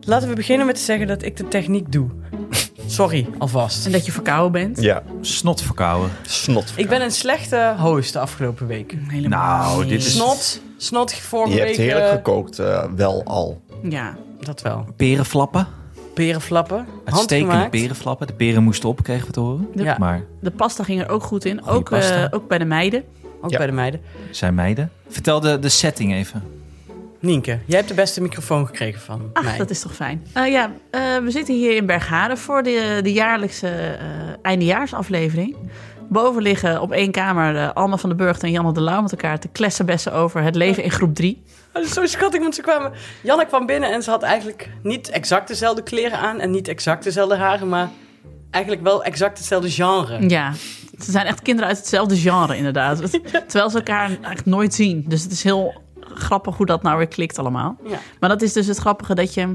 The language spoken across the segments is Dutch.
Laten we beginnen met te zeggen dat ik de techniek doe. Sorry, alvast. En dat je verkouden bent. Ja, Snot verkouden. snot. Ik ben een slechte host de afgelopen week. Helemaal Nou, niet. dit is- Snot, snot vorige Je week. hebt heerlijk eh, gekookt, eh, wel al. Ja. Dat wel. Perenflappen. Perenflappen. Uitstekende Handgemaakt. perenflappen. De peren moesten op, kregen we te horen. Ja. Maar De pasta ging er ook goed in. Goeie Ook, eh, pasta. ook bij de meiden. Ook Ja. bij de meiden. zijn meiden. Vertel de, de setting even. Nienke, jij hebt de beste microfoon gekregen van Ach, mij. dat is toch fijn. Eh, ja, eh, we zitten hier in Bergharen voor de, de jaarlijkse eh, eindejaarsaflevering. Boven liggen op één kamer eh, Alma van den Burgt en Janne de Lauw met elkaar te klessenbessen over het leven in groep 3. Oh, dat is zo schattig, want ze kwamen... Janne kwam binnen en ze had eigenlijk niet exact dezelfde kleren aan... en niet exact dezelfde haren, maar eigenlijk wel exact hetzelfde genre. Ja, ze zijn echt kinderen uit hetzelfde genre inderdaad. Het- Terwijl ze elkaar eigenlijk nooit zien. Dus het is heel grappig hoe dat nou weer klikt allemaal. Ja. Maar dat is dus het grappige dat je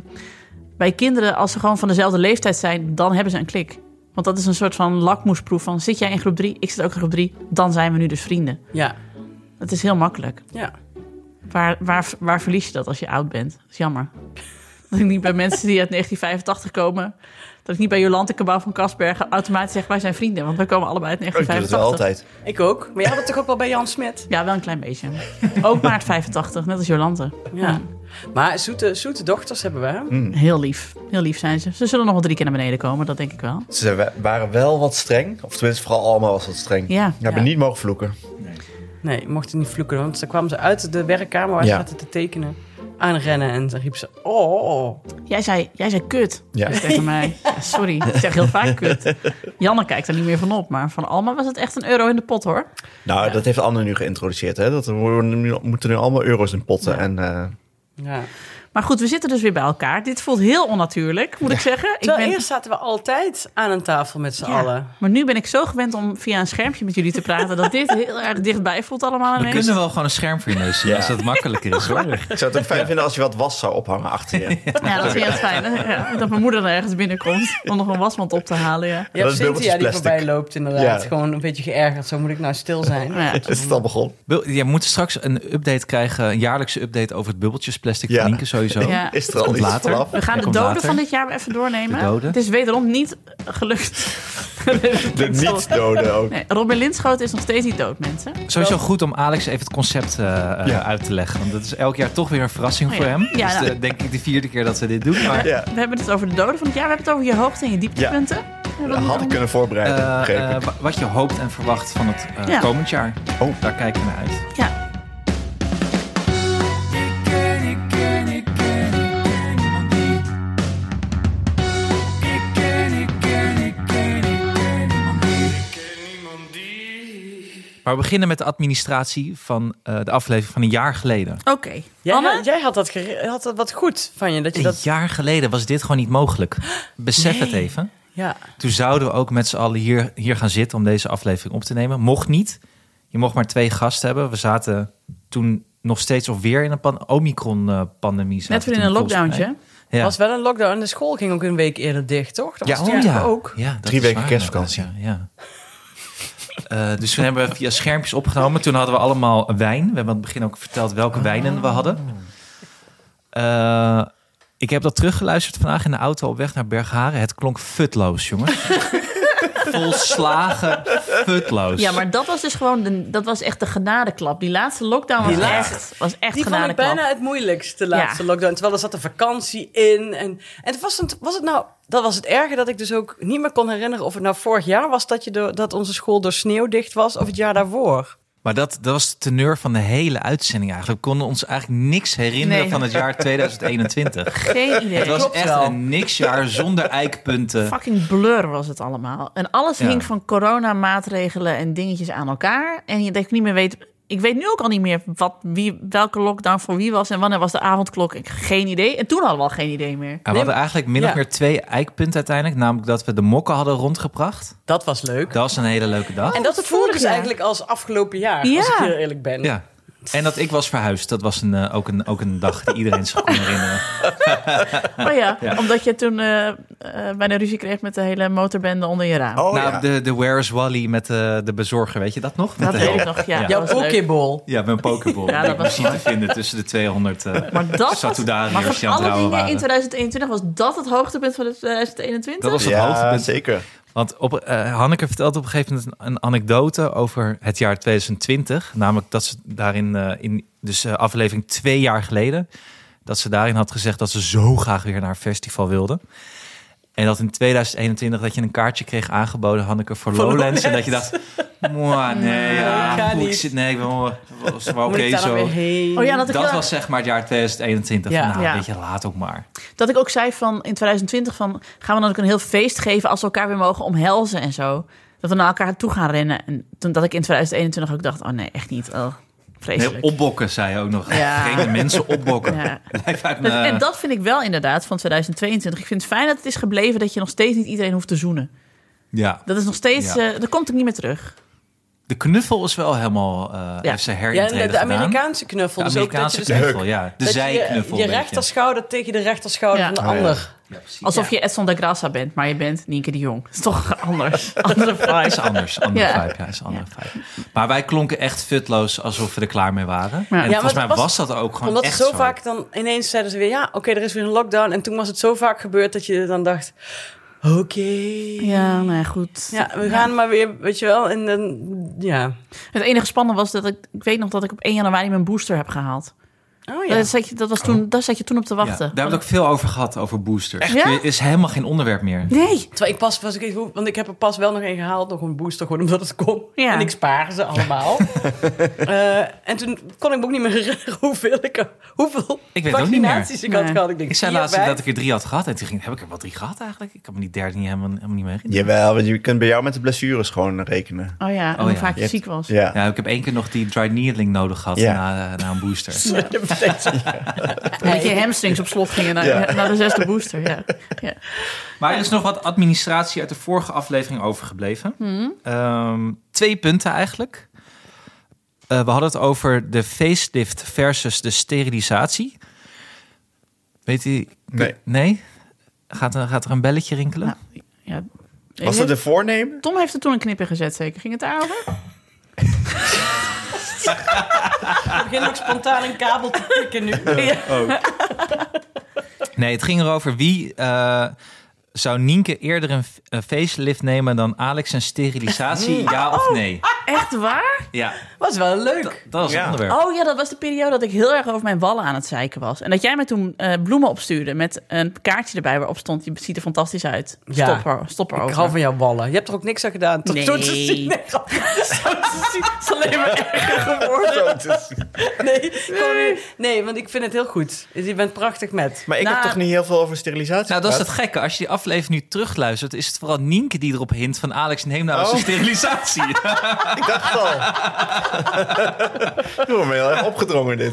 bij kinderen, als ze gewoon van dezelfde leeftijd zijn, dan hebben ze een klik. Want dat is een soort van lakmoesproef van zit jij in groep 3, ik zit ook in groep 3, dan zijn we nu dus vrienden. Ja, Het is heel makkelijk. ja. Waar, waar, waar verlies je dat als je oud bent? Dat is jammer. Dat ik niet bij mensen die uit 1985 komen, dat ik niet bij Jolante Cabau van Kasbergen automatisch zeg wij zijn vrienden, want wij komen allebei uit Ik doe het wel 1985. altijd. Ik ook. Maar jij had het toch ook wel bij Jan Smit? Ja, wel een klein beetje. Ook maart 85, net als Jolante. Ja. Hmm. Maar zoete, zoete dochters hebben we, hè? Heel lief. Heel lief zijn ze. Ze zullen nog wel drie keer naar beneden komen, dat denk ik wel. Ze wa- waren wel wat streng. Of tenminste, vooral Alma was wat streng. Ja. We hebben Ja. niet mogen vloeken. Nee, je mocht het niet vloeken, want ze kwamen ze uit de werkkamer waar ze Ja. zaten te tekenen aanrennen en dan riep ze: Oh, Jij zei, jij zei kut Ja. Dus tegen mij. Ja, sorry, ik zeg heel vaak kut. Janne kijkt er niet meer van op, maar van Alma was het echt een euro in de pot hoor. Nou, dat heeft Anne nu geïntroduceerd. Hè? Dat er worden nu- moeten nu allemaal euro's in potten. En, eh, ja. Maar goed, we zitten dus weer bij elkaar. Dit voelt heel onnatuurlijk, moet ik zeggen. Ik Terwijl eerst zaten we altijd aan een tafel met z'n Ja, allen. Maar nu ben ik zo gewend om via een schermpje met jullie te praten... dat dit heel erg dichtbij voelt allemaal We ineens. kunnen wel gewoon een scherm voor je neus zien, Ja. als dat makkelijker is hoor. ik zou het ook fijn vinden als je wat was zou ophangen achter je. Ja, dat is heel fijn. hè? Ja, dat mijn moeder er ergens binnenkomt om nog een wasmand op te halen. Ja. Je hebt is dubbeltjes Cynthia die plastic. voorbij loopt, inderdaad. Ja. Gewoon een beetje geërgerd. Zo moet ik nou stil zijn. Ja. Is het al begonnen? Wil- Je moet straks een update krijgen, een jaarlijkse update over het bubbeltjesplastic Ja. van Nienke sowieso. Ja. Is er al Komt iets later. vanaf? We gaan Hij de komt doden later. van dit jaar even doornemen. De doden. Het is wederom niet gelukt. De niet-doden ook. Nee, Robin Linschoten is nog steeds niet dood, mensen. Sowieso goed om Alex even het concept eh, eh, Ja. uit te leggen. Want dat is elk jaar toch weer een verrassing Oh ja. voor hem. Ja, dus nou. eh, denk ik de vierde keer dat ze dit doen. Maar Ja, We hebben het dus over de doden van het jaar. We hebben het over je hoogte en je dieptepunten. Hebben we dat dat had ik niet kunnen voorbereiden. Eh, begreep ik. eh, wa- wat je hoopt en verwacht van het eh, Ja. komend jaar. Oh. Daar kijken we naar uit. allemaal- Ja. Maar we beginnen met de administratie van eh, de aflevering van een jaar geleden. Oké. Jij, Anne? had, jij had, dat gere- had dat wat goed van je. Dat je Een dat, jaar geleden was dit gewoon niet mogelijk. Besef het even. ja. Toen zouden we ook met z'n allen hier, hier gaan zitten om deze aflevering op te nemen. Mocht niet. Je mocht maar twee gasten hebben. We zaten toen nog steeds of weer in een pan- eh, Omicron-pandemie. Net weer in een lockdowntje. Ja. was wel een lockdown. De school ging ook een week eerder dicht, toch? Dat ja, was oh toen ja. ook. Ja, dat Drie is weken waar, kerstvakantie. inderdaad, Ja, ja. Eh, dus toen hebben we via schermpjes opgenomen. Toen hadden we allemaal wijn. We hebben aan het begin ook verteld welke wijnen we hadden. Eh, ik heb dat teruggeluisterd vandaag in de auto op weg naar Bergharen. Het klonk futloos, jongens. Volslagen futloos. Ja, maar dat was dus gewoon de, dat was echt de genadeklap. Die laatste lockdown was Die laatste. echt, was echt Die vond ik genadeklap. bijna het moeilijkst, de laatste Ja. lockdown. Terwijl er zat een vakantie in. En, en het was, het, was het nou... Dat was het erge dat ik dus ook niet meer kon herinneren... of het nou vorig jaar was dat, je door, dat onze school door sneeuw dicht was... of het jaar daarvoor. Maar dat, dat was de teneur van de hele uitzending eigenlijk. We konden ons eigenlijk niks herinneren Nee. van het jaar 2021. Geen idee. Het was klopt echt wel. een niksjaar zonder eikpunten. Fucking blur was het allemaal. En alles Ja. hing van coronamaatregelen en dingetjes aan elkaar. En je dat ik niet meer weet. Ik weet nu ook al niet meer wat, wie, welke lockdown voor wie was en wanneer was de avondklok. Ik geen idee. En toen hadden we al geen idee meer. Ja, we hadden eigenlijk min of Ja. meer twee eikpunten uiteindelijk. Namelijk dat we de mokken hadden rondgebracht. Dat was leuk. Dat was een hele leuke dag. en dat dat voelde vorig dus jaar. eigenlijk als afgelopen jaar, als Ja. ik heel eerlijk ben. Ja. En dat ik was verhuisd. Dat was een, eh, ook, een, ook een dag die iedereen zich kon herinneren. Oh ja, Ja. omdat je toen eh, eh, bijna ruzie kreeg met de hele motorbende onder je raam. Oh, nou, ja. de, de Where's Wally met eh, de bezorger, weet je dat nog? Met dat de- weet ik nog, ja. Ja. dat Jouw was leuk. pokeball. Ja, mijn pokeball. Ja, dat was die te vinden tussen de 200 eh Maar dat was, Satudariërs maar die van aan het alle dingen trouwen in waren. 2021 was dat het eh, hoogtepunt van 2021? Dat was het ja, hoogtepunt. zeker. Want op, eh, Hanneke vertelde op een gegeven moment een, een anekdote over het jaar 2020. Namelijk dat ze daarin, eh, in, dus eh, aflevering twee jaar geleden, dat ze daarin had gezegd dat ze zo graag weer naar een festival wilde. En dat in 2021 dat je een kaartje kreeg aangeboden, Hanneke, voor Voor Lowlands. En dat Lowlands. je dacht, "Mwah, nee, ja, ik ga ik niet." zit, nee, ik ben wel- was wel Moet oké ik daar dan zo. weer heen? Oh ja, dat ik, Dat heel- was zeg maar het jaar 2021. Ja. nou, Ja. weet je, laat ook maar. dat ik ook zei van in 2020 van gaan we dan ook een heel feest geven als we elkaar weer mogen omhelzen en zo. Dat we naar elkaar toe gaan rennen. En toen dat ik in 2021 ook dacht, oh nee, echt niet. Oh, Nee, vreselijk. opbokken, zei je ook nog. Ja. Vreemde mensen opbokken. Ja. Blijf uit Dat- mijn- en dat vind ik wel inderdaad van 2022. Ik vind het fijn dat het is gebleven dat je nog steeds niet iedereen hoeft te zoenen. Ja, Dat is nog steeds, Ja. eh daar komt ik niet meer terug. de knuffel is wel helemaal, eh heeft ze Ja, en de, herintreden de gedaan. Amerikaanse knuffel. De dus ook dat je Amerikaanse dus knuffel, ja. De dat je zijknuffel. Je, een je beetje. rechterschouder tegen de rechterschouder Ja. van de Oh, ja. ander. Ja, precies. Alsof je Edson de Grassa bent, maar je bent Nienke de Jong. Dat is toch anders. Andere Ja, Ah, is vibe. anders, andere Ja. vibe, ja, is andere vibe. Maar wij klonken echt futloos alsof we er klaar mee waren. Ja, En maar volgens mij het was, was- dat ook gewoon Omdat echt zo, vaak dan ineens zeiden ze weer... ja, oké, er is weer een lockdown. En toen was het zo vaak gebeurd dat je dan dacht... oké, Ja, nou ja, goed. Ja, we gaan maar weer, weet je wel, en dan... Ja. Het enige spannende was dat ik, ik weet nog dat ik op 1 januari mijn booster heb gehaald. Oh ja. Dat, zat je, dat was toen, daar zat je toen op te Ja, wachten. daar hebben we het ook veel over gehad, over boosters. Echt? Ja? Er is helemaal geen onderwerp meer. Nee. Terwijl ik pas was ik even, want ik heb er pas wel nog een gehaald, nog een booster, gewoon omdat het kon. Ja. En ik spaar ze allemaal. Eh, en toen kon ik me ook niet meer herinneren hoeveel ik er- hoeveel Ik weet het ook niet meer. vaccinaties ik had Nee. gehad. Ik, denk, Ik zei vier, laatst vijf. dat ik er drie had gehad. En toen ging, heb ik er wel drie gehad eigenlijk? Ik kan me die derde niet helemaal, helemaal niet meer herinneren. Jawel, want je kunt bij jou met de blessures gewoon rekenen. Oh ja, en Oh hoe ja. vaak je Je ziek was. Ja. Ja, ik heb één keer nog die dry needling nodig gehad Ja. na, eh, na een booster. Dat betekent- En dat je hamstrings op slot gingen naar, Ja. naar de zesde booster. Ja. Ja. Maar er is nog wat administratie uit de vorige aflevering overgebleven. Hmm. Ehm, twee punten eigenlijk. Eh, we hadden het over de facelift versus de sterilisatie. Weet u? Nee. Nee? Gaat er, gaat er een belletje rinkelen? Nou, Ja. Was dat de voornemen? Tom heeft er toen een knip in gezet, zeker. Ging het daarover? Ik begin ook spontaan een kabel te pikken nu. Nee, het ging erover wie eh, zou Nienke eerder een, f- een facelift nemen dan Alex een sterilisatie? Ja of Oh. nee? Echt waar? Ja, Was wel leuk. dat was het Ja. onderwerp. Oh ja, dat was de periode dat ik heel erg over mijn wallen aan het zeiken was. En dat jij me toen eh, bloemen opstuurde met een kaartje erbij waarop stond... je ziet er fantastisch uit. Ja. Stop, er, stop erover. Ik hou van jouw wallen. Je hebt er ook niks aan gedaan. Tot Nee. zo te zien. Nee, grap. Het is alleen maar erger geworden. Zo, het is- nee, gewoon niet. nee, want ik vind het heel goed. Dus Je bent prachtig met. Maar ik Nou, heb toch niet heel veel over sterilisatie Nou, dat is het gehad? gekke. Als je die aflevering nu terugluistert, is het vooral Nienke die erop hint van Alex, neem nou eens Oh. een sterilisatie. Ik dacht al. Ik word me heel erg opgedrongen dit.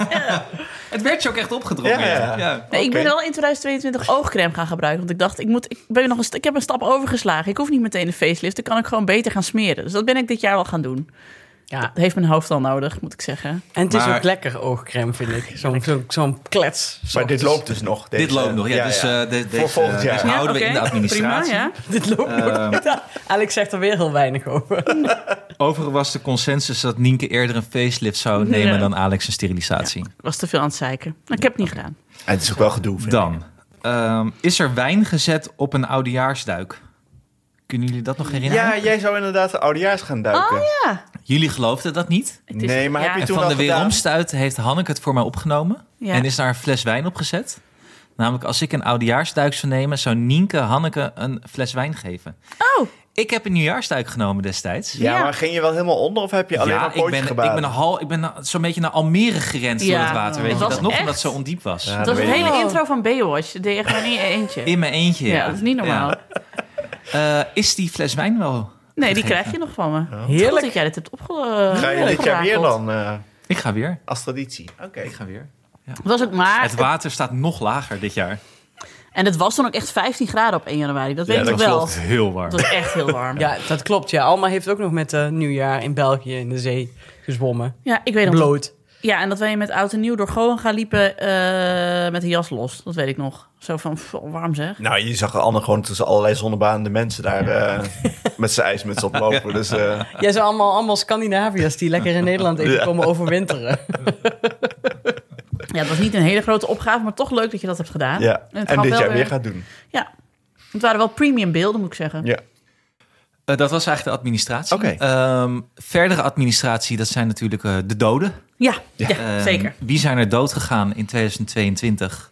het werd je ook echt opgedrongen. Ja, ja. ja. Ja. Nee, Ik ben Oké. wel in 2022 oogcreme gaan gebruiken. Want ik dacht, ik, moet, ik, ben nog een, st- ik heb een stap overgeslagen. Ik hoef niet meteen een facelift. Dan kan ik gewoon beter gaan smeren. Dus dat ben ik dit jaar wel gaan doen. Ja. Dat heeft mijn hoofd al nodig, moet ik zeggen. En het is Maar- ook lekker oogcreme, vind ik. Zo'n zo, zo'n klets. Maar dit loopt dus nog. Dit deze- loopt nog. Ja, dus eh, de- deze, Voor volgend jaar. deze houden we in de oké. administratie. Prima, ja. Dit loopt Ehm. nog. Alex zegt er weer heel weinig over. Overigens was de consensus dat Nienke eerder een facelift zou nemen Ja. dan Alex een sterilisatie. Ik was te veel aan het zeiken. Maar Ik heb het niet gedaan. En het is ook wel gedoe. vind ik. Dan, ehm, is er wijn gezet op een oudejaarsduik? Kunnen jullie dat nog herinneren? Ja, jij zou inderdaad de oudejaars gaan duiken. Oh ja. Jullie geloofden dat niet? Het is- Nee, maar heb ja. je En toen van al de gedaan? weeromstuit heeft Hanneke het voor mij opgenomen. Ja. En is daar een fles wijn op gezet. Namelijk, als ik een oudejaarsduik zou nemen, zou Nienke Hanneke een fles wijn geven. Oh, Ik heb een nieuwjaarsduik genomen destijds. Ja, Ja. maar ging je wel helemaal onder of heb je alleen maar een ik pootje ben, ik gebaat? ben, een hal, ik ben na- zo'n beetje naar Almere gerend Ja. door het water. Weet Het je was dat nog? echt- Omdat het zo ondiep was. Ja, dat dat was het weet ik hele niet. intro van Baywatch. Dat deed je gewoon niet e- eentje. In mijn eentje. Ja, dat is niet normaal. Ja. Eh, is die fles wijn wel? Nee, die Gegeven. krijg je nog van me. Goed Heerlijk. dat jij dit hebt opge Ga je dit jaar weer opgerakeld. dan eh, Ik ga weer. als traditie? Oké. Ik ga weer. Het was ook maar... Het water staat nog lager dit jaar. En het was dan ook echt 15 graden op 1 januari. Dat weet Ja, ik dat wel. klopt. Heel warm. Het was echt heel warm. Ja, Ja, dat klopt. Ja. Alma heeft ook nog met eh nieuwjaar in België in de zee gezwommen. ik weet nog. Bloot. Ja, en dat wij met oud en nieuw door Goen gaan liepen eh, met de jas los. Dat weet ik nog. Zo van, pff, warm zeg. Nou, je zag Anne gewoon tussen allerlei zonnebaande mensen daar eh, met zijn ijsmuts oplopen. Dus eh, Jij zijn allemaal, allemaal Scandinaviërs die lekker in Nederland even Ja. komen overwinteren. Ja, het was niet een hele grote opgave, maar toch leuk dat je dat hebt gedaan. ja. het En gaf dit wel jaar weer gaat doen. Ja, het waren wel premium beelden, moet ik zeggen. Ja. Eh, dat was eigenlijk de administratie. Oké. Ehm, verdere administratie, dat zijn natuurlijk eh, de doden. Ja, ja, Ehm, zeker. Wie zijn er dood gegaan in 2022?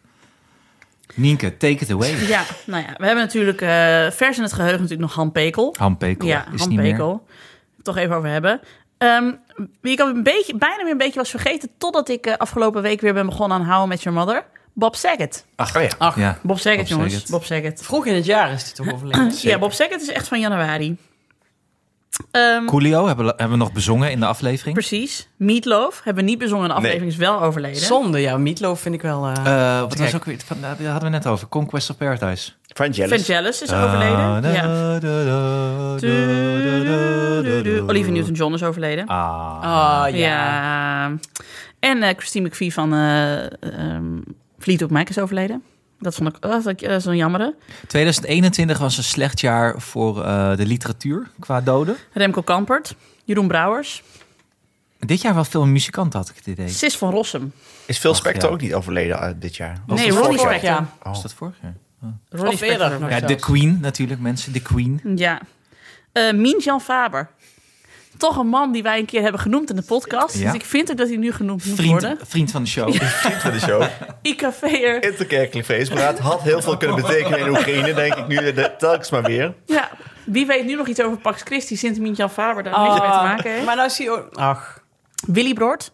Nienke, take it away. Ja, nou ja, we hebben natuurlijk eh, vers in het geheugen natuurlijk nog Han Pekel. Han Pekel Ja, is Han niet meer. Pekel. Toch even over hebben. Ehm, wie ik al een beetje, bijna weer een beetje was vergeten... totdat ik eh, afgelopen week weer ben begonnen aan How I Met Your Mother. Bob Saget. Ach, oh ja. Ach, Ja. Bob Saget, Bob jongens. Saget. Bob Saget. vroeg in het jaar is dit toch overleden. Ja, Bob Saget is echt van januari. Ehm, Coolio hebben, we- hebben we nog bezongen in de aflevering. Precies. Meatloaf hebben we niet bezongen. De Nee. aflevering is wel overleden. Zonde, ja, Meatloaf vind ik wel... eh, Eh, wat Trek. was ook weer, van, daar hadden we net over, Conquest of Paradise. Ah, Vangelis is overleden. ja. Olivia Newton-John is overleden. Ah, ah, ja. ja. En eh, Christine McVie van eh ehm Fleetwood Mac is overleden. Dat vond ik oh, dat, eh, zo'n jammeren. 2021 was een slecht jaar voor eh, de literatuur qua doden. Remco Kampert, Jeroen Brouwers, Dit jaar wel veel muzikanten, had ik het idee. Sis van Rossum. Is Phil Ach, Spector ja. ook niet overleden eh, dit jaar? Was nee, dat Ronnie vorig Spector. jaar? Oh. Was dat vorig jaar? Ronnie Of eerder Spector. nog Ja, zelfs. de Queen natuurlijk, mensen. De Queen. Ja. Eh Mien-Jan Faber. Toch een man die wij een keer hebben genoemd in de podcast. Ja. Dus ik vind ook dat hij nu genoemd moet Vriend, worden. vriend van de show. Vriend van de show. IKV'er. Interkerkelijk feestberaad. Had heel veel kunnen betekenen in Oekraïne, denk ik nu de, telkens maar weer. Ja, wie weet nu nog iets over Pax Christi, Sint Mientjan Faber, daar niks mee te Ah, maken heeft. Maar nou zie je ook... Ach, Willy Broert.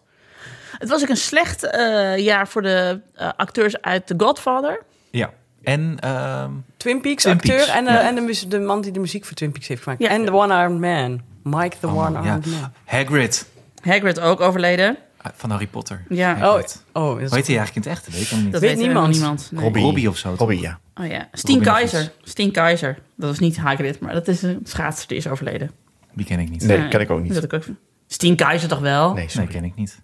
Het was ook een slecht eh, jaar voor de eh, acteurs uit The Godfather. Ja. En ehm, Twin Peaks, Twin acteur Peaks, en, eh, ja. en de, mu- de man die de muziek voor Twin Peaks heeft gemaakt. Ja. En de One-Armed Man. Mike the allemaal, Oh, ja. One-Armed Man. Hagrid Hagrid ook overleden. eh, van Harry Potter. Ja. Oh, Hagrid. oh dat Hoe is- heet hij eigenlijk in het echte? Weet ik helemaal niet. Dat Weet weet, niemand. niemand. niemand. Nee. Robby. Robbie of zo. Hobby, ja. Oh ja, Steen Robin Keizer. Hood. Steen Keizer. Dat was niet Hagrid, maar dat is een schaatser die is overleden. Die ken ik niet. Nee, ken ik ook Dat niet. ik ook... Steen Keizer toch wel? Nee, Nee, sorry. ken ik niet.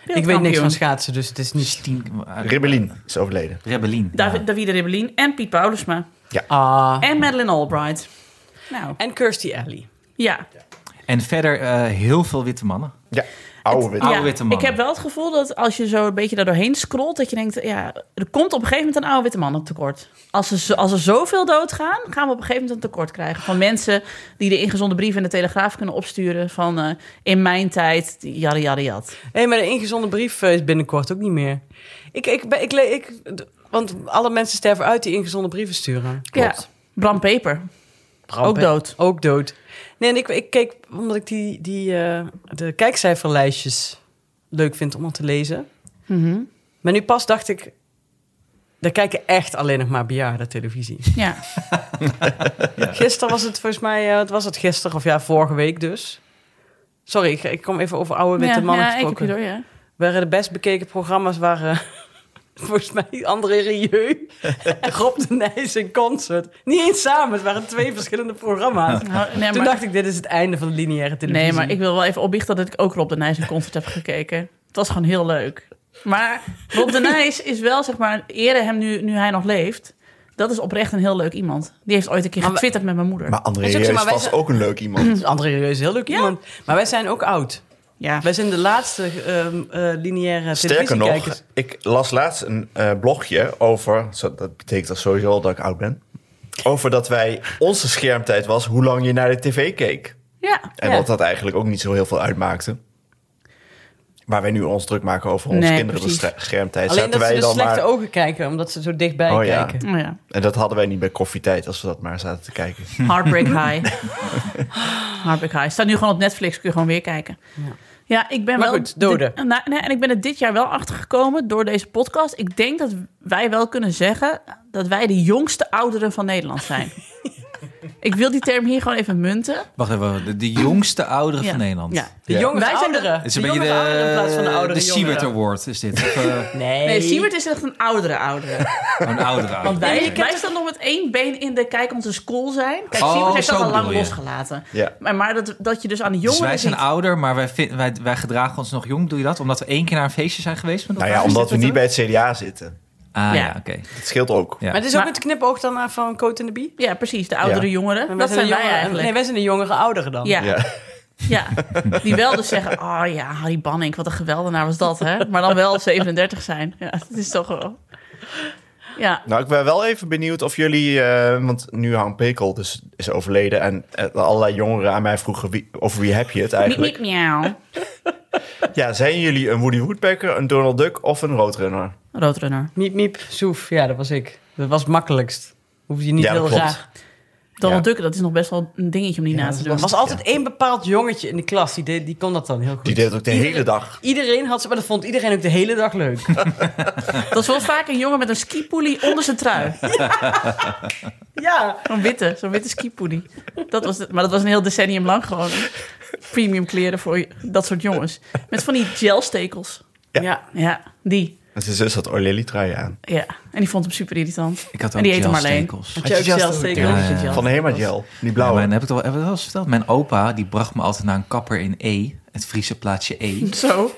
Ik weet niks van Wereldkampioen. schaatsen, dus het is niet... Stien... eh, Ribbelin is overleden. Rebellin. David, ja. Davide Rebellin en Piet Paulusma. Ah. En Madeleine Albright. Nou, En Kirstie Alley. ja. En verder eh, heel veel witte mannen. Ja, oude wit. Oude witte mannen. Ik heb wel het gevoel dat als je zo een beetje daar doorheen scrolt, dat je denkt, ja, er komt op een gegeven moment een oude witte mannen tekort. Als er, zo- als er zoveel doodgaan, gaan we op een gegeven moment een tekort krijgen van mensen die de ingezonde brieven in de Telegraaf kunnen opsturen van eh, in mijn tijd, jada jada jad. Hé, maar de ingezonde brief eh, is binnenkort ook niet meer. Ik, ik, ben- ik, le- ik, d- want alle mensen sterven uit die ingezonde brieven sturen. Ja. Bram Peper, Bram ook Pe- dood. Ook dood. Nee, en ik, ik keek, omdat ik die, die, eh, de kijkcijferlijstjes leuk vind om aan te lezen. Mhm. Maar nu pas dacht ik, daar kijken echt alleen nog maar bejaarden televisie. Ja. Gisteren was het volgens mij, eh, wat was het gisteren of ja, vorige week dus. Sorry, ik, ik kom even over oude witte ja, mannen ja, ik heb gesproken. je door, ja. waren de best bekeken programma's waren volgens mij André Rieu en Rob de Nijs in concert. Niet eens samen, het waren twee verschillende programma's. Nou, nee, Toen maar, dacht ik, dit is het einde van de lineaire televisie. nee, maar ik wil wel even opbiechten dat ik ook Rob de Nijs een concert heb gekeken. Het was gewoon heel leuk. Maar Rob de Nijs is wel, zeg maar, ere hem nu, nu hij nog leeft. Dat is oprecht een heel leuk iemand. Die heeft ooit een keer Maar we- getwitterd met mijn moeder. Maar André Is ook is, zo, maar wij vast zijn- ook een leuk iemand. Dus André Rieu is heel leuk Ja. iemand. Maar wij zijn ook oud. ja. Wij zijn de laatste ehm, eh, lineaire Sterker nog, televisiekijkers. ik las laatst een eh, blogje over... zo- Dat betekent dat sowieso al dat ik oud ben. Over dat wij... Onze schermtijd was hoe lang je naar de tv keek. ja. En Ja. dat dat eigenlijk ook niet zo heel veel uitmaakte. Waar wij nu ons druk maken over onze Nee, kinderen precies. schermtijd. Alleen Zaten dat ze wij de dan slechte maar... ogen kijken, omdat ze zo dichtbij Oh, ja. kijken. Oh ja. En dat hadden wij niet bij koffietijd als we dat maar zaten te kijken. Heartbreak High. Heartbreak High. Staat nu gewoon op Netflix, kun je gewoon weer kijken. Ja, ik ben Maar wel... goed, doden. dit- nou, nee, en ik ben er dit jaar wel achtergekomen door deze podcast. Ik denk dat wij wel kunnen zeggen dat wij de jongste ouderen van Nederland zijn. Ik wil die term hier gewoon even munten. Wacht even, de, de jongste ouderen Ja. van Nederland. Ja. De Ja. jongere Wij zijn de- ouderen. Het is de een beetje jongere ouderen in plaats van de de, oudere de Siebert jongeren. Award is dit. Of, eh, Nee, Nee, Siebert is echt een oudere oudere. een oudere ouder. wij- Nee, ik wij staan nog met één been in de kijk om te school zijn. Kijk, Oh, Siebert heeft dat zo al lang bedoel je. losgelaten. Ja. Maar, maar dat, dat je dus aan de Dus jongeren wij zijn ziet- ouder, maar wij, vin- wij, wij gedragen ons nog jong. Doe je dat? Omdat we één keer naar een feestje zijn geweest met Nou elkaar? ja, omdat we Is niet dit bij het CDA zitten. het dan? Ah ja, Ja. oké. Dat scheelt ook. Ja. Maar het is ook Maar- met de knipoog dan eh, van Coat en de Bie. Ja, precies. De oudere Ja. jongeren. Maar Dat zijn de wij jongere- eigenlijk. Nee, wij zijn de jongere ouderen dan. ja. Ja. Ja, die wel dus zeggen, oh ja, Harry Banning, wat een geweldenaar was dat, hè? Maar dan wel 37 zijn. Ja, dat is toch wel... Ja, Nou, ik ben wel even benieuwd of jullie, eh, want nu Han Pekel dus is overleden en eh, allerlei jongeren aan mij vroegen wie, over wie heb je het miep, eigenlijk. miep, miauw. Ja, zijn jullie een Woody Woodpecker, een Donald Duck of een Roadrunner? Roadrunner. Miep, miep, soef. Ja, dat was ik. Dat was het makkelijkst. Hoef je niet Ja, dat heel klopt. raar. Donald Ja. Duck, dat is nog best wel een dingetje om die Ja, na dat te is doen. Er was altijd één bepaald jongetje in de klas. Die, deed, die kon dat dan heel goed. Die deed het ook de hele dag. Iedereen had ze, maar dat vond iedereen ook de hele dag leuk. Dat is wel vaak een jongen met een skipoolie onder zijn trui. ja. Zo'n witte, zo'n witte skipoolie. Dat was het, maar dat was een heel decennium lang gewoon premium kleren voor je- dat soort jongens. Met van die gelstekels. Ja. Ja, die. En zijn zus had O'Lily trui aan. Ja, en die vond hem super irritant. Ik had en die ook heette Marleen. gelstekels. Had je je ook zelf zelfs ook zeker gedaan? ook je Ja, ja. gel. Van Hema Gel, die Ja, blauwe. mijn, heb ik het al heb ik het wel eens verteld? Mijn opa die bracht me altijd naar een kapper in E, het Friese plaatsje E. Zo, dan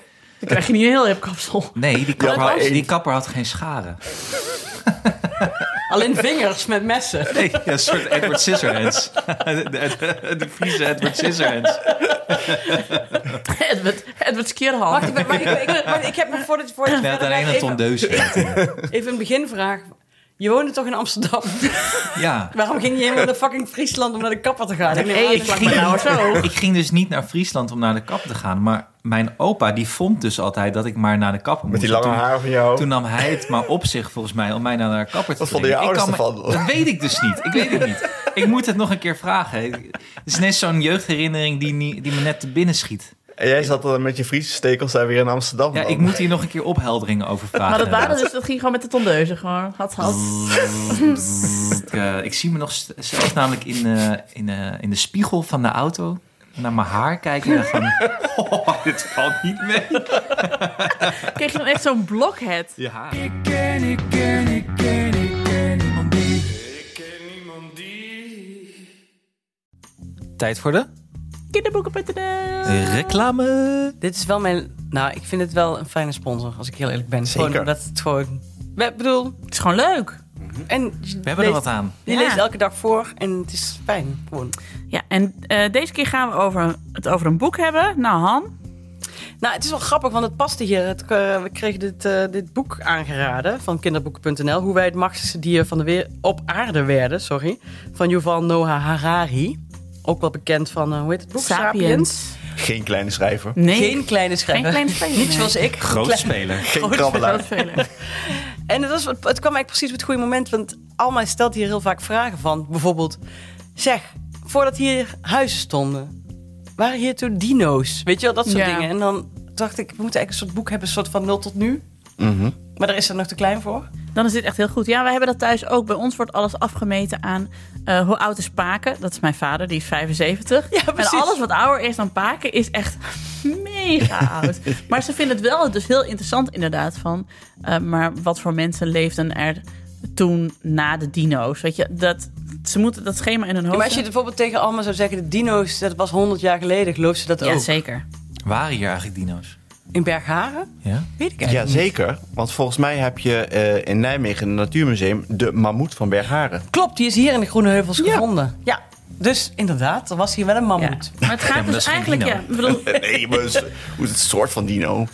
krijg je niet een heel hipkapsel. Nee, die kapper, had, maar één. die kapper had geen scharen. Alleen vingers met messen. Nee, ja, een soort Edward Scissorhands. De, de, de Friese Edward Scissorhands. Edward, Edward Skierhan. Wacht, ik, ben- maar ik, ik, maar ik heb me voor dit voor dit Net verder alleen gaat een Tom even, Deus. even een beginvraag. Je woonde toch in Amsterdam? Ja. Waarom ging je helemaal naar fucking Friesland om naar de kapper te gaan? Ik neem Nee, aan ik dat je- ging- maar nou zo. Ik ging dus niet naar Friesland om naar de kap te gaan. Maar mijn opa die vond dus altijd dat ik maar naar de kapper Met moest. die lange Toen- haar van jou. Toen nam hij het maar op zich, volgens mij, om mij naar de kapper te Oh. Wat vonden je brengen. Ik ouders kan me- ervan? Dat weet ik dus niet. Ik weet het niet. Ik moet het nog een keer vragen. Het is net zo'n jeugdherinnering die, niet- die me net te binnen schiet. En jij zat dan met je Friese stekels daar weer in Amsterdam. Ja, dan. ik moet hier nog een keer ophelderingen over vragen. maar dat, waren inderdaad. dus, dat ging gewoon met de tondeuzen. Gewoon, had, had. Ik, eh, ik zie me nog st- zelf namelijk in, eh, in, eh, in de spiegel van de auto naar mijn haar kijken. En dan van, oh, dit valt niet mee. Kreeg je dan echt zo'n blockhead. Je haar. Ik ken, ik ken, ik ken, ik ken niemand die. Tijd voor de Kinderboeken.nl reclame. Dit is wel mijn... Nou, ik vind het wel een fijne sponsor, als ik heel eerlijk ben. Zeker. Gewoon, dat het gewoon... Ik bedoel, Het is gewoon leuk. en We hebben er wat aan. Je Ja. leest elke dag voor en het is fijn. Gewoon. Ja, en eh, deze keer gaan we over, het over een boek hebben. Nou, Han. Nou, het is wel grappig, want het paste hier. Het, eh, we kregen dit, eh, dit boek aangeraden van kinderboeken.nl. Hoe wij het machtigste dier van de weer op aarde werden, sorry. Van Yuval Noah Harari. Ook wel bekend van, eh, hoe heet het boek? Geen kleine schrijver. Nee. Geen kleine schrijver. Geen kleine schrijver, Niet nee. zoals ik. Klein- Grootspeler. Geen Groot- krabbelaar. Grootspeler. En het, was, het kwam eigenlijk precies op het goede moment. Want Alma stelt hier heel vaak vragen van. Bijvoorbeeld, zeg, voordat hier huizen stonden, waren hier toen dino's? Weet je wel, dat soort Ja. dingen. En dan dacht ik, we moeten eigenlijk een soort boek hebben, een soort van 0 tot nu. Mhm. Maar daar is er nog te klein voor. Dan is dit echt heel goed. Ja, wij hebben dat thuis ook. Bij ons wordt alles afgemeten aan eh, hoe oud is Paken. Dat is mijn vader, die is 75. Ja, precies. En alles wat ouder is dan Paken is echt mega oud. maar ze vinden het wel dus heel interessant inderdaad. Van, eh, maar wat voor mensen leefden er toen na de dino's? Weet je, dat, ze moeten dat schema in hun hoofd maar als je zetten. bijvoorbeeld tegen Alma zou zeggen, de dino's, dat was 100 jaar geleden, gelooft ze dat Ja, ook? zeker. Waren hier eigenlijk dino's? In Bergharen? Ja? Weet ik Ja, eigenlijk niet. zeker. Want volgens mij heb je eh, in Nijmegen een natuurmuseum de mammoet van Bergharen. Klopt, die is hier in de Groene Heuvels gevonden. Ja, dus inderdaad, er was hier wel een Ja. mammoet. Maar het gaat maar dat dus is geen eigenlijk... dino. Ja, ik bedoel, Nee, maar het is- hoe is het soort van dino? Maar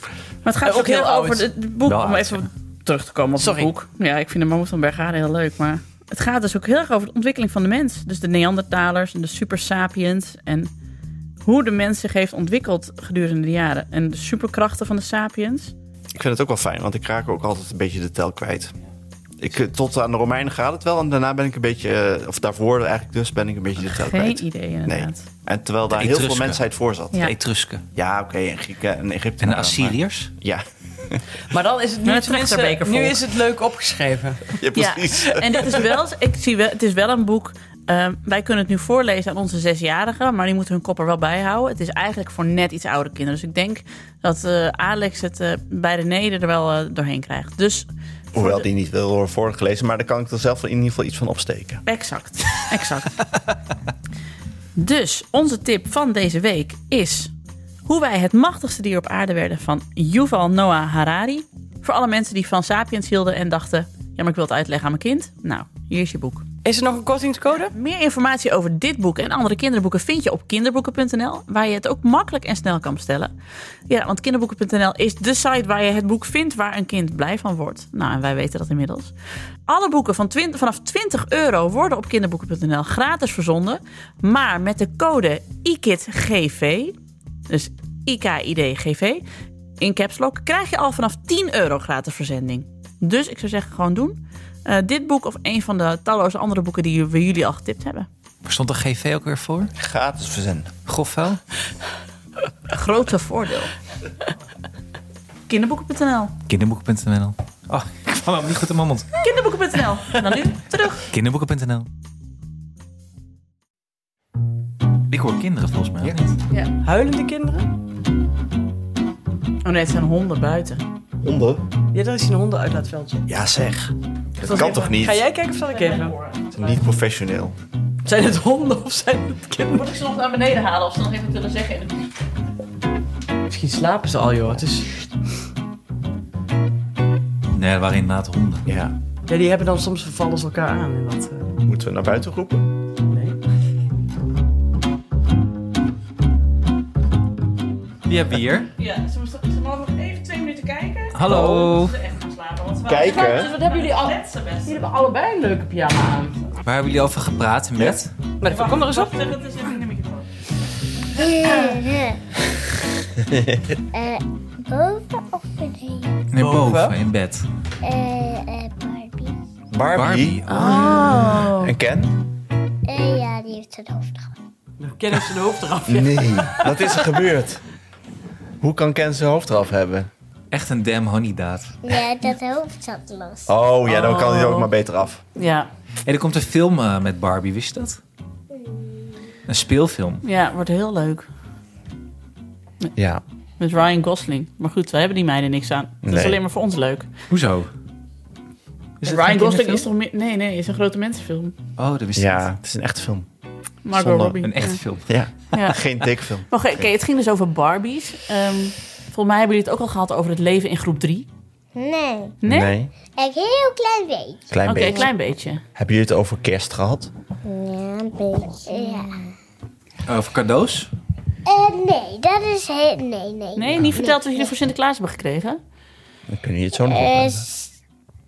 het gaat Ook ook heel heel oud. over het- het boek. Wel om oud, even terug te komen op Sorry. het boek. Ja, ik vind de Mammoet van Bergharen heel leuk. Maar het gaat dus ook heel erg over de ontwikkeling van de mens. Dus de Neandertalers en de Super Sapiens. En hoe de mens zich heeft ontwikkeld gedurende de jaren. En de superkrachten van de Sapiens. Ik vind het ook wel fijn, want ik raak ook altijd een beetje de tel kwijt. Ik, eh, tot aan de Romeinen gaat het wel en daarna ben ik een beetje, eh, of daarvoor eigenlijk dus, ben ik een beetje de tel Geen kwijt. idee Nee. inderdaad. En terwijl daar De heel veel Etrusken. mensheid voor zat. De Ja. Etrusken. Ja, oké, en Grieken en Egypte. En de Assyriërs? Ja, Maar dan is het nu, Maar het tenminste, trechterbekervolk. nu is het leuk opgeschreven. ja, precies. En dit is wel, ik zie wel, het is wel een boek Ehm, wij kunnen het nu voorlezen aan onze zesjarigen, maar die moeten hun kop er wel bij houden. Het is eigenlijk voor net iets oudere kinderen. Dus ik denk dat eh, Alex het eh, bij de neder er wel eh, doorheen krijgt. Dus Hoewel die niet wil worden voorgelezen, maar daar kan ik er zelf in ieder geval iets van opsteken. Exact, exact. dus onze tip van deze week is hoe wij het machtigste dier op aarde werden van Yuval Noah Harari. Voor alle mensen die van Sapiens hielden en dachten, ja maar ik wil het uitleggen aan mijn kind. Nou, hier is je boek. Is er nog een kortingscode? Meer informatie over dit boek en andere kinderboeken vind je op kinderboeken.nl, waar je het ook makkelijk en snel kan bestellen. Ja, want kinderboeken.nl is de site waar je het boek vindt waar een kind blij van wordt. Nou, en wij weten dat inmiddels. Alle boeken van 20, vanaf 20 euro worden op kinderboeken.nl gratis verzonden, maar met de code IKIDGV, dus IKIDGV, in caps lock, krijg je al vanaf 10 euro gratis verzending. Dus ik zou zeggen, gewoon doen. Eh, dit boek of een van de talloze andere boeken die we jullie al getipt hebben. Waar stond de GV ook weer voor? Gratis verzenden. Grofvuil? Grote voordeel. Kinderboeken.nl. Kinderboeken.nl. Oh, ik kwam hem niet goed in mijn mond. Kinderboeken.nl. En dan Nou, nu terug. Kinderboeken.nl. Ik hoor kinderen volgens mij. of niet? Huilende kinderen? Oh nee, het zijn honden buiten. Honden? Ja, daar is een hondenuitlaatveldje. Ja zeg. Dat kan toch niet? Ga jij kijken of zal ik even? Niet professioneel. Zijn het honden of zijn het kinderen? Moet ik ze nog naar beneden halen of ze nog even willen zeggen? Misschien slapen ze al, joh. Het is... Nee, dat waren inderdaad honden. Ja. Ja, die hebben dan soms vervallen ze elkaar aan. En dat, eh, Moeten we naar buiten roepen? nee. Die hebben we hier. Ja, ze mogen nog even twee minuten kijken. Hallo. echt gaan slapen. Want Kijken. wat hebben jullie al? best. hebben allebei een leuke pyjama aan. Waar hebben jullie over gepraat met? Maar even, kom er eens op. Dat is even in de microfoon. Eh, boven of beneden? Nee, Boven. boven in bed. Eh, eh, Barbie. Barbie, Barbie. Oh. en Ken? Eh, ja, die heeft het hoofd gehad. Dan kennen ze de hoofd eraf. Nee. Wat is er gebeurd? Hoe kan Ken zijn hoofd eraf hebben? Echt een damn honeydaad. Nee, dat hoofd zat los. Oh ja, dan kan hij er ook maar beter af. Ja. En er komt een film eh, met Barbie, wist je dat? Een speelfilm. ja, wordt heel leuk. Ja. Met Ryan Gosling. Maar goed, wij hebben die meiden niks aan. Het is Nee. alleen maar voor ons leuk. Hoezo? Is het Ryan Gosling geen kinderfilm? is toch meer... Nee, nee, is een grote mensenfilm. Oh, dat wist ik Ja, niet. het is een echte film. Margot Zonde. Robbie. Een echte Ja. film. Ja, Ja. geen tekenfilm. Maar oké, oké, het ging dus over Barbies. Ehm, volgens mij hebben jullie het ook al gehad over het leven in groep 3. Nee, Nee? een heel klein beetje. Klein Oké, beetje. een klein beetje. Hebben jullie het over kerst gehad? Ja, een beetje. Ja. Over cadeaus? Eh, nee, dat is heel... Nee, nee. Nee, niet verteld wat jullie voor Sinterklaas hebben gekregen? Dan kunnen jullie het zo nog Eh, opnemen. s-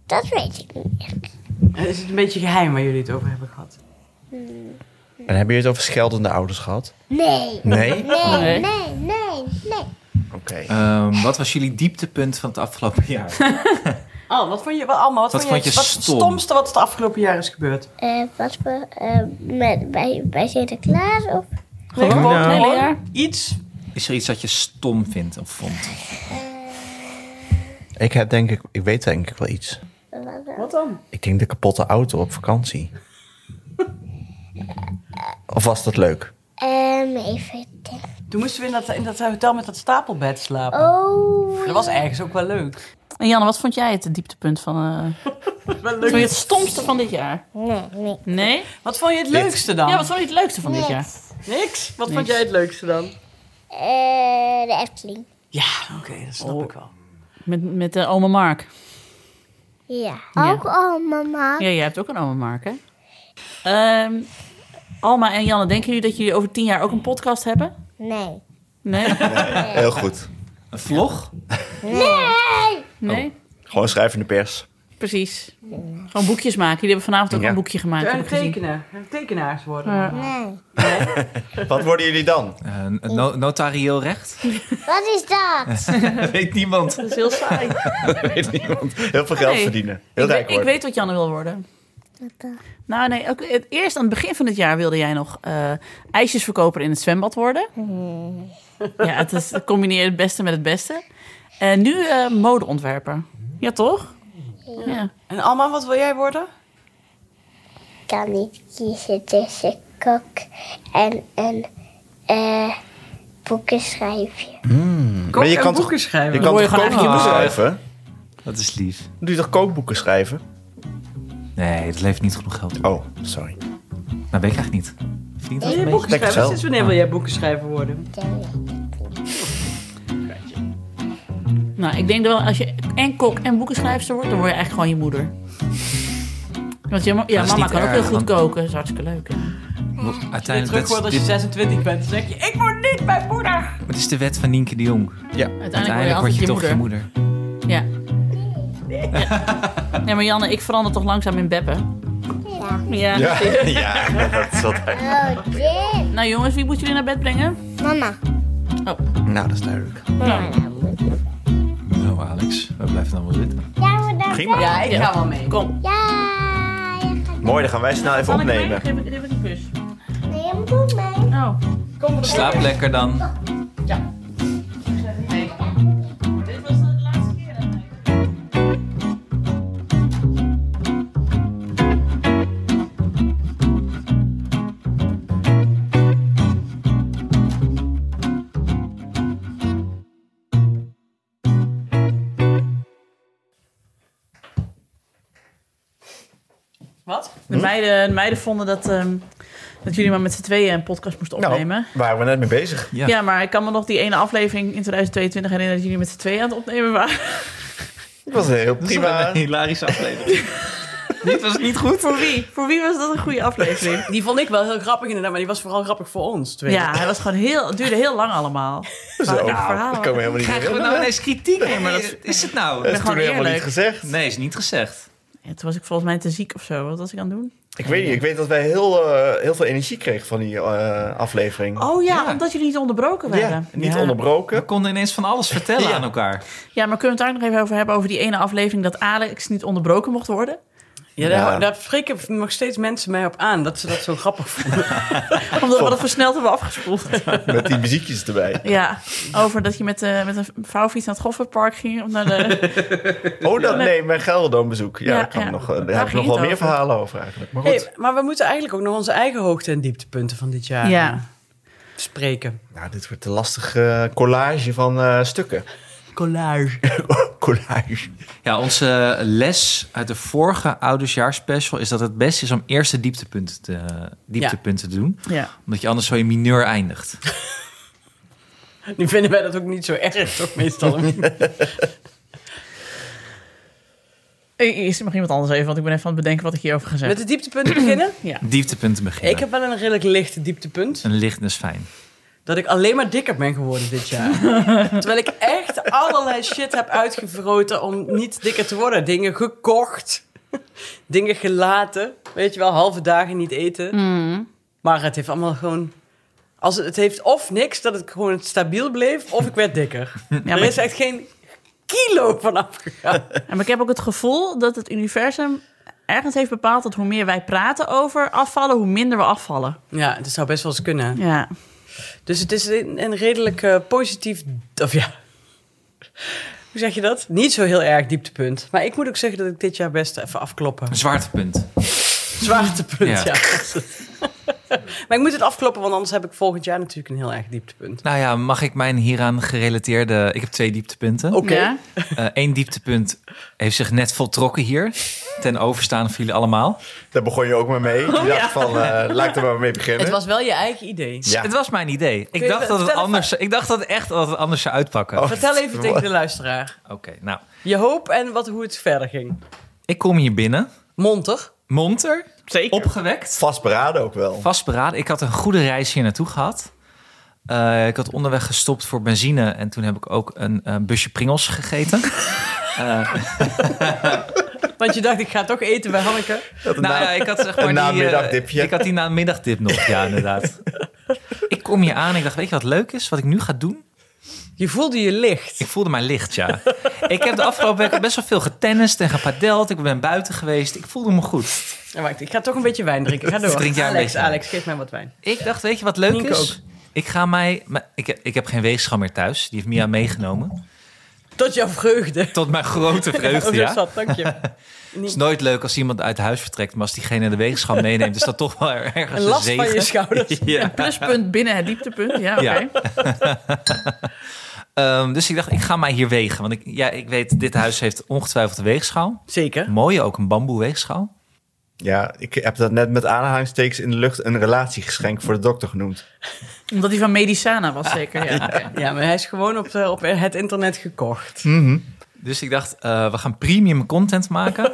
dat weet ik niet echt. Is het een beetje geheim waar jullie het over hebben gehad? En hebben jullie het over scheldende ouders gehad? Nee. Nee? Nee, Nee. nee, nee, nee. Oké. Ehm, wat was jullie dieptepunt van het afgelopen jaar? Oh, wat vond je, wat, allemaal, wat, Wat vond je, vond je wat is het stom? stomste wat het afgelopen jaar is gebeurd? Eh, wat voor... eh, met, bij, bij Sinterklaas of... Nee, gewoon het hele gewoon jaar? iets. Is er iets dat je stom vindt of vond? Ik, heb denk ik, ik weet denk ik wel iets. Wat dan? Ik denk de kapotte auto op vakantie. of was dat leuk? Ehm, even denken. Toen moesten we in dat, in dat hotel met dat stapelbed slapen. Oh, Dat was ergens ook wel leuk. En Janne, wat vond jij het dieptepunt van... eh, Wel vond je het leuk. stomste van dit jaar? nee, nee. Nee? Wat vond je het leukste dan? Ja, wat vond je het leukste van dit jaar? Niks. Niks. Wat vond Niks. jij het leukste dan? Eh, de Efteling. Ja, oké, dat snap Oh. ik wel. Met, met eh, oma Mark. Ja. Ja. Ook al, mama. Ja, jij hebt ook een oma Mark, hè? Ehm, Alma en Janne, denken jullie dat jullie over tien jaar ook een podcast hebben? Nee. Nee? Heel goed. Een vlog? Nee! Nee? Gewoon schrijven in de pers. Precies. Gewoon boekjes maken. Jullie hebben vanavond ook Ja. een boekje gemaakt. Ga heb je ik gezien. tekenen? Ga je tekenaars worden? Ja. Nee. Wat worden jullie dan? Eh, no- notarieel recht? Wat is Eh. dat? Dat weet niemand. Dat is heel saai. Weet niemand. Heel veel geld Nee. verdienen. Heel ik, rijk weet, ik worden. weet wat Janne wil worden. dan? Nou nee, ook, het, eerst aan het begin van het jaar wilde jij nog eh, ijsjesverkoper in het zwembad worden. Ja, het is het combineer het beste met het beste. En nu eh, modeontwerper. Ja, toch? Ja. En Alma, wat wil jij worden? kan niet kiezen tussen kok en een eh boekenschrijfje. Kok je en kan toch- boeken schrijven. Je kan Hoor je toch gewoon kookboeken eigenlijk schrijven? Dat is lief. Doe je toch kookboeken schrijven? Nee, het levert niet genoeg geld op. Oh, sorry. Nou, weet ik eigenlijk niet. Verdient dat Wil een jij beetje? boeken Lekker schrijven? zelf. Sinds wanneer wil jij boeken schrijven worden? Nou, ik denk dat wel, als je en kok en boekenschrijfster wordt, dan word je eigenlijk gewoon je moeder. Want je, ma- ja, Dat is mama niet kan ook erg, heel goed want- koken. Dat is hartstikke leuk. hè. Uiteindelijk, Terug wordt dat is, als je dit- 26 bent, dan zeg je: Ik word niet mijn moeder! maar het is de wet van Nienke de Jong. Uiteindelijk, Uiteindelijk word je, toch altijd je je moeder. moeder. Ja. ja. Nee, maar Janne, ik verander toch langzaam in Beppe. Ja. Ja, ja dat zat eigenlijk. Oh, dit. Nou jongens, wie moet jullie naar bed brengen? Mama. Nou, dat is duidelijk. Nou, Oh, Alex, we blijven dan wel zitten. Ja, we daar. Prima. Ja, ik ga wel mee. Kom. Ja, je gaat. Mooi, dan gaan wij snel even Kan ik mee? opnemen. Geef ik- geef ik een kus. Nee, je moet mee. Oh. Slaap lekker dan. Dit was de laatste keer. Wat? Hm? De meiden, de meiden vonden dat, ehm, dat jullie maar met z'n tweeën een podcast moesten Nou, opnemen. waren we net mee bezig. Ja. Ja. maar ik kan me nog die ene aflevering in 2022 herinneren dat jullie met z'n tweeën aan het opnemen waren. Dat was een heel prima. hilarische aflevering. Dit was niet goed. Voor wie? Voor wie was dat een goede aflevering? Die vond ik wel heel grappig inderdaad, maar die was vooral grappig voor ons. Twee. Ja, hij was gewoon heel, het duurde heel lang allemaal. Zo, Nou, dat verhalen. komen we helemaal niet meer Krijgen we in. nou ineens kritiek? Nee, maar maar dat- is het nou? Dat is gewoon toen helemaal niet eerlijk. gezegd. Nee, is niet gezegd. Ja, toen was ik volgens mij te ziek of zo. Wat was ik aan het doen? Ik weet niet, ik weet dat wij heel, eh, heel veel energie kregen van die eh, aflevering. Oh ja, Ja. omdat jullie niet onderbroken Ja, werden. niet ja. We onderbroken. konden ineens van alles vertellen Ja. aan elkaar. Ja, maar kunnen we het daar nog even over hebben? Over die ene aflevering dat Alex niet onderbroken mocht worden? Ja, daar, Ja. daar spreken nog steeds mensen mij op aan dat ze dat zo grappig vonden. Omdat we dat versneld hebben afgespoeld. Met die muziekjes erbij. ja, over dat je met, eh, met een vouwfiets naar het Goffertpark ging. Of naar de... Oh, dat, nee, mijn Gelderdoom bezoek. Ja, Ja, daar kan ja. nog, eh, daar Daar heb ik ging nog wel het meer over. verhalen over eigenlijk. Maar goed, Hey, maar we moeten eigenlijk ook nog onze eigen hoogte- en dieptepunten van dit jaar Ja. eh, spreken. nou, dit wordt een lastige eh, collage van eh, stukken. Collage. collage. Ja, onze les uit de vorige oudejaarsspecial is dat het best is om eerst de dieptepunten te, dieptepunten te doen. ja. Omdat je anders zo in mineur eindigt. Nu vinden wij dat ook niet zo erg, toch meestal? Eh, Eerst mag iemand anders even, want ik ben even aan het bedenken wat ik hierover ga Met zeggen. de dieptepunten beginnen? Dieptepunten beginnen. Ik heb wel een redelijk licht dieptepunt. Een licht is fijn. Dat ik alleen maar dikker ben geworden dit jaar. Terwijl ik echt allerlei shit heb uitgevroten om niet dikker te worden. Dingen gekocht. Dingen gelaten. Weet je wel, halve dagen niet eten. Maar het heeft allemaal gewoon... Als het, het heeft of niks, dat het gewoon stabiel bleef, of ik werd dikker. Ja, er maar, is echt geen kilo van afgegaan. maar ik heb ook het gevoel dat het universum ergens heeft bepaald dat hoe meer wij praten over afvallen, hoe minder we afvallen. Ja, het zou best wel eens kunnen. Ja. Dus het is een, een redelijk eh, positief. Of ja. Hoe zeg je dat? Niet zo heel erg dieptepunt. Maar ik moet ook zeggen dat ik dit jaar best even afkloppen. Een zwaartepunt. Zwaartepunt, ja. Ja. maar ik moet het afkloppen, want anders heb ik volgend jaar natuurlijk een heel erg dieptepunt. Nou ja, mag ik mijn hieraan gerelateerde... Ik heb twee dieptepunten. Oké. Ja? Eén dieptepunt heeft zich net voltrokken hier. Ten overstaan van jullie allemaal. Daar begon je ook maar mee. Oh, Je dacht van, eh, laat ik er maar mee beginnen. Het was wel je eigen idee. Ja. Het was mijn idee. Ik je dacht, dat het vertellen anders, ik dacht dat het echt dat het anders zou uitpakken. Oh. Vertel even tegen de luisteraar. Oké, nou. Je hoop en wat, hoe het verder ging. Ik kom hier binnen. Monter. Monter. Zeker. Opgewekt. vastberaden ook wel. Vastberaden. Ik had een goede reis hier naartoe gehad. Eh, ik had onderweg gestopt voor benzine. En toen heb ik ook een eh, busje Pringles gegeten. Want je dacht, ik ga toch eten bij Hanneke. Nou ja, ik had zeg maar Een die, eh, namiddagdipje. ik had die namiddagdip nog, ja, inderdaad. ik kom hier aan en ik dacht, weet je wat leuk is? Wat ik nu ga doen? Je voelde je licht. Ik voelde mij licht, ja. ik heb de afgelopen week best wel veel getennist en gepadeld. Ik ben buiten geweest. Ik voelde me goed. Ja, Oh, wacht, ik ga toch een beetje wijn drinken. Ga door. Drink jij een Alex, beetje Alex, geef mij wat wijn. Ik dacht, weet je wat leuk Nienke is? ook. Ik ga mij... maar Ik, ik heb geen weegschaal meer thuis. Die heeft Mia meegenomen. Tot jouw vreugde. Tot mijn grote vreugde, Oh, zo ja. zat, dank je. Het is nooit leuk als iemand uit huis vertrekt, maar als diegene de weegschaal meeneemt, is dat toch wel ergens Een last zegen. van je schouders. Ja. Pluspunt binnen het dieptepunt. Ja, oké. Ja. Ehm, dus ik dacht, ik ga mij hier wegen. Want ik, ja, ik weet, dit huis heeft ongetwijfeld een weegschaal. Zeker. Mooie, ook een bamboe weegschaal. Ja, ik heb dat net met aanhalingstekens in de lucht een relatiegeschenk voor de dokter genoemd. Omdat die van Medicana was zeker. Ja, oké. Ja, maar hij is gewoon op, eh, op het internet gekocht. Dus ik dacht, eh, we gaan premium content maken.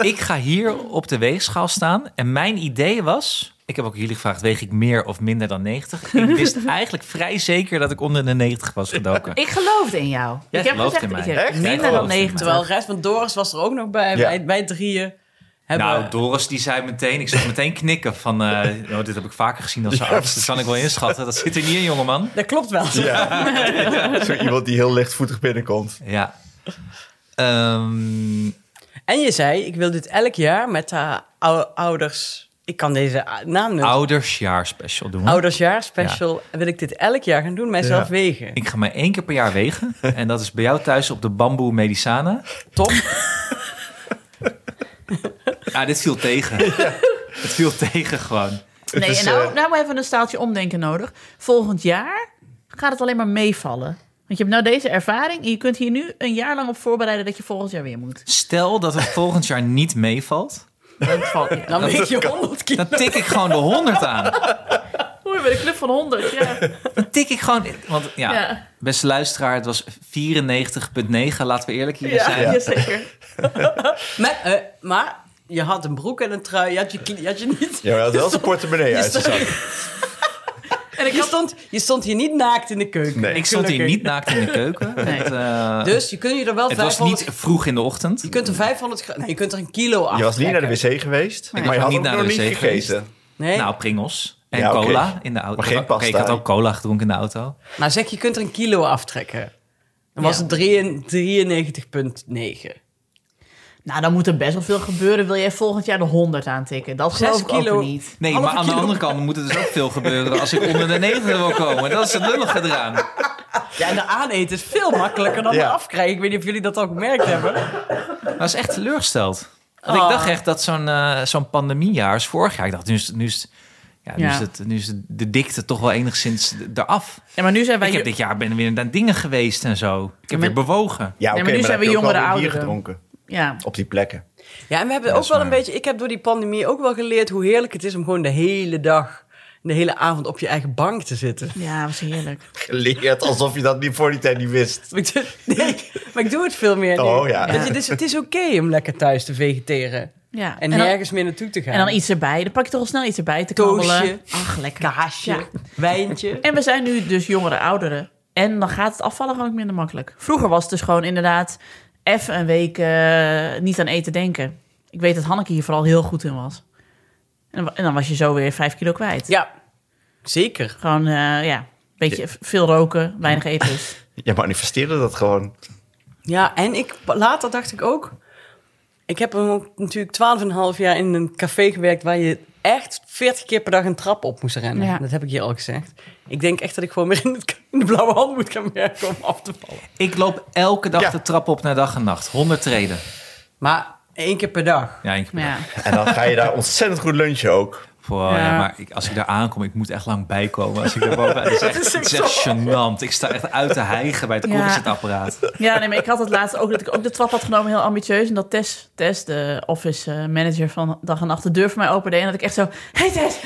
ik ga hier op de weegschaal staan. En mijn idee was, ik heb ook jullie gevraagd, weeg ik meer of minder dan 90? Ik wist eigenlijk vrij zeker dat ik onder de 90 was gedoken. Ik geloofde in jou. Jij ik heb gelooft gezegd, in mij. ik heb Echt? Jij minder dan gelooft in 90. Terwijl de rest van Doris was er ook nog bij. Ja. Wij, wij drieën hebben... Nou, Doris die zei meteen, ik zag meteen knikken van, eh, nou, dit heb ik vaker gezien als een arts. Dat kan ik wel inschatten. Dat zit er niet in, jongeman. dat klopt wel. Ja. Zo iemand die heel lichtvoetig binnenkomt. Ja. Ehm, En je zei, ik wil dit elk jaar met haar ou- ouders... Ik kan deze a- naam noemen. oudersjaar special doen. Oudersjaar special. Wil ik dit elk jaar gaan doen, mijzelf Hm? Ja. wegen. Ik ga mij één keer per jaar wegen. En dat is bij jou thuis op de Bamboe Medicana. Top. Ja, dit viel tegen. Het viel tegen gewoon. Nee, is, en nou, eh, nou hebben we een staaltje omdenken nodig. Volgend jaar gaat het alleen maar meevallen. Want je hebt nou deze ervaring en je kunt hier nu een jaar lang op voorbereiden dat je volgend jaar weer moet. Stel dat het volgend jaar niet meevalt. Dat valt niet. Dan weeg je 100 kilo. Dan tik ik gewoon de 100 aan. Oei, bij de club van 100, ja. Dan tik ik gewoon... Want ja, Ja. beste luisteraar, het was 94,9. Laten we eerlijk hier zijn. Ja, zeker. Maar, eh, maar je had een broek en een trui. Je had je, kle- je, had je niet... Ja, maar dat wel zijn portemonnee uit zijn zak. En ik Je had... stond, je stond hier niet naakt in de keuken. Nee. Ik stond hier Gelukkig. niet naakt in de keuken. Nee. Het, eh, Dus je kunt je er wel het was 500... niet vroeg in de ochtend. Je kunt er 500 gra- Nee, je kunt er een kilo af. Je was niet naar de wc geweest, maar je was had niet ook naar nog de niet wc geweest. gegeten. Nee, Nou, Pringles. En Ja, oké. cola in de auto. Maar geen Oké, ik pasta, had hè? ook cola gedronken in de auto. maar zeg, je kunt er een kilo aftrekken. Dan was Ja. het 93,9. Nou, dan moet er best wel veel gebeuren. Wil jij volgend jaar de 100 aantikken? Dat geloof Zes ik kilo. ook niet. Nee, Halve maar aan de kilo. andere kant moet er dus ook veel gebeuren als ik onder de 90 wil komen. Dat is het lullige eraan. Ja, en de aaneten is veel makkelijker dan Ja. de afkrijgen. Ik weet niet of jullie dat al gemerkt hebben. Dat was echt teleurgesteld. Want Oh. ik dacht echt dat zo'n eh, zo'n pandemiejaar is vorig jaar. Ik dacht, nu is, nu is, ja, nu Ja. is, het, nu is de, de dikte toch wel enigszins d- eraf. Ja, maar nu zijn wij... Ik heb dit jaar ben weer naar dingen geweest en zo. Ik heb weer bewogen. Ja, maar nu oké, maar, dan zijn we heb je ook jongere wel weer bier ouderen. gedronken Ja. op die plekken. Ja, en we hebben Ja, ook is wel een waar. beetje... Ik heb door die pandemie ook wel geleerd hoe heerlijk het is om gewoon de hele dag... en de hele avond op je eigen bank te zitten. ja, was heerlijk. Geleerd alsof je dat niet voor die tijd niet wist. Maar ik doe, nee, maar ik doe het veel meer nu. Oh, ja. Dat je- dus het is oké om lekker thuis te vegeteren. Ja. En, dan- nergens meer naartoe te gaan. En dan iets erbij. Dan pak je toch al snel iets erbij te Toastje. kabbelen. Ach, lekker. Kaasje, Ja. wijntje. En we zijn nu dus jongere ouderen. En dan gaat het afvallen gewoon ook minder makkelijk. Vroeger was het dus gewoon inderdaad even een week eh, niet aan eten denken. Ik weet dat Hanneke hier vooral heel goed in was. En, dan- en dan was je zo weer vijf kilo kwijt. Ja, zeker. Gewoon, eh, ja, een beetje v- veel roken, weinig eten. dus. Je manifesteerde dat gewoon. Ja, en ik, later dacht ik ook... Ik heb ook natuurlijk 12,5 jaar in een café gewerkt... waar je echt 40 keer per dag een trap op moest rennen. Ja. Dat heb ik hier al gezegd. Ik denk echt dat ik gewoon weer in, het- in de blauwe hand moet gaan werken om af te vallen. Ik loop elke dag Ja. de trap op naar dag en nacht. 100 treden. Maar één keer per dag. Ja, ik, Ja. En dan ga je daar ontzettend goed lunchen ook. Wow, ja. Ja. maar ik, als ik daar aankom, ik moet echt lang bijkomen. Als ik daar boven, het is echt, het is echt gênant. Ik sta echt uit te hijgen bij het Ja. koffiezetapparaat. ja, nee, maar ik had het laatst ook dat ik ook de trap had genomen, heel ambitieus. En dat Tess, Tess de office eh, manager van dag en nacht, de deur voor mij opende. En dat ik echt zo, hey Tess,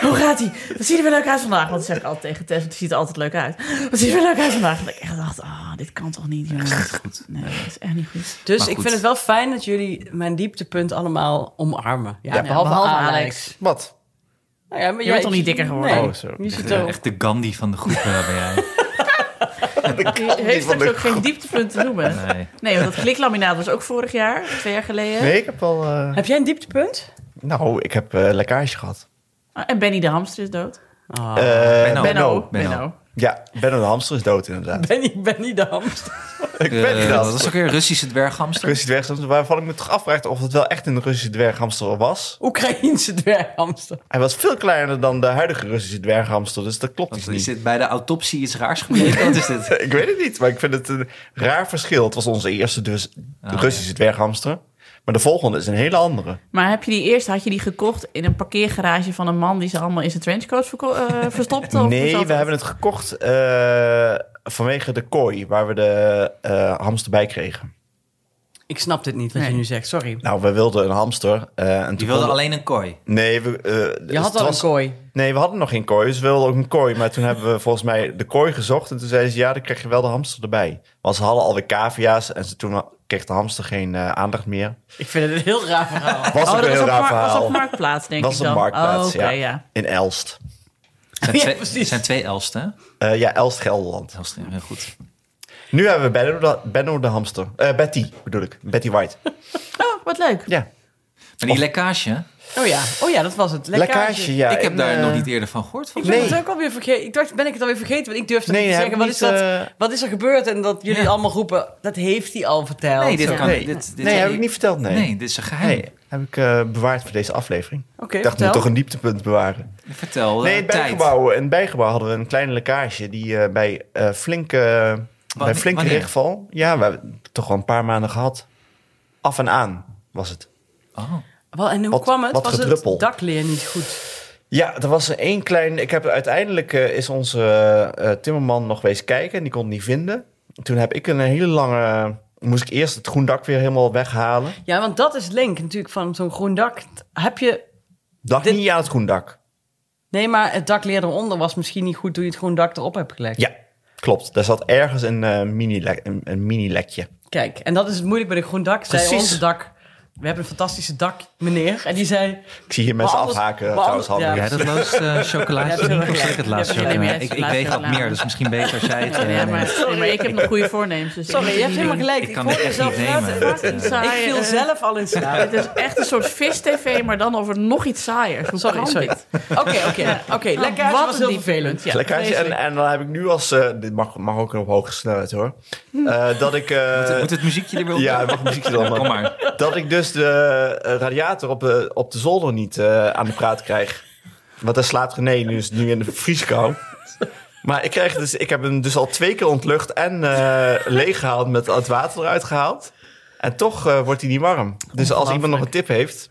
hoe gaat ie? Wat ziet er weer leuk uit vandaag? Want dat zeg ik altijd tegen Tess, want die ziet er altijd leuk uit. Wat ziet er weer leuk uit vandaag? En dat ik echt dacht, ah, dit kan toch niet, jongens. Goed. Nee, dat is echt niet goed. Dus Maar ik goed. vind het wel fijn dat jullie mijn dieptepunt allemaal omarmen. Ja, Ja, behalve, behalve Alex. Alex. Wat? Nou ja, maar bent jij- toch niet dikker geworden? Nee, Oh, zo. je ziet Ja, er echt de Gandhi van de groep eh, ben jij. Je heeft van straks de ook geen dieptepunt te noemen. Nee. Nee. want dat kliklaminaat was ook vorig jaar, twee jaar geleden. Nee, ik heb al... eh, Heb jij een dieptepunt? Nou, ik heb eh, lekkage gehad. Ah, En Benny de hamster is dood. Ah. Eh, Benno. Benno. Benno. Benno. Ja, Benno de Hamster is dood inderdaad. Benny, Benny de hamster. ik ben Eh, dat. dat is ook weer een Russische dwerghamster. Russische dwerghamster, waarvan ik me toch afvraagde of het wel echt een Russische dwerghamster was. Oekraïense dwerghamster. Hij was veel kleiner dan de huidige Russische dwerghamster, dus dat klopt dus Is niet. dit bij de autopsie iets raars gebleken? Wat is dit? Ik weet het niet, maar ik vind het een raar verschil. Het was onze eerste Oh, dus Russische dwerghamster. Maar de volgende is een hele andere. Maar heb je die eerst, had je die gekocht in een parkeergarage van een man die ze allemaal in zijn trenchcoat verko- eh, verstopt? of hoe nee, we zat het? hebben het gekocht eh, vanwege de kooi waar we de eh, hamster bij kregen. Ik snap dit niet wat Nee. je nu zegt, sorry. Nou, we wilden een hamster. eh, en Die toen wilde konden- alleen een kooi. Nee, we, eh, dus Je had het al een was- kooi. Nee, we hadden nog geen kooi, dus we wilden ook een kooi. Maar toen hebben we volgens mij de kooi gezocht. En toen zeiden ze, ja, dan krijg je wel de hamster erbij. Want ze hadden alweer cavia's en ze, toen kreeg de hamster geen eh, aandacht meer. Ik vind het een heel raar verhaal. Was Oh, ook dat een was heel op, raar mar- was verhaal. op Marktplaats, denk was ik een dan. marktplaats, Oh, oké, ja. ja. In Elst. Het zijn twee, precies. het zijn twee elsten. hè? Eh, ja, Elst Gelderland. Elsten, ja, Heel goed. Nu hebben we Benno de, Benno de hamster. Eh, Betty bedoel ik. Betty White. Oh, wat leuk. Ja. Maar die lekkage, Oh ja, oh ja dat was het. Lekkage. Lekkage, ja. ik heb en, daar eh, nog niet eerder van gehoord. Ik Van. ben Nee. het ook alweer vergeten. Ik dacht, ben ik het alweer vergeten? Want ik durfde Nee, niet te heb zeggen, ik wat, is niet, dat, eh, wat is er gebeurd? En dat jullie Ja. allemaal roepen, dat heeft hij al verteld. Nee, dit Zo. kan nee, dit- dit- nee heb ik niet verteld, nee. Nee. dit is een geheim. Nee, heb ik eh, bewaard voor deze aflevering. Oké, ik dacht, ik moet vertel. toch een dieptepunt bewaren. Vertel, eh, Nee, in het tijd. bijgebouw, in het bijgebouw hadden we een kleine lekkage die eh, bij eh, flinke, bij flinke wanneer? regenval... Ja, we hebben het toch al een paar maanden gehad. Af en aan was het. Oh. Wel, en hoe Wat- kwam het? wat was gedruppel. het dakleer niet goed? Ja, er was één klein. Ik heb uiteindelijk eh, is onze eh, eh, timmerman nog wees kijken en die kon het niet vinden. Toen heb ik een hele lange. Moest ik eerst het groen dak weer helemaal weghalen. Ja, want dat is het link natuurlijk van zo'n groen dak. Heb je... Lag Dit- niet aan het groen dak. Nee, maar het dakleer eronder was misschien niet goed toen je het groen dak erop hebt gelegd. Ja, klopt. Daar zat ergens een eh, mini-lek. Een, een mini-lekje. Kijk, en dat is het moeilijk bij de groen dak. Zei Precies. onze dak, we hebben een fantastische dak, meneer. En die zei, Ik zie hier mensen Maar anders- afhaken. maar trouwens, anders- Hanne. Ja, dat laatste chocolaatje Ja, dat is niet, wel eh, of zeg ik het lekker. laatste Ja, maar jij chocolaatje? bent Ik, ik laatste weeg wat chocolade. meer, dus misschien beter als jij het... eh, Ja, maar, neemt. nee, maar ik heb nog goede voornemens. Dus ik sorry, moet je het hebt helemaal niet gelijk. Ik Ik, kan hoor dit echt mezelf niet praten. nemen. doen. Fucking Ik saai, viel eh. zelf al in slaap. Het is echt een soort vis-tv, maar dan over nog iets saaiers. Hoe Sorry, kan sorry. Nou, dit? Oké, oké. Oké, lekker. wat was een heel vervelend. dieptepunt, Lekker. En, en dan heb ik nu als. eh, dit mag, mag ook op hoge snelheid hoor. Hmm. Eh, dat ik. eh, Moet- Moet het muziekje er weer op? ja, het mag een muziekje dan. maar. Kom maar. Dat ik dus de eh, radiator op, de- op de zolder niet eh, aan de praat krijg. Want daar slaapt René nu, is het nu in de vrieskou. Maar ik, krijg dus, ik heb hem dus al twee keer ontlucht en eh leeggehaald met het water eruit gehaald. En toch eh, wordt hij niet warm. Dus als iemand nog een tip heeft.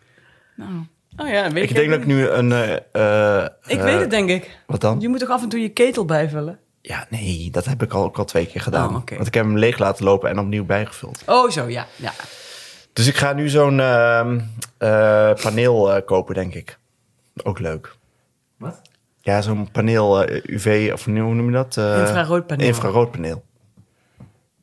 Oh ja, weet Ik denk dat ik nu een... eh, eh, Ik eh, weet het, denk ik. Wat dan? Je moet toch af en toe je ketel bijvullen? Ja, nee, dat heb ik al, ook al twee keer gedaan. Oh, oké. Want ik heb hem leeg laten lopen en opnieuw bijgevuld. Oh, zo, ja. ja. Dus ik ga nu zo'n ehm, eh, paneel eh, kopen, denk ik. Ook leuk. Wat? Ja, zo'n paneel eh, UV, of nee, hoe noem je dat? Eh, Infraroodpaneel. Infraroodpaneel.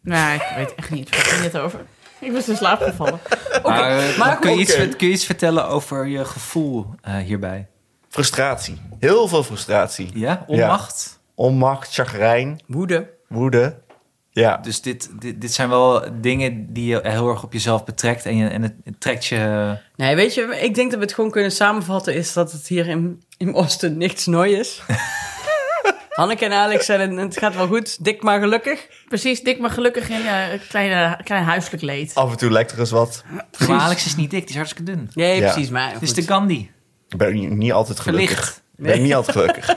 Nee, ik weet echt niet. Waar ging het over? Ik was in slaap gevallen. Maar, eh, maar kun, je iets, oké. ver- kun je iets vertellen over je gevoel eh, hierbij? Frustratie. Heel veel frustratie. Ja? Onmacht? Onmacht, chagrijn, Woede. woede. Ja, Dus dit, dit, dit zijn wel dingen die je heel erg op jezelf betrekt en, je, en het, het trekt je... Nee, weet je, ik denk dat we het gewoon kunnen samenvatten... is dat het hier in, in Oosten niks nooi is. Hanneke en Alex zijn en het gaat wel goed. Dik maar gelukkig. Precies, dik maar gelukkig in eh kleine, klein huiselijk leed. af en toe lijkt er eens wat. Maar Alex is niet dik, die is hartstikke dun. Nee, Ja. precies, maar Het is goed. de Gandhi. Ik ben niet- niet altijd gelukkig. Verlicht. Ik Ben niet altijd gelukkig.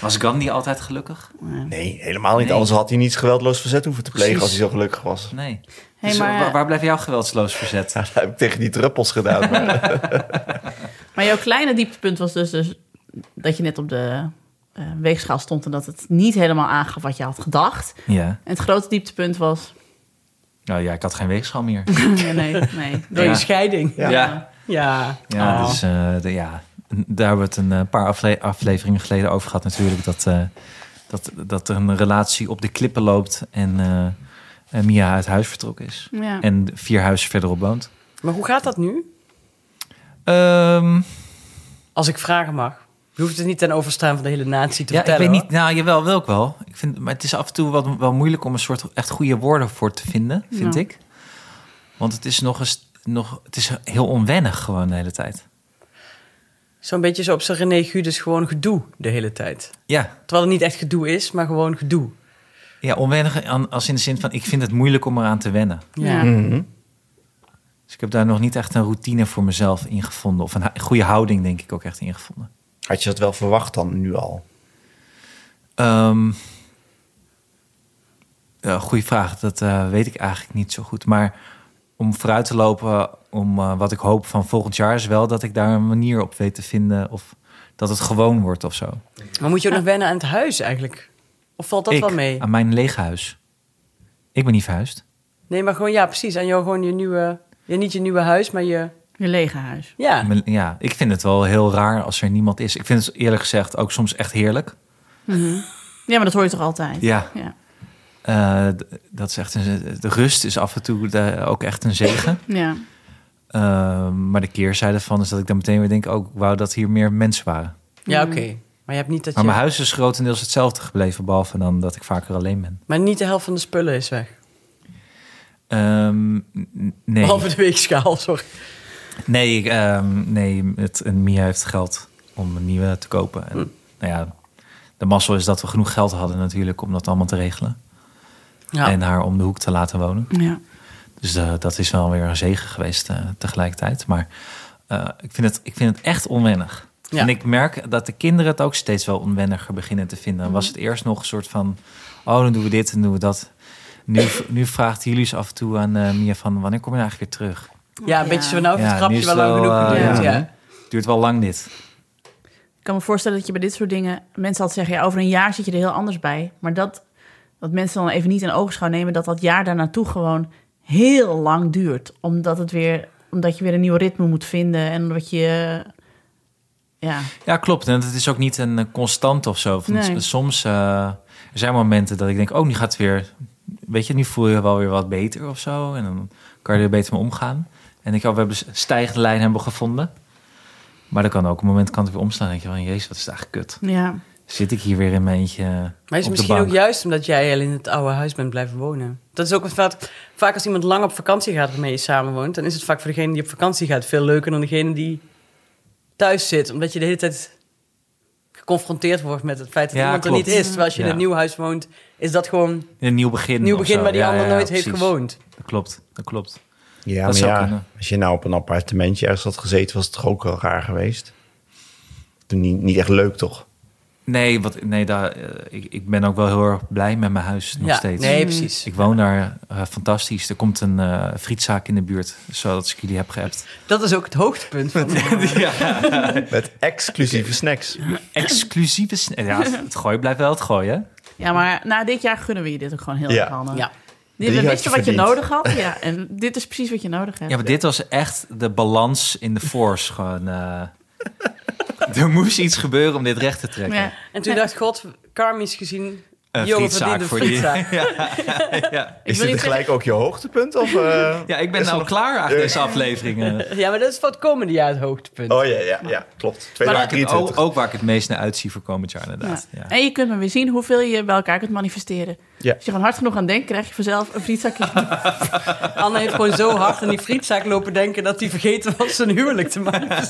Was Gandhi altijd gelukkig? Nee, helemaal niet. Nee. Anders had hij niet geweldloos verzet hoeven te plegen Precies. als hij zo gelukkig was. Nee. Hey, dus, maar- eh, waar, waar blijft jouw geweldsloos verzet? Nou, dat heb ik tegen die druppels gedaan. maar- Maar jouw kleine dieptepunt was dus, dus dat je net op de eh, weegschaal stond... en dat het niet helemaal aangaf wat je had gedacht. Ja. En het grote dieptepunt was... Nou ja, ik had geen weegschaal meer. Nee, nee, nee. Door Ja. je scheiding. Ja. Ja. Ja, Ah. Oh. dus eh, de, ja, daar hebben we het een eh, paar afle- afleveringen geleden over gehad natuurlijk. Dat, eh, dat, dat er een relatie op de klippen loopt en, eh, en Mia uit huis vertrokken is. Ja. En vier huizen verderop woont. Maar hoe gaat dat nu? Ehm, Als ik vragen mag. Je hoeft het niet ten overstaan van de hele natie te ja, ik vertellen. weet niet. hoor. Nou, jawel, wel ook wel. Ik vind, maar het is af en toe wel, wel moeilijk om een soort echt goede woorden voor te vinden, vind Ja. ik. Want het is nog eens nog, het is heel onwennig gewoon de hele tijd. Zo'n beetje zo op zijn René Gudes gewoon gedoe de hele tijd. Ja, Terwijl het niet echt gedoe is, maar gewoon gedoe. ja onwennig aan- als in de zin van ik vind het moeilijk om eraan te wennen. Ja. Dus ik heb daar nog niet echt een routine voor mezelf in gevonden. Of een hu- goede houding denk ik ook echt in gevonden. Had je dat wel verwacht dan nu al? Ehm ja, goeie vraag, dat eh, weet ik eigenlijk niet zo goed. Maar om vooruit te lopen, om eh, wat ik hoop van volgend jaar... is wel dat ik daar een manier op weet te vinden... of dat het gewoon wordt of zo. Maar moet je ook nog wennen aan het huis eigenlijk? Of valt dat ik, wel mee? aan mijn leeg huis. Ik ben niet verhuisd. Nee, maar gewoon, ja, precies. Aan jou gewoon je nieuwe... Ja, niet je nieuwe huis, maar je... Je lege huis. Ja, Mijn- Ja, ik vind het wel heel raar als er niemand is. Ik vind het eerlijk gezegd ook soms echt heerlijk. Ja, maar dat hoor je toch altijd? Ja. Ja. Eh, d- dat is echt een, de rust is af en toe de- ook echt een zegen. ja. Eh, maar de keerzijde van is dat ik dan meteen weer denk... ook wou dat hier meer mensen waren. ja oké. Maar je hebt niet dat je... Maar mijn huis is grotendeels hetzelfde gebleven... behalve dan dat ik vaker alleen ben. Maar niet de helft van de spullen is weg. Ehm, n- nee, Behalve de weegschaal, sorry. nee, ik, ehm, nee het, en Mia heeft geld om een nieuwe te kopen. Hm. En, nou ja, de mazzel is dat we genoeg geld hadden natuurlijk... om dat allemaal te regelen. Ja. En haar om de hoek te laten wonen. ja. Dus eh, dat is wel weer een zegen geweest eh, tegelijkertijd. Maar eh, ik, vind het, ik vind het echt onwennig. Ja. En ik merk dat de kinderen het ook steeds wel onwenniger beginnen te Mhm. vinden. Was het eerst nog een soort van... oh, dan doen we dit en doen we dat. Nu, nu vraagt Julius af en toe aan eh, Mia van... wanneer kom je nou eigenlijk weer terug? ja, een Ja. beetje zo nou Ja, het nu grapje is wel het lang wel, genoeg eh, geduurd, ja. ja. Duurt wel lang dit. Ik kan me voorstellen dat je bij dit soort dingen... Mensen altijd zeggen, ja, over een jaar zit je er heel anders bij. Maar dat, dat mensen dan even niet in oogschouw nemen... dat dat jaar daarnaartoe gewoon heel lang duurt. Omdat, het weer, omdat je weer een nieuw ritme moet vinden. En omdat je... Ja, Ja, klopt. En het is ook niet een eh, constant of zo. Van Nee. s- Soms eh, er zijn momenten dat ik denk... oh, nu gaat het weer... weet je, nu voel je wel weer wat beter of zo. En dan kan je er beter mee omgaan. En ik denk, oh, we hebben een stijgende lijn hebben gevonden. Maar dan kan ook een moment kan het weer omslaan. Dan denk je van, jezus, wat is het eigenlijk kut. ja. Zit ik hier weer in mijn eentje eh, Maar is op het de misschien bank? ook juist omdat jij al in het oude huis bent blijven wonen? Dat is ook vaak, vaak als iemand lang op vakantie gaat waarmee je samenwoont... dan is het vaak voor degene die op vakantie gaat veel leuker dan degene die thuis zit. Omdat je de hele tijd geconfronteerd wordt met het feit dat Ja, iemand klopt. er niet is. Terwijl als je in Ja. een nieuw huis woont, is dat gewoon Een nieuw begin een nieuw of begin zo. waar die Ja, ander ja, ja, nooit heeft precies. gewoond. Dat klopt, dat klopt. Ja, Dat maar zou ja, kunnen. als je nou op een appartementje ergens had gezeten, was het toch ook wel raar geweest? Toen niet, niet echt leuk, toch? Nee, wat, nee daar, eh, ik, ik ben ook wel heel erg blij met mijn huis nog ja, steeds. nee, precies. Ik woon daar eh, fantastisch. Er komt een eh, frietzaak in de buurt, zodat ik jullie heb geappt. Dat is ook het hoogtepunt van Met exclusieve snacks. Exclusieve sn- Ja, het gooien blijft wel het gooien. ja, maar na dit jaar gunnen we je dit ook gewoon heel Ja. erg, Hanne. Ja. Dit- Drie We had wisten je wat je verdiend. nodig had. Ja, en dit is precies wat je nodig hebt. Ja, maar dit was echt de balans in de force. Gewoon, eh, er moest iets gebeuren om dit recht te trekken. Ja. En toen dacht God, karmisch gezien, Een jongen verdient frietzaak een voor die. frietzaak. Ja. Is wil dit niet gelijk ook je hoogtepunt? Of, eh? ja, ik ben nou klaar achter deze aflevering. eh. Ja, maar dat is voor het komende jaar het hoogtepunt. Oh ja, ja, ja klopt. Ook, 2023. ook waar ik het meest naar uitzie voor komend jaar, inderdaad. Ja. Ja. En je kunt maar weer zien hoeveel je bij elkaar kunt manifesteren. Ja. Als je gewoon hard genoeg aan denkt, krijg je vanzelf een frietzakje. Anne heeft gewoon zo hard aan die frietzaak lopen denken... dat hij vergeten was zijn huwelijk te maken.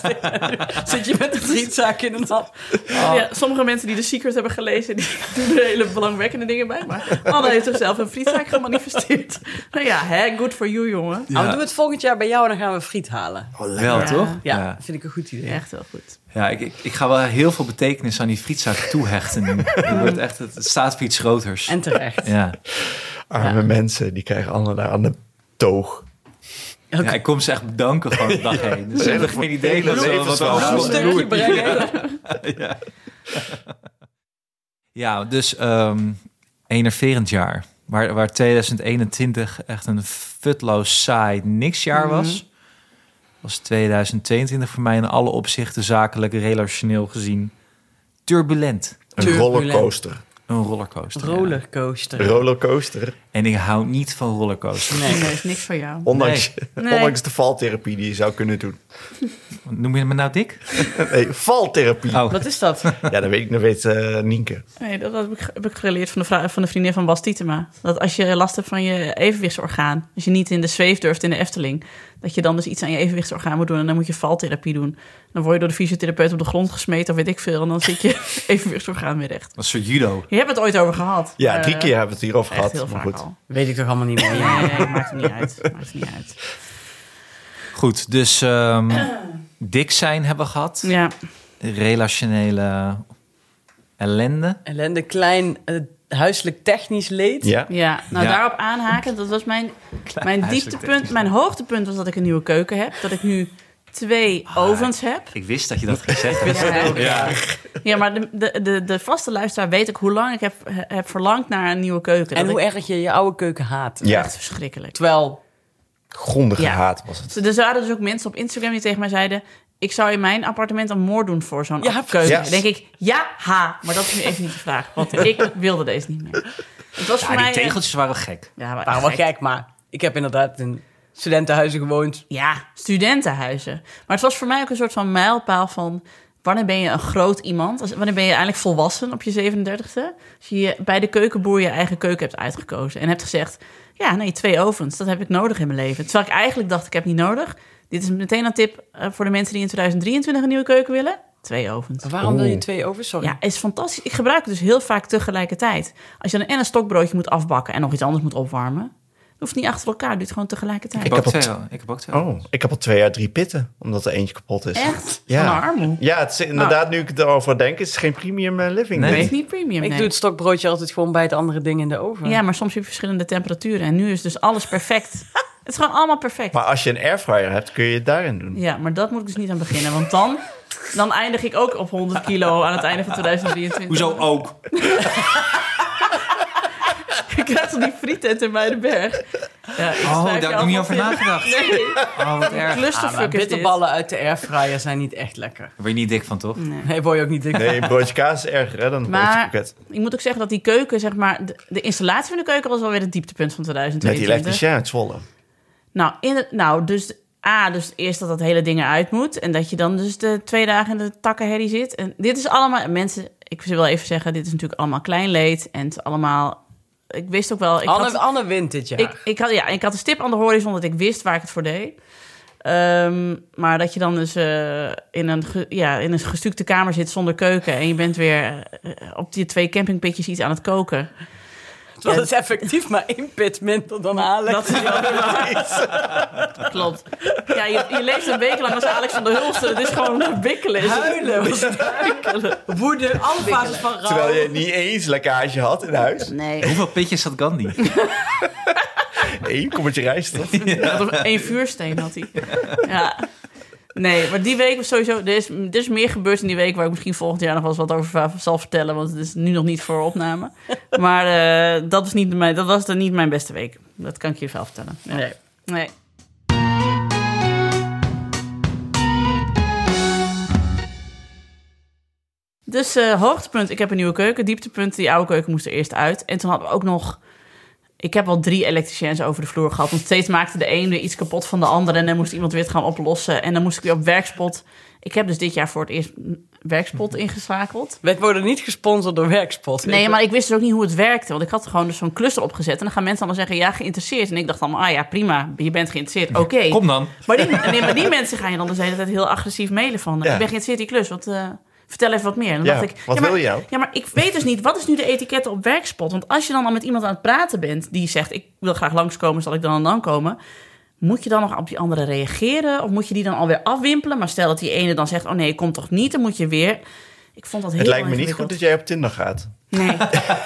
Zit je met de frietzaak in een hand. Ja, sommige mensen die de Secret hebben gelezen, die doen er hele belangwekkende dingen bij. Maar Anne heeft zichzelf een frietzak gemanifesteerd. Nou ja, hè, good for you, jongen. Nou, we doen het volgend jaar bij jou en dan gaan we friet halen. Wel, Ja. toch? Ja, vind ik een goed idee. Echt heel goed. Ja, ik, ik, ik ga wel heel veel betekenis aan die frietzaak toehechten nu. Het wordt echt, het staat voor iets groters. En terecht. Ja. Arme mensen, die krijgen allemaal daar aan de toog. Ja, ik kom ze echt bedanken van de dag heen. Dus Ja. ik heb geen idee dat ze Hele wat verhaal. Nou, een over- stukje brengen. Ja, dus ehm enerverend jaar. Waar, waar 2021 echt een futloos saai niksjaar Mhm. was... was 2022 voor mij in alle opzichten zakelijk, relationeel gezien... turbulent. Een Turbulent. rollercoaster. Een rollercoaster. ja. Rollercoaster. Rollercoaster. En ik hou niet van rollercoasters. Nee, Nee. dat is niks voor jou. Ondanks, Nee. ondanks de valtherapie die je zou kunnen doen. Noem je me nou dik? Nee, valtherapie. Oh. Wat is dat? Ja, dat weet ik, dat weet eh, Nienke. Nee, dat heb ik, heb ik geleerd van de, vrou- van de vriendin van Bas Tietema. Dat als je last hebt van je evenwichtsorgaan, als je niet in de zweef durft in de Efteling, Dat je dan dus iets aan je evenwichtsorgaan moet doen. En dan moet je valtherapie doen. Dan word je door de fysiotherapeut op de grond gesmeten of weet ik veel. En dan zit je evenwichtsorgaan weer recht. Dat is soort judo. Je hebt het ooit over gehad. Ja, drie Eh, keer hebben we het hierover Echt gehad. heel maar vaak goed. al. Weet ik toch allemaal niet meer. Nee, nee, maakt het niet uit. Maakt het niet uit. Goed, dus ehm, dik zijn hebben we gehad. Ja, Relationele ellende. Ellende, klein eh, huiselijk technisch leed. Ja? ja. nou Ja. daarop aanhaken. Dat was mijn, mijn huiselijk dieptepunt. technisch. Mijn hoogtepunt was dat ik een nieuwe keuken heb. Dat ik nu twee Ah, ovens heb. Ik wist dat je dat gezegd had. Ja, ja maar de, de, de, de vaste luisteraar weet ik hoe lang ik heb, heb verlangd naar een nieuwe keuken. En Dat hoe ik- erg je je oude keuken haat. Ja, Echt verschrikkelijk. Terwijl, grondige Ja. haat was het. Ze- Er waren dus ook mensen op Instagram die tegen mij zeiden... ik zou in mijn appartement een moord doen voor zo'n Ja, keuken. precies. Dan denk ik, ja, ha. Maar dat is nu even niet de vraag. Want ik wilde deze niet meer. Het was voor Ja, die mij... eh, tegeltjes waren gek. Ja, maar nou wel gek, maar ik heb inderdaad in studentenhuizen gewoond. Ja, studentenhuizen. Maar het was voor mij ook een soort van mijlpaal van... wanneer ben je een groot iemand? Als- Wanneer ben je eigenlijk volwassen op je 37e? Als je je bij de keukenboer je eigen keuken hebt uitgekozen... en hebt gezegd, ja, nee, twee ovens, dat heb ik nodig in mijn leven. Terwijl ik eigenlijk dacht, ik heb niet nodig. Dit is meteen een tip eh, voor de mensen die in 2023 een nieuwe keuken willen. Twee ovens. Waarom wil je twee ovens? Oh, Sorry. Ja, is fantastisch. Ik gebruik het dus heel vaak tegelijkertijd. Als je dan en een stokbroodje moet afbakken... en nog iets anders moet opwarmen... hoeft niet achter elkaar, doe het gewoon tegelijkertijd. Ik, heb heb ook al- twee. Ik heb ook twee. Oh, ik heb al twee jaar drie pitten, omdat er eentje kapot is. Echt? Ja. Van de armoe. Oh. Ja, het is inderdaad, nu ik erover denk, het is geen premium eh, living. Nee. Het Nee. is niet premium, Ik nee. doe het stokbroodje altijd gewoon bij het andere ding in de oven. Ja, maar soms heb je verschillende temperaturen. En nu is dus alles perfect. het is gewoon allemaal perfect. Maar als je een airfryer hebt, kun je het daarin doen. Ja, maar dat moet ik dus niet aan beginnen. Want dan, dan eindig ik ook op 100 kilo aan het einde van 2023. Hoezo ook? Je krijgt toch die frietent in bij de berg? Ja, ik Oh, schrijf je daar heb ik allemaal niet over in. nagedacht. Nee, Oh, wat erg. Daar Ah, maar clusterfuck is dit. bitterballen uit de airfryer zijn niet echt lekker. word je niet dik van, toch? Nee. Nee, word je ook niet dik. Nee, een broodje kaas is erger hè, dan een broodje Maar pakket. ik moet ook zeggen dat die keuken, zeg maar... De, de installatie van de keuken was wel weer het dieptepunt van Met 2023. die elektricien uit Zwolle. Nou, in het- nou, dus A, dus eerst dat dat hele ding eruit moet. En dat je dan dus de twee dagen in de takkenherrie zit. En dit is allemaal, mensen, ik wil even zeggen, dit is natuurlijk allemaal klein leed. En het is allemaal, ik wist ook wel... Ik Anne, had, Anne wint dit jaar. ik, ik had, ja, ik had een stip aan de horizon dat ik wist waar ik het voor deed. Ehm, maar dat je dan dus eh, in, een ge- ja, in een gestukte kamer zit zonder keuken... en je bent weer eh, op die twee campingpitjes iets aan het koken. Dat is effectief maar één pit minder dan Alex. Dat is wel waar. Klopt. Ja, je, je leeft een week lang als Alex van der Hulst. dus Het is gewoon bikkelen. is het. Huilen, was het huilen. woede, alle fases van rouw. Terwijl je niet eens lekkage had in huis. Nee. Hoeveel pitjes had Gandhi? Eén kommetje rijst, toch? Eén vuursteen had hij. Ja. Nee, maar die week was sowieso... Er is, er is meer gebeurd in die week... waar ik misschien volgend jaar nog wel eens wat over va- zal vertellen... want het is nu nog niet voor opname. Maar eh, dat, was niet mijn, dat was dan niet mijn beste week. Dat kan ik je wel vertellen. Nee. nee. Dus eh, hoogtepunt, ik heb een nieuwe keuken. Dieptepunt, die oude keuken moest er eerst uit. En toen hadden we ook nog... Ik heb wel drie elektriciens over de vloer gehad. Want steeds maakte de een weer iets kapot van de andere. En dan moest iemand weer het gaan oplossen. En dan moest ik weer op werkspot. Ik heb dus dit jaar voor het eerst mm, werkspot ingeschakeld. Wij worden niet gesponsord door Werkspot. Nee, maar ik wist dus ook niet hoe het werkte. Want ik had gewoon dus zo'n cluster opgezet. En dan gaan mensen allemaal zeggen, ja, geïnteresseerd. En ik dacht allemaal, ah ja, prima, je bent geïnteresseerd. Oké. Kom dan. Maar, die, nee, maar die mensen gaan je dan dus de hele tijd heel agressief mailen van... Ja. ik ben geïnteresseerd in die klus, want... eh, Vertel even wat meer. En Dan Ja, dacht ik, wat ja, maar, wil je nou? Ja, maar ik weet dus niet, wat is nu de etiketten op werkspot? Want als je dan al met iemand aan het praten bent die zegt... ik wil graag langskomen, zal ik dan en dan komen? Moet je dan nog op die andere reageren? Of moet je die dan alweer afwimpelen? Maar stel dat die ene dan zegt, oh nee, kom toch niet? Dan moet je weer... Ik vond dat heel Het lijkt me niet ingewikkeld. goed dat jij op Tinder gaat. Nee.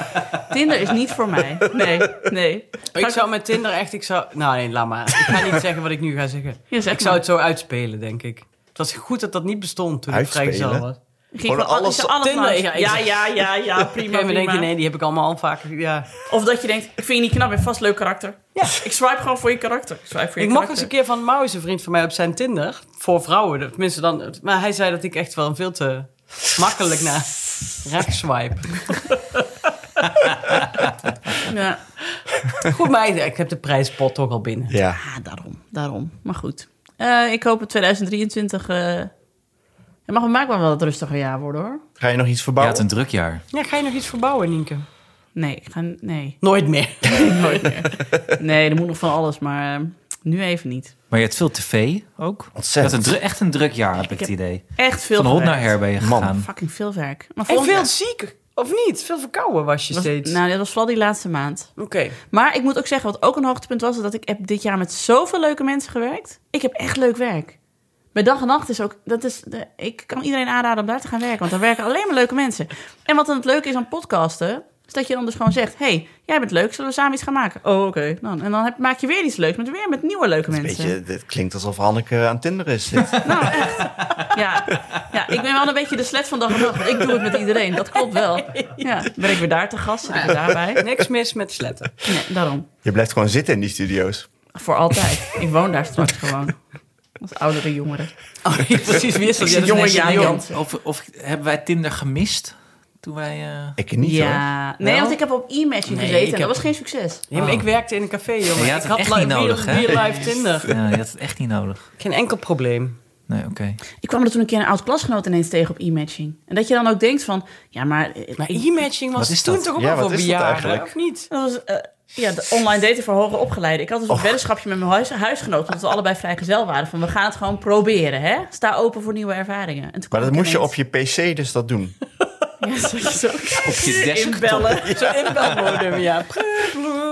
Tinder is niet voor mij. Nee, nee. Ik zou met Tinder echt, ik zou... Nou nee, laat maar. Ik ga niet zeggen wat ik nu ga zeggen. Ja, zeg Ik zou maar. het zo uitspelen, denk ik. Het was goed dat dat niet bestond toen Uitspelen? ik vrijgezel was. Ging Gewoon gewoon alles ik zou op Tinder, langs. ja, ik- Ja, ja, ja, ja, prima, En we prima. denken, nee, die heb ik allemaal al vaker... Ja. Of dat je denkt, ik vind je niet knap, je hebt vast leuk karakter. Ja. Ik swipe gewoon voor je karakter. Ik, swipe voor je Ik mocht eens karakter. een keer van Maus, een vriend van mij, op zijn Tinder. Voor vrouwen, tenminste dan. Maar hij zei dat ik echt wel een veel te makkelijk naar rechts swipe. Ja. Goed, maar ik- ik heb de prijspot toch al binnen. Ja. Ah, daarom, daarom. Maar goed. Eh, ik hoop het 2023... eh, het mag maakt wel wel het rustiger jaar worden, hoor. Ga je nog iets Je verbouwen? had een druk jaar. Ja, ga je nog iets verbouwen, Nienke? Nee, ik ga... Nee, Nooit meer. nooit meer. Nee, er moet nog van alles, maar... eh, Nu even niet. Maar je hebt veel tv ook. Ontzettend. Je had een dru- echt een druk jaar, heb ik het heb idee. Echt veel Van hond naar gewerkt. her ben je Man. gegaan. Fucking veel werk. Maar En volgens veel ziek, of niet? Veel verkouden was je was, steeds. Nou, dat was vooral die laatste maand. Oké. Maar ik moet ook zeggen, wat ook een hoogtepunt was... dat ik heb dit jaar met zoveel leuke mensen gewerkt. Ik heb echt leuk werk. Bij dag en nacht is ook... Dat is, de- ik kan iedereen aanraden om daar te gaan werken. Want daar werken alleen maar leuke mensen. En wat dan het leuke is aan podcasten... is dat je dan dus gewoon zegt... hey, jij bent leuk, zullen we samen iets gaan maken? Oh, oké. Nou, en dan heb, maak je weer iets leuks... met weer met nieuwe leuke Een mensen. beetje, dit klinkt alsof Hanneke aan Tinder is. Dit. Ja. ja, ik ben wel een beetje de slet van dag en nacht. want Ik doe het met iedereen, dat klopt wel. Ja, ben ik weer daar te gast, zit ik weer daarbij. Niks mis met sletten. Nee, daarom. Je blijft gewoon zitten in die studio's. Voor altijd. Ik woon daar straks gewoon. Als oudere jongeren. Oh, precies. Wie is dat? Ja, dat is net zo jong. Of, of hebben wij Tinder gemist toen wij... eh, Ik niet hoor. ja. Nee, Wel? want ik heb op e-matching Nee, gezeten ik en dat heb- was geen succes. Ja, maar Oh. Ik werkte in een café, jongen. Ja, je had ik het echt niet li- nodig, real- hè? real life Tinder. Ja, je had het echt niet nodig. Geen enkel probleem. Nee, oké. Ik kwam er toen een keer een oud klasgenoot ineens tegen op e-matching. En dat je dan ook denkt van, ja, maar... eh, Maar ik- e-matching was Wat is toen dat? toch ook Ja, wel wat voor is dat bejaarden, eigenlijk? of niet? dat was, eh, ja, de online daten voor hoger opgeleiden. Ik had dus een weddenschapje met mijn huis, huisgenoot, omdat we allebei vrijgezel waren. Van, we gaan het gewoon proberen, hè? Sta open voor nieuwe ervaringen. En toen kwam Maar dat ik moest je op ineens- je pc dus dat doen. Ja, dat is ook Op je desktop. Inbellen. Zo inbelmodem, ja.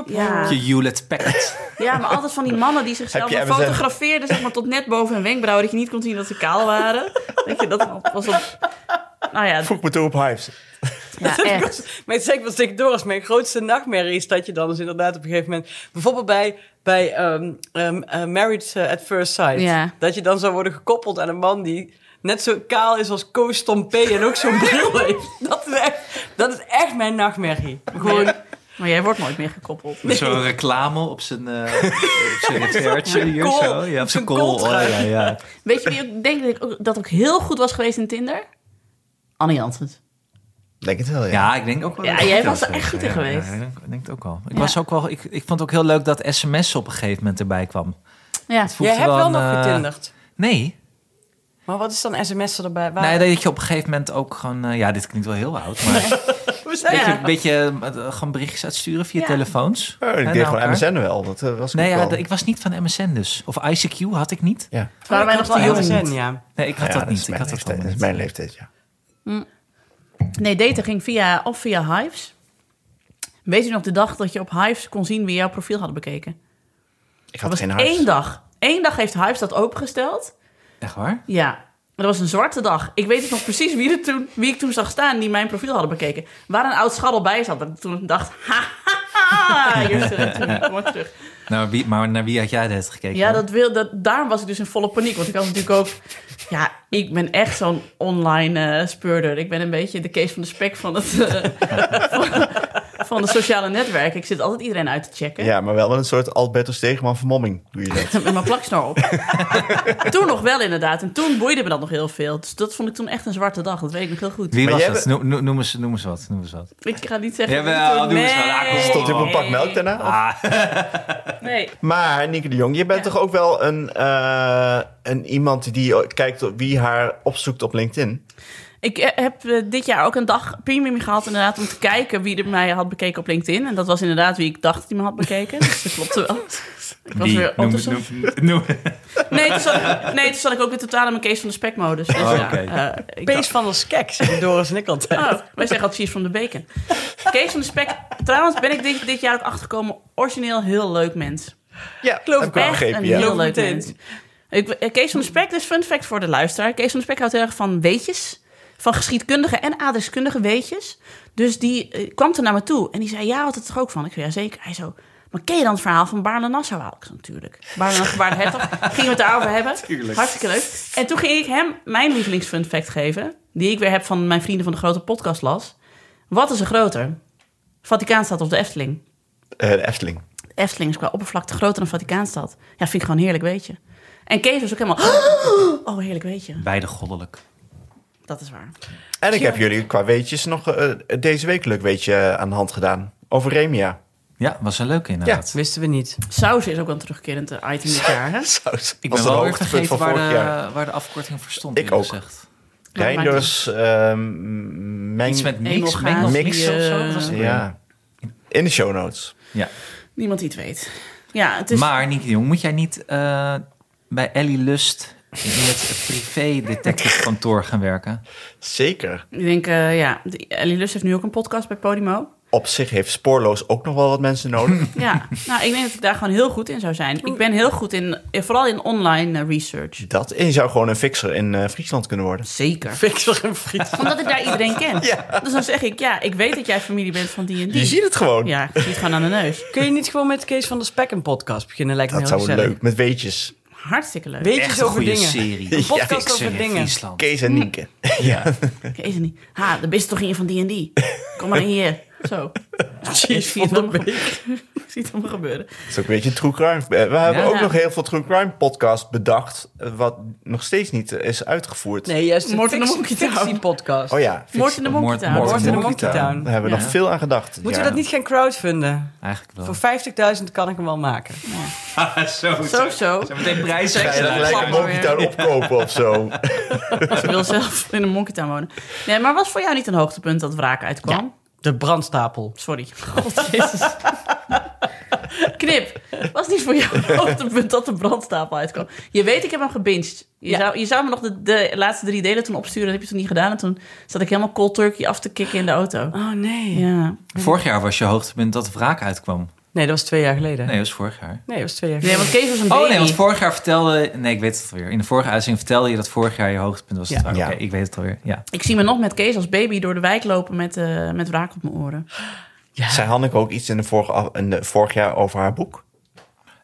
Ja. Je Hewlett Packard. ja, maar altijd van die mannen die zichzelf Heb je maar MSN? fotografeerden, zeg maar tot net boven hun wenkbrauw, dat je niet kon zien dat ze kaal waren. Dat je dat was op. Nou ja, Voeg me toe op Hives. ja echt. Maar het zegt wel tegen Doris, mijn grootste nachtmerrie is dat je dan dus inderdaad op een gegeven moment... Bijvoorbeeld bij, bij ehm, ehm, eh, Married eh, at First Sight. Ja. Dat je dan zou worden gekoppeld aan een man die net zo kaal is als Koos Tompé en ook zo'n bril heeft. Dat is echt, dat is echt mijn nachtmerrie. Gewoon, Nee. Maar jij wordt nooit meer gekoppeld. Met zo'n reclame op zijn... eh, op zijn refertje hier kool. zo. Ja, op zijn kool. Oh, ja, kooltrui. ja. Weet je wie ik denk dat ik ook, dat ook heel goed was geweest in Tinder? Annie Janssens. Denk het wel, ja. Ja, ik denk ook wel. Ja, dat ik jij ook was wel er echt zou goed in zeggen. Ja, geweest. ja, ik denk- denk het ook al. Ik, Ja. was ook wel ik, ik vond het ook heel leuk dat sms op een gegeven moment erbij kwam. Ja. voelt jij hebt wel wel een, nog eh, getinderd. Nee, Maar wat is dan sms'en erbij? Waar- nee dat je op een gegeven moment ook gewoon... eh, ja, dit klinkt wel heel oud, maar... Hoe is Ja. dat? Beetje, een beetje eh, gewoon berichtjes uitsturen via Ja. telefoons. Oh, Eh, ik naar deed gewoon elkaar. MSN wel. Dat eh, was ik Nee, ook ja, wel. d- ik was niet van MSN dus. Of ICQ had ik niet. Ja. Waren wij nog te heel jong? zen, ja. Nee, ik had Ja, dat is niet. Ik mijn had dat leeftijd. allemaal Dat is niet. mijn leeftijd, ja. Nee, daten ging via, of via Hives. Weet je nog de dag dat je op Hives kon zien wie jouw profiel hadden bekeken? Ik Dat had was geen één huis. dag. Eén dag heeft Hives dat opengesteld. Echt waar? Ja, dat was een zwarte dag. Ik weet het nog precies wie, er toen, wie ik toen zag staan die mijn profiel hadden bekeken. Waar een oud scharrel bij zat. En toen dacht, ha, ha, ha, hier is het. Toen kwam ik terug. Nou, wie, maar naar wie had jij dat gekeken? Ja, dan? dat wil, dat, daarom was ik dus in volle paniek. Want ik had natuurlijk ook... Ja, ik ben echt zo'n online eh, speurder. Ik ben een beetje de case van de spek van het... eh, van, van de sociale netwerken. Ik zit altijd iedereen uit te checken. Ja, maar wel een soort Albertus Stegeman vermomming doe je dat. Met mijn plaksnor op. toen nog wel inderdaad. En toen boeide me dat nog heel veel. Dus dat vond ik toen echt een zwarte dag. Dat weet ik nog heel goed. Wie Maar was jij dat? Noem, noem, noem eens, noem eens wat. Noem eens wat. Ik ga niet zeggen. Jawel, wie toen- doe eens wel. Ja, kom, Stond je op een pak melk daarna? Ah, Nee. Maar Nieke de Jong, je bent Ja. toch ook wel een, eh, een iemand die kijkt op wie haar opzoekt op LinkedIn? Ik eh, heb eh, dit jaar ook een dag premium gehad inderdaad om te kijken wie er mij had bekeken op LinkedIn. En dat was inderdaad wie ik dacht die me had bekeken. Dus dat klopte wel. Ik was wie? weer Noem, onderzoek. noem- noem- Nee, toen zat, nee, toen zat ik ook weer totaal in mijn case van de spekmodus. Dus Oh, ja, oké. eh, ik dacht- Pees van der Skek, zei Doris en ik altijd. Oh, wij zeggen altijd Cheers van de Bacon. Kees van de Spek. Trouwens ben ik dit, dit jaar ook achtergekomen. Origineel heel leuk mens. Ja, geloof heb ik wel echt begrepen, een ja. heel leuk Meteen. mens. Ik, eh, Kees van de Spek, dus fun fact voor de luisteraar. Kees van de Spek houdt heel erg van weetjes. Van geschiedkundige en aardrijkskundige weetjes. Dus die eh, kwam toen naar me toe. En die zei, ja, had het er ook van? Ik zei, ja, zeker. Hij zo, maar ken je dan het verhaal van Baarle Nassau? Ik zei, natuurlijk. Baarle Nassau, Baarle Hertog. Gingen we het daarover hebben. Hartstikke leuk. En toen ging ik hem mijn lievelingsfun fact geven. Die ik weer heb van mijn vrienden van de grote podcast las. Wat is er groter? Vaticaanstad of de Efteling? Eh, de Efteling. Efteling is qua oppervlakte groter dan Vaticaanstad. Ja, vind ik gewoon heerlijk, weet je. En Kees was ook helemaal... Oh, heerlijk, weet je. Beide goddelijk. Dat is waar. En ik heb jullie qua weetjes nog eh, deze week leuk weetje aan de hand gedaan. Over Remia. Ja, was een leuke inderdaad. Wisten we niet. Saus is ook wel een terugkerend eh, item dit jaar, hè? Saus. Was Ik ben dat wel een weer hoogtepunt vergeten van waar vorig jaar. de, waar de afkorting voor stond. Ik eerlijk ook. gezegd. Reinders, ehm, meng... Iets met Engel mix, Gaas, mix, mix die, of zo. eh, Wat was het? Ja. In de show notes. ja. Niemand die het weet. Ja, het is... Maar Nienke de Jong, moet jij niet eh, bij Ellie Lust in het privé-detective kantoor gaan werken? Zeker. Ik denk, eh, ja, die- Ellie Lust heeft nu ook een podcast bij Podimo. Op zich heeft spoorloos ook nog wel wat mensen nodig. Ja, nou, ik denk dat ik daar gewoon heel goed in zou zijn. Ik ben heel goed in, eh, vooral in online eh, research. Dat. En je zou gewoon een fixer in eh, Friesland kunnen worden. Zeker. Fixer en friet. Omdat ik daar iedereen ken. Dus dan zeg ik, ja, ik weet dat jij familie bent van die en Dus Je die. ziet het gewoon. Ja, ik zie het gewoon aan de neus. Kun je niet gewoon met Kees van der Spek een podcast beginnen? Lijkt me Dat heel zou gezellig. leuk. Met weetjes. Hartstikke leuk. Weet je Echt zo een over goede dingen? serie. Een podcast Fixer over in dingen. Friesland. Kees en Nienke. Ja. Ik is het niet. Ha, de beste toch in van die en die. Kom maar hier. Zo. Precies, Ja, ik zie het van de allemaal gebeuren. Ik zie het allemaal gebeuren. Dat is ook een beetje true crime. Eh, We hebben Ja. ook nog heel veel true crime podcasts bedacht... eh, wat nog steeds niet eh, is uitgevoerd. Nee, juist Moord in de een Monkey Town. fictie-podcast. Oh ja, Moord in de Moord- Monkey Town. moord- Moord in de Monkey Monkey Daar Town. hebben we nog Ja. veel aan gedacht. dit Moeten we jaar. dat niet gaan crowdfunden? Eigenlijk wel. Voor 50.000 kan ik hem wel maken. zo, Zo, zo. meteen Ga je dan prijzen. Gelijk. gelijk Klap een maar Monkey Town opkopen of zo? Ze wil zelf in een Monkey Town wonen. Nee, maar was voor jou niet een hoogtepunt dat wraak uitkwam? De brandstapel. Sorry. God, Jezus. Knip. Was niet voor jou een hoogtepunt dat de brandstapel uitkwam? Je weet, ik heb hem gebinged. Je, Ja. zou, je zou me nog de, de laatste drie delen toen opsturen. Dat heb je toen niet gedaan. En toen zat ik helemaal cold turkey af te kicken in de auto. Oh nee. Ja. Vorig jaar was je hoogtepunt dat wraak uitkwam. Nee, dat was twee jaar geleden. Nee, Nee, dat was vorig jaar. dat was twee jaar Nee, geleden. want Kees was een baby. Oh nee, want vorig jaar vertelde... Nee, ik weet het alweer. In de vorige uitzending vertelde je dat vorig jaar je hoogtepunt was. Ja. het wraak. Ja. Oké, ik weet het alweer. Ja. Ik zie me nog met Kees als baby door de wijk lopen met, eh, met wraak op mijn oren. Zei Hanneke ook iets in de vorige, af- in de vorig jaar over haar boek?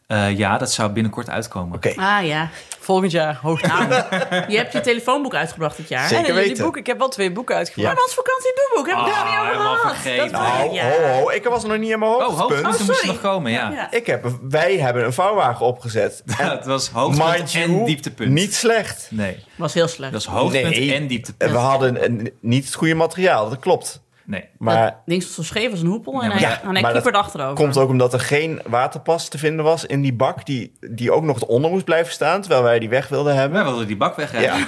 Eh, ja, dat zou binnenkort uitkomen. Oké. Ah ja. Volgend jaar hoogte. Nou, je hebt je telefoonboek uitgebracht dit jaar. Zeker en jullie weten. boeken. Ik heb wel twee boeken Ja. uitgebracht. Mans vakantie doeboek, heb ik daar niet over helemaal gehad. vergeten. Dat- Nou, ja. ho, ho, ik was er nog niet aan mijn Oh, hoogtepunt hoogtepunt. moest sorry. nog komen, ja. Ja. ik heb, wij hebben een vouwwagen opgezet. Ja, Het was Mind hoogtepunt you, en dieptepunt. niet slecht. Nee, Was heel slecht. dat is hoogtepunt Nee. en dieptepunt. We hadden een- niet het goede materiaal, dat klopt. Nee. Maar dat ding stond zo scheef als een hoepel en Ja, maar hij, dat- en hij maar dat kieperde achterover. Komt ook omdat er geen waterpas te vinden was in die bak, die, die ook nog onder moest blijven staan, terwijl wij die weg wilden hebben. Wij wilden die Ja. bak wegrijden.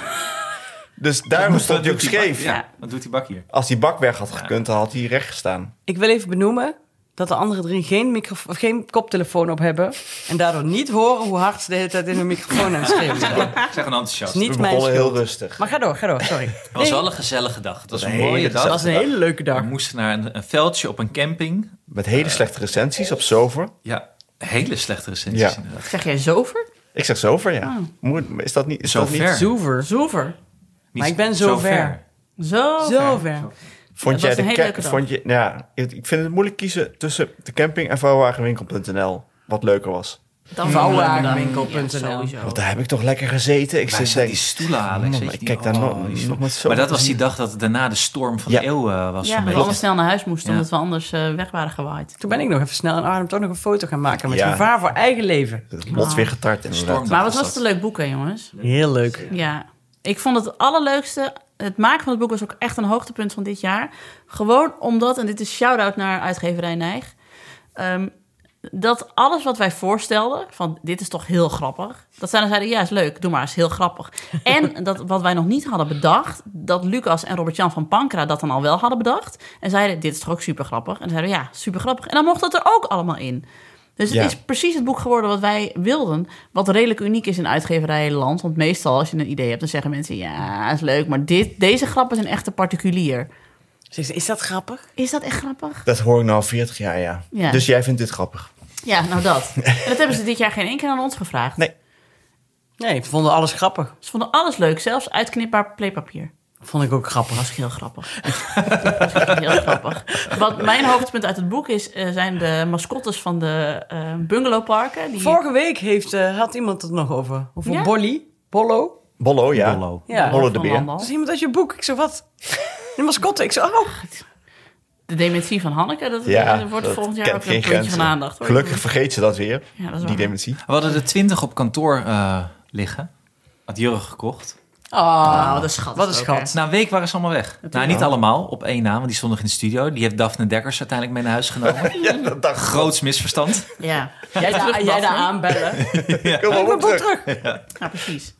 Dus daar Wat stond hij doet ook die bak- scheef. Ja, wat doet die bak hier? Als die bak weg had gekund, dan had hij recht gestaan. Ik wil even benoemen dat de andere drie geen, microfo- of geen koptelefoon op hebben. En daardoor niet horen hoe hard ze de hele tijd in hun microfoon aan het schreeuwen zijn. Dat Ik zeg een enthousiast. is niet We mijn begonnen schuld. heel rustig. Maar ga door, ga door, sorry. Het was Nee, wel een gezellige dag. Het was een, Een hele mooie dag. dat was een hele leuke dag. We moesten naar een, een veldje op een camping. Met hele slechte recensies op Zover. Ja, hele slechte recensies Ja. inderdaad. Zeg jij zover? Ik zeg Zover, ja. Oh. Moet- Is dat niet... Is dat Zover. niet Zoever. Zover. Niet Maar ik ben zo ver. Zo. Zover. vond Het jij was de een hele ke- leuke dag. vond je, ja, ik ik vind het moeilijk kiezen tussen de camping en vrouwwagenwinkel.nl. Wat leuker was. Dan Vouwwagenwinkel.nl. Ja, sowieso. Want daar heb ik toch lekker gezeten. Ik Wij zit zijn denk, die stoelen, Man, Alex. weet je ik niet? kijk daar Oh, nog- die nog stoelen. met zo- Maar dat was die dag dat het daarna de storm van Ja. de eeuw eh, was. Ja, zo'n dat we beetje. allemaal snel naar huis moesten, Ja. omdat we anders eh, weg waren gewaaid. Toen ben ik nog even snel in Arnhem toch nog een foto gaan maken met Ja. gevaar voor eigen leven. Ah. het lot weer getart inderdaad. Storm. Maar wat was was het dat. een leuk boek, hè, jongens? Heel leuk. Ja. Ik vond het het allerleukste. Het maken van het boek was ook echt een hoogtepunt van dit jaar. Gewoon omdat, en dit is shout-out naar uitgeverij Nijg. ehm, dat alles wat wij voorstelden, van dit is toch heel grappig. Dat zij dan zeiden, ja, is leuk, doe maar, is heel grappig. En dat wat wij nog niet hadden bedacht, dat Lucas en Robert-Jan van Pankra dat dan al wel hadden bedacht. En zeiden, dit is toch ook super grappig. En zeiden, we, ja, super grappig. En dan mocht dat er ook allemaal in. Dus het Ja. is precies het boek geworden wat wij wilden. Wat redelijk uniek is in uitgeverijland. Want meestal als je een idee hebt, dan zeggen mensen... ja, is leuk, maar dit, deze grappen zijn echt een particulier. Zegt ze, Is dat grappig? Is dat echt grappig? Dat hoor ik nou al 40 jaar, ja. Ja. Dus jij vindt dit grappig. Ja, nou dat. En dat hebben ze dit jaar geen één keer aan ons gevraagd. Nee. Nee, we vonden alles grappig. Ze vonden alles leuk, zelfs uitknipbaar playpapier. Vond ik ook grappig. Dat is heel grappig. dat is echt heel grappig. Wat mijn hoogtepunt uit het boek is, eh, zijn de mascottes van de eh, bungalowparken. Die... Vorige week heeft, eh, had iemand het nog over. Over Ja? Bolly. Bollo. Bollo, ja. Bollo. Ja. Bollo. de van Beer. Dat is Landal. iemand uit je boek. Ik zo, wat? De mascotte. Ik zo, oh. De dementie van Hanneke, dat Ja, eh, wordt dat volgend jaar kent ook een geen puntje grenzen. van aandacht. hoor. Gelukkig vergeet ze dat weer, Ja, dat is die waar. dementie. We hadden er twintig op kantoor eh, liggen. Had Jurgen gekocht. Oh, wat een schat. Ah, Wat een ook, schat. hè. Na een week waren ze allemaal weg. Nou, niet allemaal op één na, want die stonden nog in de studio. Die heeft Daphne Dekkers uiteindelijk mee naar huis genomen. Ja, dat dacht ik. Groots misverstand. Ja. Jij, Terug daar- jij Daphne. daar aanbellen. Ik wil wel Ik ben op terug. terug. Ja, precies.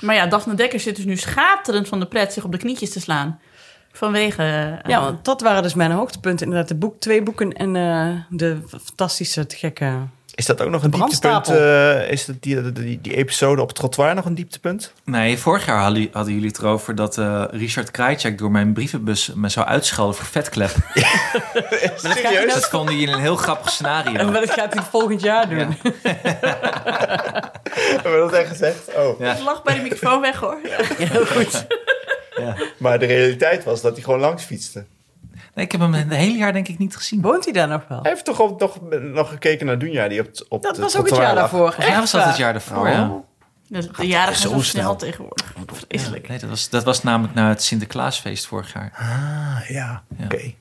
Maar ja, Daphne Dekker zit dus nu schaterend van de pret zich op de knietjes te slaan. Vanwege... eh, Ja, want dat waren dus mijn hoogtepunten. Inderdaad, de boek, twee boeken en eh, de fantastische, te gekke Is dat ook nog een dieptepunt? brandstapel. eh, is dat die, die, die episode op het trottoir nog een dieptepunt? Nee, vorig jaar hadden hadden jullie het erover dat eh, Richard Krajcek door mijn brievenbus me zou uitschelden voor vetklep. Serieus? Dat vonden jullie een heel grappig En scenario. dat gaat hij het volgend jaar doen. Ja. Hebben we dat echt gezegd? Oh. Ja. Ik lag bij de microfoon weg hoor. Heel goed. Maar de realiteit was dat hij gewoon langs fietste. Nee, ik heb hem het hele jaar denk ik niet gezien. Woont hij daar nog wel? Hij heeft toch ook nog, nog gekeken naar Dunja die op, het- op Dat het was ook het trottoir jaar lag. daarvoor. Volgens mij was dat Echt het waar. jaar daarvoor, ja. Dus de jaren gaan Zo zo snel. snel tegenwoordig. Vreselijk. Nee, dat was, dat was namelijk na het Sinterklaasfeest vorig jaar. Ah, ja, oké.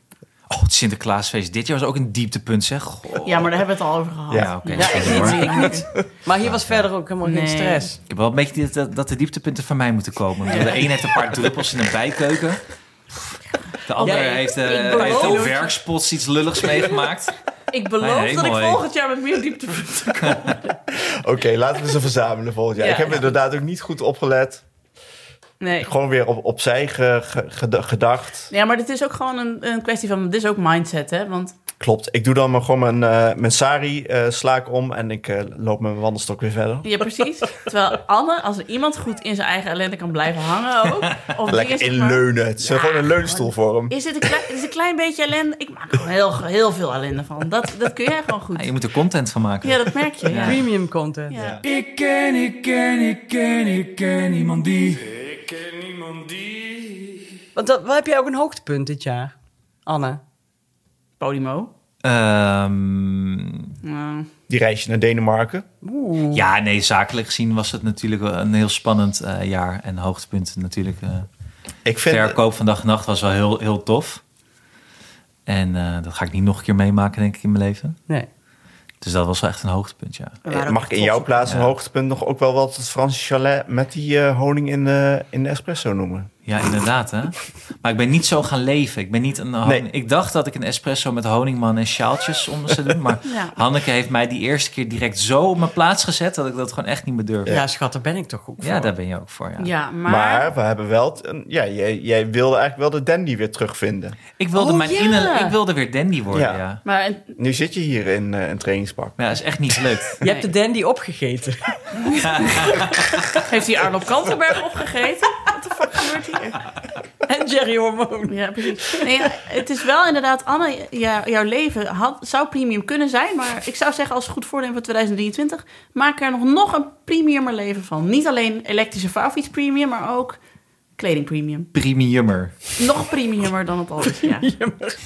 Oh, het Sinterklaasfeest. Dit jaar was ook een dieptepunt, zeg. Goh. Ja, maar daar hebben we het al over gehad. Ja, oké. Ja, ik sorry, hoor. niet, ik niet. Maar hier was verder ook helemaal geen Nee. stress. Ik heb wel een beetje die- dat, dat de dieptepunten van mij moeten komen. Ik bedoel, De een heeft een paar druppels in een bijkeuken. De ander Ja, ik- heeft, eh ik beloof- heeft op werkspots iets lulligs meegemaakt. Nou, Ik Nee, beloof dat ik helemaal, hè. volgend jaar met meer diepte Oké, laten we ze verzamelen volgend jaar. Ja. ik heb inderdaad ook niet goed opgelet. Nee. Gewoon weer op, opzij ge- ge- ged- gedacht. Ja, maar dit is ook gewoon een, een kwestie van... Dit is ook mindset, hè? Want Klopt. Ik doe dan maar gewoon mijn, eh, mijn sari, eh, sla ik om en ik eh, loop met mijn wandelstok weer verder. Ja, precies. Terwijl Anne, als er iemand goed in zijn eigen ellende kan blijven hangen ook... Of die Lekker is, zeg maar, inleunen. Het is gewoon een leunstoel voor hem. Is dit, een klein, is een klein beetje ellende? Ik maak er gewoon heel, heel veel ellende van. Dat, dat kun jij gewoon Ja, goed. je moet er content van maken. Ja, dat merk je. Ja. Premium content. Ja. Ik ken, ik ken, ik ken, ik ken iemand die. Ik ken niemand die. Want dat, wat heb jij ook een hoogtepunt dit jaar, Anne? Podimo. Ehm, Nou, Die reisje naar Denemarken. Oeh. ja, nee, zakelijk gezien was het natuurlijk wel een heel spannend eh, jaar. En hoogtepunt natuurlijk. eh, Ik vind, verkoop van dag en nacht was wel heel, heel tof. En eh, dat ga ik niet nog een keer meemaken, denk ik, in mijn leven. Nee. Dus dat was wel echt een hoogtepunt, ja. we eh, waren ook mag ik in trots jouw op- plaats een Ja. hoogtepunt nog ook wel wat het Franse chalet met die eh, honing in de, in de espresso noemen? Ja, inderdaad, hè. Maar ik ben niet zo gaan leven. Ik ben niet een... hon- Nee. Ik dacht dat ik een espresso met honingman en sjaaltjes om me zou doen. Maar Ja. Hanneke heeft mij die eerste keer direct zo op mijn plaats gezet... dat ik dat gewoon echt niet meer durfde. Ja. Ja, schat, daar ben ik toch ook voor. daar ben je ook voor, ja. Ja, maar... Maar, we hebben wel... t- een- ja, jij, jij wilde eigenlijk wel de dandy weer terugvinden. Ik, wilde Oh, mijn ja. innerlijk- ik wilde weer dandy worden, Ja. ja. ja. maar en- Nu zit je hier in eh, een trainingspak. Maar ja, is echt niet gelukt. Je hebt de dandy opgegeten. heeft hij Arnold Kantenberg opgegeten? Wat de fuck gebeurt hier? en Jerry Hormoon. Ja, precies. Nee, ja, het is wel inderdaad, Anne, ja, jouw leven had, zou premium kunnen zijn. Maar ik zou zeggen, als goed voornemen voor 2023... maak er nog, nog een premiumer leven van. Niet alleen elektrische vouwfiets premium, maar ook kleding premium. Premiummer. Nog premiumer dan het al is, ja.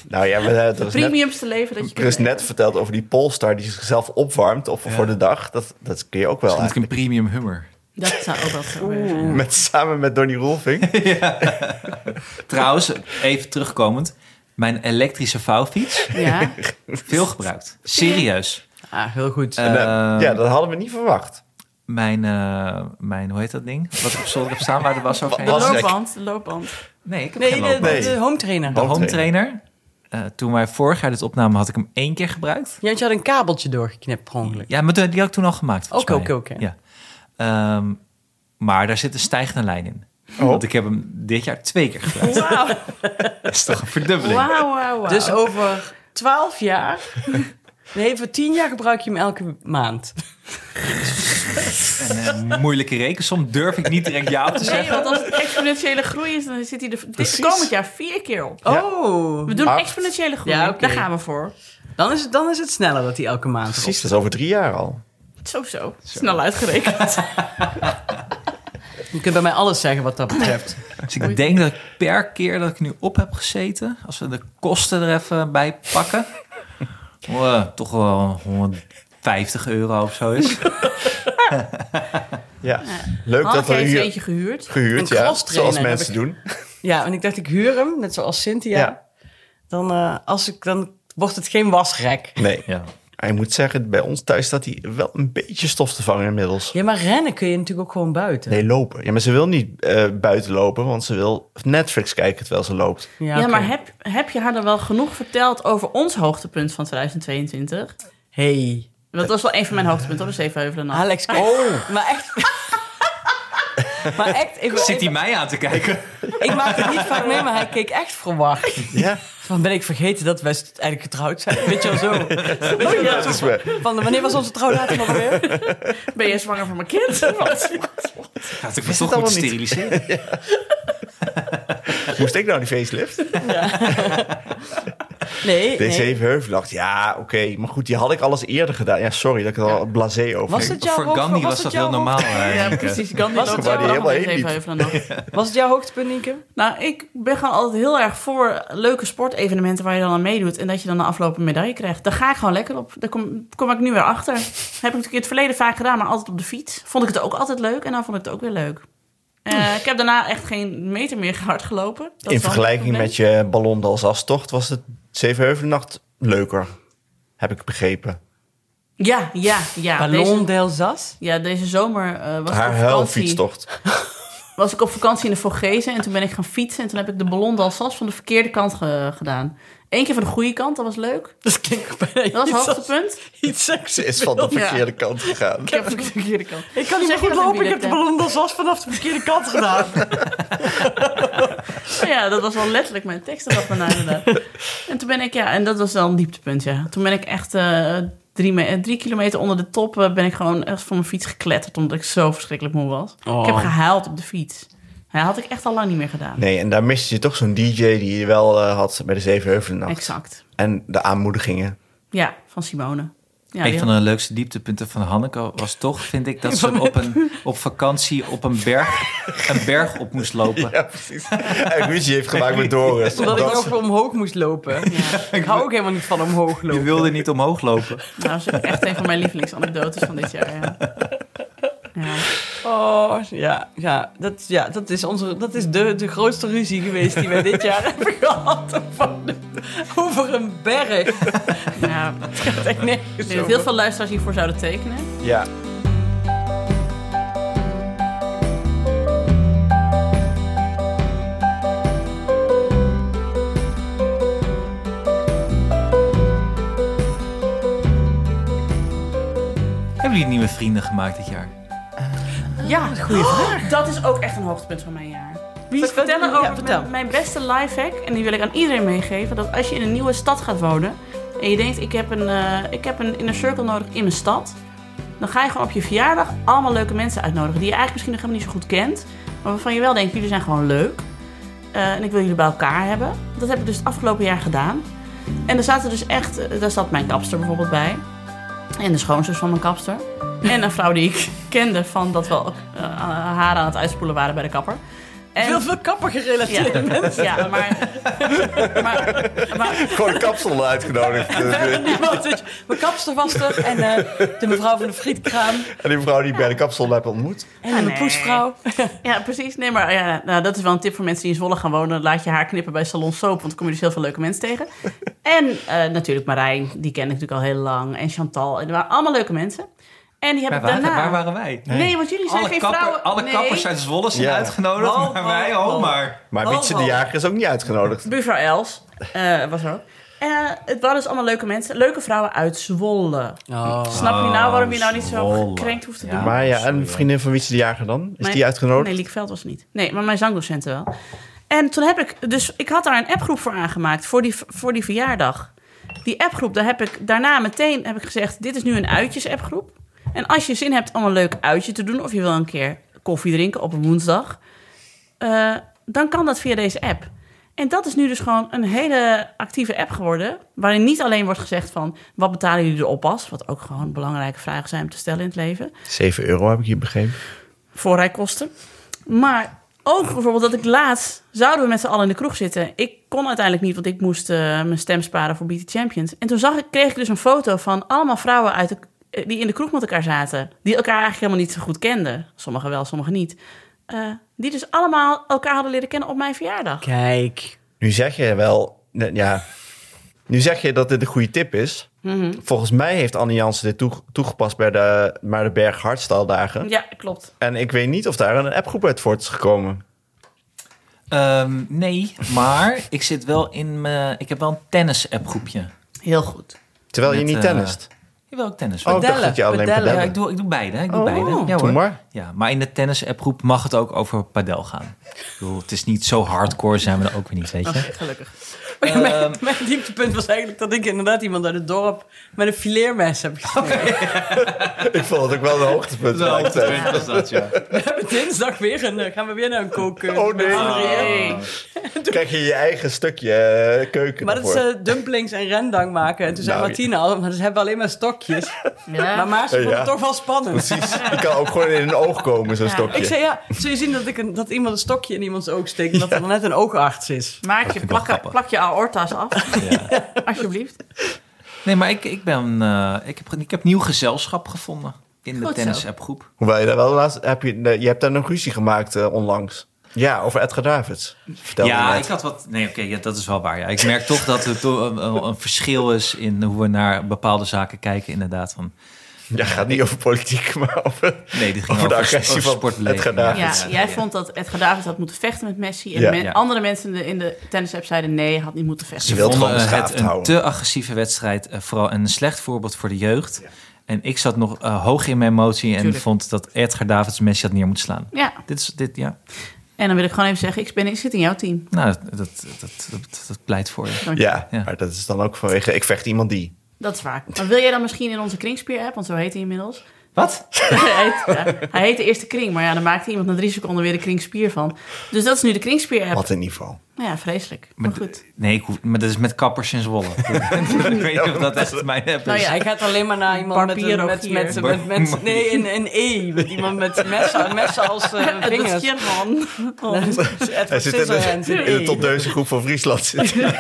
Nou ja, we, eh, er, is net, Premiumste leven dat je er is kunt net hebben. verteld over die Polestar die zichzelf opwarmt of voor de dag. Dat, dat kun je ook wel Dan moet ik een eigenlijk. premium hummer. Dat zou ook wel zo werken. Met, samen met Donnie Roelving. Trouwens, even terugkomend. Mijn elektrische vouwfiets, Ja, veel gebruikt. Serieus. Ah, heel goed. Eh, ja, dat hadden we niet verwacht. mijn, eh, mijn, hoe heet dat ding? Wat ik op zolder heb staan waar de was de Was- overheen. loopband, de loopband. Nee, ik heb nee, geen de, loopband. de, Nee. de home trainer. De Ja, Oh. home trainer. eh, toen wij vorig jaar dit opnamen, had ik hem één keer gebruikt. want je had een kabeltje doorgeknipt per ongeluk. Ja, maar toen- die had ik toen al gemaakt. volgens Oké, mij. oké, oké. Ja. Ehm, maar daar zit een stijgende lijn in. Oh. Want ik heb hem dit jaar twee keer gebruikt. Wauw, Dat is toch een verdubbeling? wauw, wauw. wauw. Dus over twaalf jaar... Nee, voor tien jaar gebruik je hem elke maand. Een eh, moeilijke rekensom durf ik niet direct ja op te Nee, zeggen. want als het exponentiële groei is, dan zit hij er dit Precies. komend jaar vier keer op. Ja. Oh, We doen Acht. exponentiële groei, Ja, oké. daar gaan we voor. dan is, het, dan is het sneller dat hij elke maand erop Precies, dat is over drie jaar al. Zo, zo. Snel uitgerekend. Je kunt bij mij alles zeggen wat dat betreft. Dus ik denk dat ik per keer dat ik nu op heb gezeten, als we de kosten er even bij pakken, eh, toch wel 150 euro of zo is. Ja. Leuk Hanneke dat we heeft er hier eentje gehuurd. gehuurd, Een ja, crosstrainer zoals mensen doen. Ja, en ik dacht, ik huur hem, net zoals Cynthia. Ja. Dan, eh, als ik, dan wordt het geen wasrek. Nee, Ja. hij moet zeggen, bij ons thuis staat hij wel een beetje stof te vangen inmiddels. Ja, maar rennen kun je natuurlijk ook gewoon buiten. Nee, lopen. Ja, maar ze wil niet eh, buiten lopen, want ze wil Netflix kijken terwijl ze loopt. Ja, oké. maar heb, heb je haar dan wel genoeg verteld over ons hoogtepunt van 2022? Hey, Want dat was wel een van mijn hoogtepunten op de Zevenheuvelen. nacht. Alex. Oh, maar echt... maar echt... Ik, Zit hij mij aan te kijken? ik maak het niet vaak mee, maar hij keek echt verwacht. Ja, Van ben ik vergeten dat wij st- eigenlijk getrouwd zijn? Weet je wel zo. Weet je wel, Dat is waar. Van wanneer was onze trouwdatum alweer? Ben jij zwanger van mijn kind? Gaat ik me Wist toch het moeten allemaal niet. steriliseren? Moest ik nou die facelift? Nee, Deze nee. heeft Heuvel dacht, ja, oké. Maar goed, die had ik alles eerder gedaan. Ja, sorry dat ik er al blasé over Was ging. het jouw Voor hoogte- Gandhi was het dat jouw heel normaal. eigenlijk. Ja, precies. Ik kan niet Was dat het wel waar die allemaal helemaal even heen heuvelen nog. hoogte- Was het jouw hoogtepunt, Nienke? Nou, ik ben gewoon altijd heel erg voor leuke sportevenementen waar je dan aan meedoet. En dat je dan de afloop een medaille krijgt. Daar ga ik gewoon lekker op. Daar kom, kom ik nu weer achter. Heb ik natuurlijk in het verleden vaak gedaan, maar altijd op de fiets. Vond ik het ook altijd leuk en dan vond ik het ook weer leuk. Eh, ik heb daarna echt geen meter meer hard gelopen. Dat In is wel een vergelijking probleem. met je ballon d'Alsace-tocht was het Zevenheuvelennacht leuker. Heb ik begrepen. Ja, ja, ja. Ballon Deze, d'Alsace? ja, deze zomer eh, was, ik Haar op vakantie, huilfietstocht. was ik op vakantie in de Vogezen. En toen ben ik gaan fietsen. En toen heb ik de Ballon d'Alsace van de verkeerde kant ge- gedaan. Eén keer van de goede kant, dat was leuk. Dat klinkt ook bijna Dat was iets het als- hoogtepunt. Iets seks. Ze is van de verkeerde kant gegaan. Ik heb de verkeerde kant. Ik kan niet meer Zeg je goed dat in lopen, ik heb de wielertermen? ballon d'Alsace vanaf de verkeerde kant gedaan. Ja, dat was wel letterlijk mijn tekst eraf daarna nou inderdaad. En toen ben ik, ja, en dat was dan een dieptepunt, ja. Toen ben ik echt eh, drie, me- eh, drie kilometer onder de top... eh, ben ik gewoon echt van mijn fiets gekletterd... omdat ik zo verschrikkelijk moe was. Ik heb gehuild op de fiets. Dat had ik echt al lang niet meer gedaan. Nee, en daar miste je toch zo'n DJ die je wel eh, had bij de Zevenheuvelennacht. Exact. En de aanmoedigingen. Ja, van Simone. Ja, die een van de leukste dieptepunten van Hanneke was toch, vind ik, dat ze op, een, op vakantie op een berg, een berg op moest lopen. Ja, precies. en ruzie heeft gemaakt met Doris. Omdat ik Omdat ook omhoog moest lopen. Ik hou ook helemaal niet van omhoog Je lopen. wilde niet omhoog lopen. Nou, dat is echt een van mijn lievelingsanekdotes van dit jaar, ja. ja. Oh, ja, ja, dat, ja, dat is, onze, dat is de, de grootste ruzie geweest die wij dit jaar hebben gehad. Over, over een berg. ja. Het gaat echt Ik nergens denk dat heel over. veel luisteraars hiervoor zouden tekenen. Ja. Hebben jullie nieuwe vrienden gemaakt dit jaar? Ja, goede vraag. Oh, Dat is ook echt een hoogtepunt van mijn jaar. Wie Zal ik vertellen over ja, vertel. mijn, mijn beste lifehack? En die wil ik aan iedereen meegeven. Dat als je in een nieuwe stad gaat wonen... en je denkt, ik heb een, eh, ik heb een inner circle nodig in mijn stad... dan ga je gewoon op je verjaardag allemaal leuke mensen uitnodigen... die je eigenlijk misschien nog helemaal niet zo goed kent... maar waarvan je wel denkt, jullie zijn gewoon leuk... eh, en ik wil jullie bij elkaar hebben. Dat heb ik dus het afgelopen jaar gedaan. En er zaten dus echt... eh, daar zat mijn kapster bijvoorbeeld bij... en de schoonzus van mijn kapster... en een vrouw die ik kende van dat we eh, haar aan het uitspoelen waren bij de kapper... En- Veel, veel kapper gerelateerd. ja, ja maar, maar, maar Gewoon een kapsel uitgenodigd. Iemand dat je- Mijn kapster was er en eh, de mevrouw van de frietkraam en die mevrouw die ik bij de kapsel heb ontmoet. en mijn Ah, nee. poesvrouw. ja, precies. Nee, maar ja, nou, dat is wel een tip voor mensen die in Zwolle gaan wonen. Laat je haar knippen bij Salon Soap, want dan kom je dus heel veel leuke mensen tegen. En eh, natuurlijk Marijn, die ken ik natuurlijk al heel lang. En Chantal, en er waren allemaal leuke mensen. En die heb Waar, ik daarna... waren- waar waren wij? Nee, want jullie zijn Alle, geen kapper- vrouwen. alle nee. kappers uit Zwolle zijn Ja. uitgenodigd, Wow, maar wow, wij, oh wow. maar. Maar Wietse de Jager is ook niet uitgenodigd. Buurvrouw Els eh, was er ook. Eh, het waren dus allemaal leuke mensen. Leuke vrouwen uit Zwolle. Snap je nou waarom je nou niet zo Oh, Zwolle. gekrenkt hoeft te Ja. doen? Maar ja, sorry, en hoor. vriendin van Wietse de Jager dan? Is Mijn- die uitgenodigd? Nee, Liekveld was het niet. Nee, maar mijn zangdocenten wel. En toen heb ik, dus ik had daar een appgroep voor aangemaakt voor die, voor die verjaardag. Die appgroep, daar heb ik daarna meteen heb ik gezegd: dit is nu een uitjes appgroep. En als je zin hebt om een leuk uitje te doen, of je wil een keer koffie drinken op een woensdag, eh, dan kan dat via deze app. En dat is nu dus gewoon een hele actieve app geworden. Waarin niet alleen wordt gezegd van wat betalen jullie erop pas. Wat ook gewoon belangrijke vragen zijn om te stellen in het leven 7 euro heb ik hier begrepen. voorrijkosten. Maar ook bijvoorbeeld dat ik laatst... zouden we met z'n allen in de kroeg zitten. Ik kon uiteindelijk niet, want ik moest eh, mijn stem sparen voor Beat the Champions. En toen zag ik, kreeg ik dus een foto van allemaal vrouwen uit de, eh, die in de kroeg met elkaar zaten. Die elkaar eigenlijk helemaal niet zo goed kenden. Sommigen wel, sommigen niet. Eh, die dus allemaal elkaar hadden leren kennen op mijn verjaardag. Kijk. Nu zeg je wel, nee, ja, nu zeg je dat dit een goede tip is. Volgens mij heeft Annie Jansen dit toe- toegepast bij de, maar de Berg Hartstaldagen. Ja, klopt. En ik weet niet of daar een appgroep uit voort is gekomen. Ehm, nee, maar ik zit wel in mijn... Ik heb wel een tennis appgroepje. Heel goed. Terwijl je Met, niet eh, tennist. Jawel, ik tennis. Oh, ik dacht Padellen, dat je alleen padellen. ja, padellen. ik doe, ik doe beide. hè. Ik doe Oh, beide. Ja, Doe hoor. maar. Ja, maar in de tennis-appgroep mag het ook over padel gaan. Ik bedoel, het is niet zo hardcore, zijn we dan ook weer niet, weet je. Ehm, Gelukkig. Maar ja, mijn, mijn dieptepunt was eigenlijk dat ik inderdaad iemand uit het dorp met een fileermes heb gesneden. Ik vond het ook wel een hoogtepunt. Zo, lijkt het. punt was dat, ja. We hebben dinsdag weer een, eh, gaan we weer naar een koken. Oh, nee. Krijg je je eigen stukje eh, keuken Maar dat is ervoor. eh, dumplings en rendang maken. En toen zei Nou, Martina al, maar ze hebben alleen maar stokjes. Maar Maas vond Ja. het toch wel spannend. Precies. Je kan ook gewoon in een oog komen, zo'n Ja. stokje. Ik zei, ja, zul je zien dat, ik een, dat iemand een stokje in iemands oog steekt... en dat er net een oogarts is? Maak vind je, ik wel plak, grappig. plak je aorta's af, ja. alsjeblieft. Nee, maar ik, ik, ben, eh, ik, heb, ik heb nieuw gezelschap gevonden in de Goed zo. tennis-appgroep. Hoewel je daar wel laatst... Heb je, nee, je hebt daar nog ruzie gemaakt eh, onlangs. Ja, over Edgar Davids. Vertel ja, me ik had wat... Nee, oké, ja, dat is wel waar. Ja. Ik merk toch dat er toch een, een- een verschil is in hoe we naar bepaalde zaken kijken, inderdaad. Van, Ja, gaat niet over politiek, maar over... nee, die Over ging over, de over, agressie van sportbeleving. Edgar Davids. Ja, precies. jij vond dat Edgar Davids had moeten vechten met Messi. En Ja. men- Ja. andere mensen in de, in de tennis-app zeiden nee, hij had niet moeten Ze vechten. Je wilt vonden gewoon eh, het beschaafd een houden. te agressieve wedstrijd. eh, vooral een slecht voorbeeld voor de jeugd. En ik zat nog eh, hoog in mijn emotie en Tuurlijk. vond dat Edgar Davids Messi had neer moeten slaan. Ja, Dit is, dit, ja. en dan wil ik gewoon even zeggen, ik, ben, ik zit in jouw team. Nou, dat, dat, dat, dat, dat pleit voor je. Ja, Ja. maar dat is dan ook vanwege... Ik vecht iemand die. Dat is waar. Maar wil jij dan misschien in onze kringspier-app, want zo heet hij inmiddels. Wat? hij, heet, ja, hij heet de eerste kring, maar ja, dan maakte iemand na drie seconden weer de kringspier van. Dus dat is nu de kringspier-app. Wat een niveau. Nou ja, vreselijk. Maar Maar goed. Nee, ik hoef- maar dat is met kappers in Zwolle. ik weet niet of dat echt mijn app is. Nou Dus ja. hij gaat alleen maar naar iemand met Barbier een, ook met, hier. met, met, met- nee, een, een E. Met iemand met messen, messen als eh Het vingers. is Oh, man. Hij Edward zit in de, Scissorhands, een in de E. top 1000 groep van Friesland. Zit hij.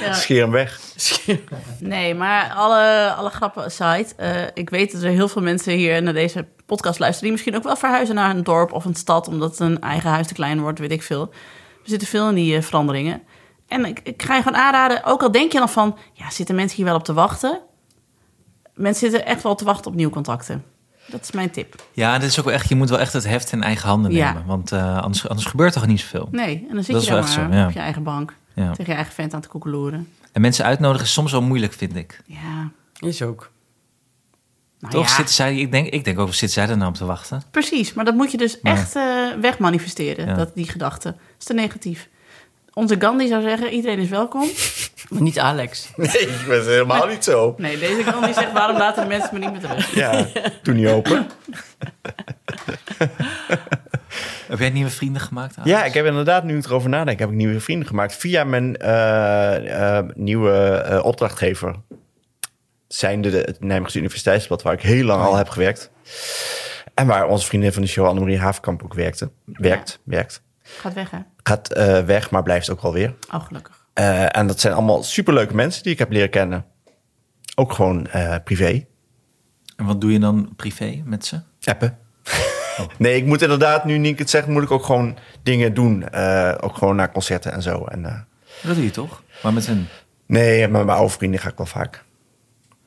Ja. Scheer hem weg. Nee, maar alle, alle grappen aside. eh, ik weet dat er heel veel mensen hier naar deze podcast luisteren... die misschien ook wel verhuizen naar een dorp of een stad... omdat hun eigen huis te klein wordt, weet ik veel. Er zitten veel in die eh, veranderingen. En ik, ik ga je gewoon aanraden, ook al denk je dan van... ja, zitten mensen hier wel op te wachten? Mensen zitten echt wel te wachten op nieuwe contacten. Dat is mijn tip. Ja, dit is ook wel echt, je moet wel echt het heft in eigen handen Ja. nemen. Want eh, anders, anders gebeurt toch niet zoveel. Nee, en dan zit Dat je is daar wel maar echt zo, ja. op je eigen bank... Ja. tegen je eigen vent aan te koekeloeren. En mensen uitnodigen is soms wel moeilijk, vind ik. Ja, Is ook. nou Toch ja. zitten zij, ik denk, ik denk ook, zitten zij er nou op te wachten? Precies, maar dat moet je dus Maar- echt eh, wegmanifesteren, Ja. dat, die gedachte. Dat is te negatief. Onze Gandhi zou zeggen, iedereen is welkom. Maar niet Alex. Nee, ik ben helemaal niet zo. Nee, deze Gandhi zegt, waarom laten de mensen me niet met rust? Ja, doe niet open. Heb jij nieuwe vrienden gemaakt? Alex? Ja, ik heb inderdaad, nu ik erover nadenk, heb ik nieuwe vrienden gemaakt via mijn eh, eh, nieuwe eh, opdrachtgever. Zijnde de, het Nijmeegse Universiteitsblad, waar ik heel lang al heb gewerkt. En waar onze vriendin van de show, Annemarie Haafkamp, ook werkte. Werkt, werkt. Gaat weg, hè? Gaat eh, weg, maar blijft ook wel weer. Oh, gelukkig. Eh, en dat zijn allemaal superleuke mensen die ik heb leren kennen. Ook gewoon eh, privé. En wat doe je dan privé met ze? Appen. nee, ik moet inderdaad, nu Nienke het zegt, moet ik ook gewoon dingen doen. Eh, ook gewoon naar concerten en zo. En, eh, Dat doe je toch? Maar met hun. nee, met mijn oude vrienden ga ik wel vaak.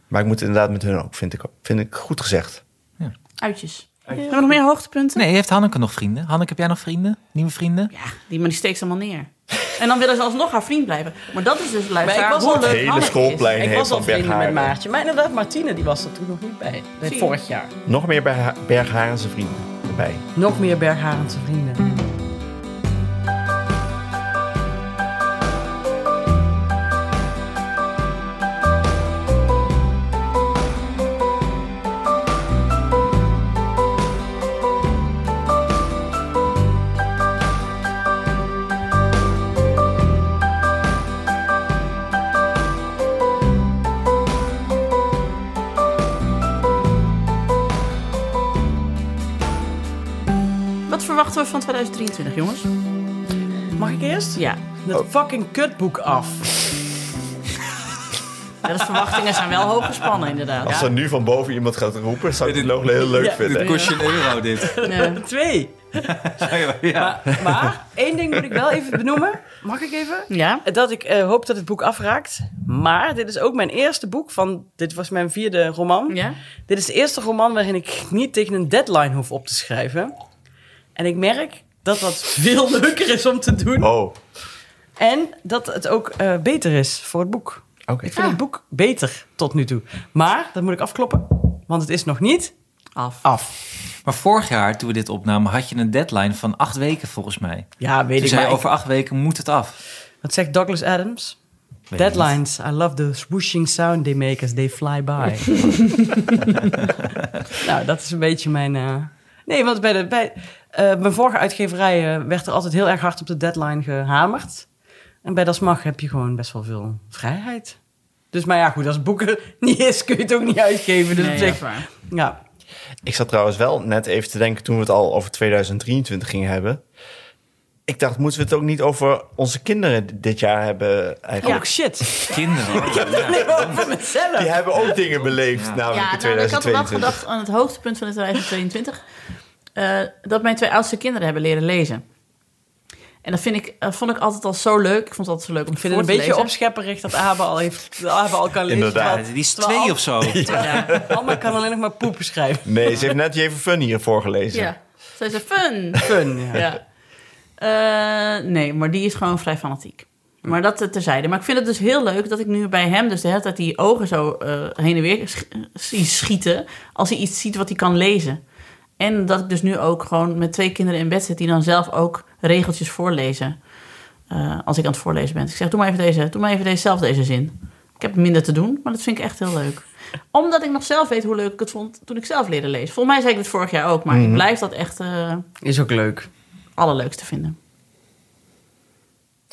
Maar ik moet inderdaad met hun ook, vind ik, vind ik goed gezegd. Uitjes. Hebben we nog meer hoogtepunten? Nee, heeft Hanneke nog vrienden? Hanneke, heb jij nog vrienden? Nieuwe vrienden? Ja, die man die steekt ze allemaal neer. En dan willen ze alsnog haar vriend blijven. Maar dat is dus luisteraar. ik was hoe al- leuk Het hele Hanneke is. schoolplein. Ik heeft was al van vrienden met Bergharen. Maartje. Maar inderdaad, Martine die was er toen nog niet bij. Bij Zie je. Vorig jaar. Nog meer Bergha- Bergharense vrienden erbij. Nog meer Bergharense vrienden. Wat verwachten we van 2023, jongens? Mag ik eerst? Ja, Dat fucking kutboek af. Ja, de verwachtingen zijn wel hoog gespannen, inderdaad. Als Ja. er nu van boven iemand gaat roepen, zou ik dit nog heel leuk Ja, vinden. kost je een euro, dit. Nee. Twee. ja. Maar, maar één ding moet ik wel even benoemen. Mag ik even? ja? Dat ik eh, hoop dat het boek afraakt. Maar dit is ook mijn eerste boek. Van, dit was mijn vierde roman. Ja? Dit is de eerste roman waarin ik niet tegen een deadline hoef op te schrijven. En ik merk dat dat veel leuker is om te doen. Oh, En dat het ook eh, beter is voor het boek. Oké. Ik vind het boek beter tot nu toe. Maar, dat moet ik afkloppen, want het is nog niet Af. af. Maar vorig jaar, toen we dit opnamen, had je een deadline van acht weken volgens mij. Ja, weet Toen ik zei maar. je, Over... over acht weken moet het af. Wat zegt Douglas Adams? Weet ik niet. Deadlines. I love the swooshing sound they make as they fly by. nou, dat is een beetje mijn. eh, Nee, want bij, de, bij eh, mijn vorige uitgeverij eh, werd er altijd heel erg hard op de deadline gehamerd. En bij Das Mag heb je gewoon best wel veel vrijheid. Dus, maar ja, goed, als het boeken niet is, kun je het ook niet uitgeven. Dus Nee, op dat zich- is waar. ja. Ik zat trouwens wel net even te denken toen we het al over 2023 gingen hebben. Ik dacht, moeten we het ook niet over onze kinderen d- dit jaar hebben Oh, eigenlijk? shit. Kinderen. oh, ja. Nee, maar over mezelf. Die hebben ook dingen beleefd, namelijk Ja, Oh, in nou, ik had wel 2022. gedacht aan het hoogtepunt van 2022... eh, dat mijn twee oudste kinderen hebben leren lezen. En dat vind ik, eh, vond ik altijd al zo leuk. Ik vond het altijd zo leuk om Ik vind het een beetje opschepperig dat Abe al, heeft, dat Abe al kan lezen. Inderdaad. terwijl- Ja, die is terwijl twee of zo. Ja. Alma kan alleen nog maar poep schrijven. Nee, ze heeft net even Fun hier voorgelezen. Ja, zij zei fun. Fun, ja. ja. Eh, nee, maar die is gewoon vrij fanatiek. Maar dat eh, terzijde. Maar ik vind het dus heel leuk dat ik nu bij hem dus de hele tijd die ogen zo eh, heen en weer sch- zie schieten. Als hij iets ziet wat hij kan lezen. En dat ik dus nu ook gewoon met twee kinderen in bed zit die dan zelf ook regeltjes voorlezen. Eh, als ik aan het voorlezen ben. Dus ik zeg, doe maar even, deze, doe maar even deze, zelf deze zin. Ik heb minder te doen, maar dat vind ik echt heel leuk. Omdat ik nog zelf weet hoe leuk ik het vond toen ik zelf leerde lezen. Volgens mij zei ik dit vorig jaar ook, maar ik blijf dat echt... eh, Is ook leuk. allerleukste vinden.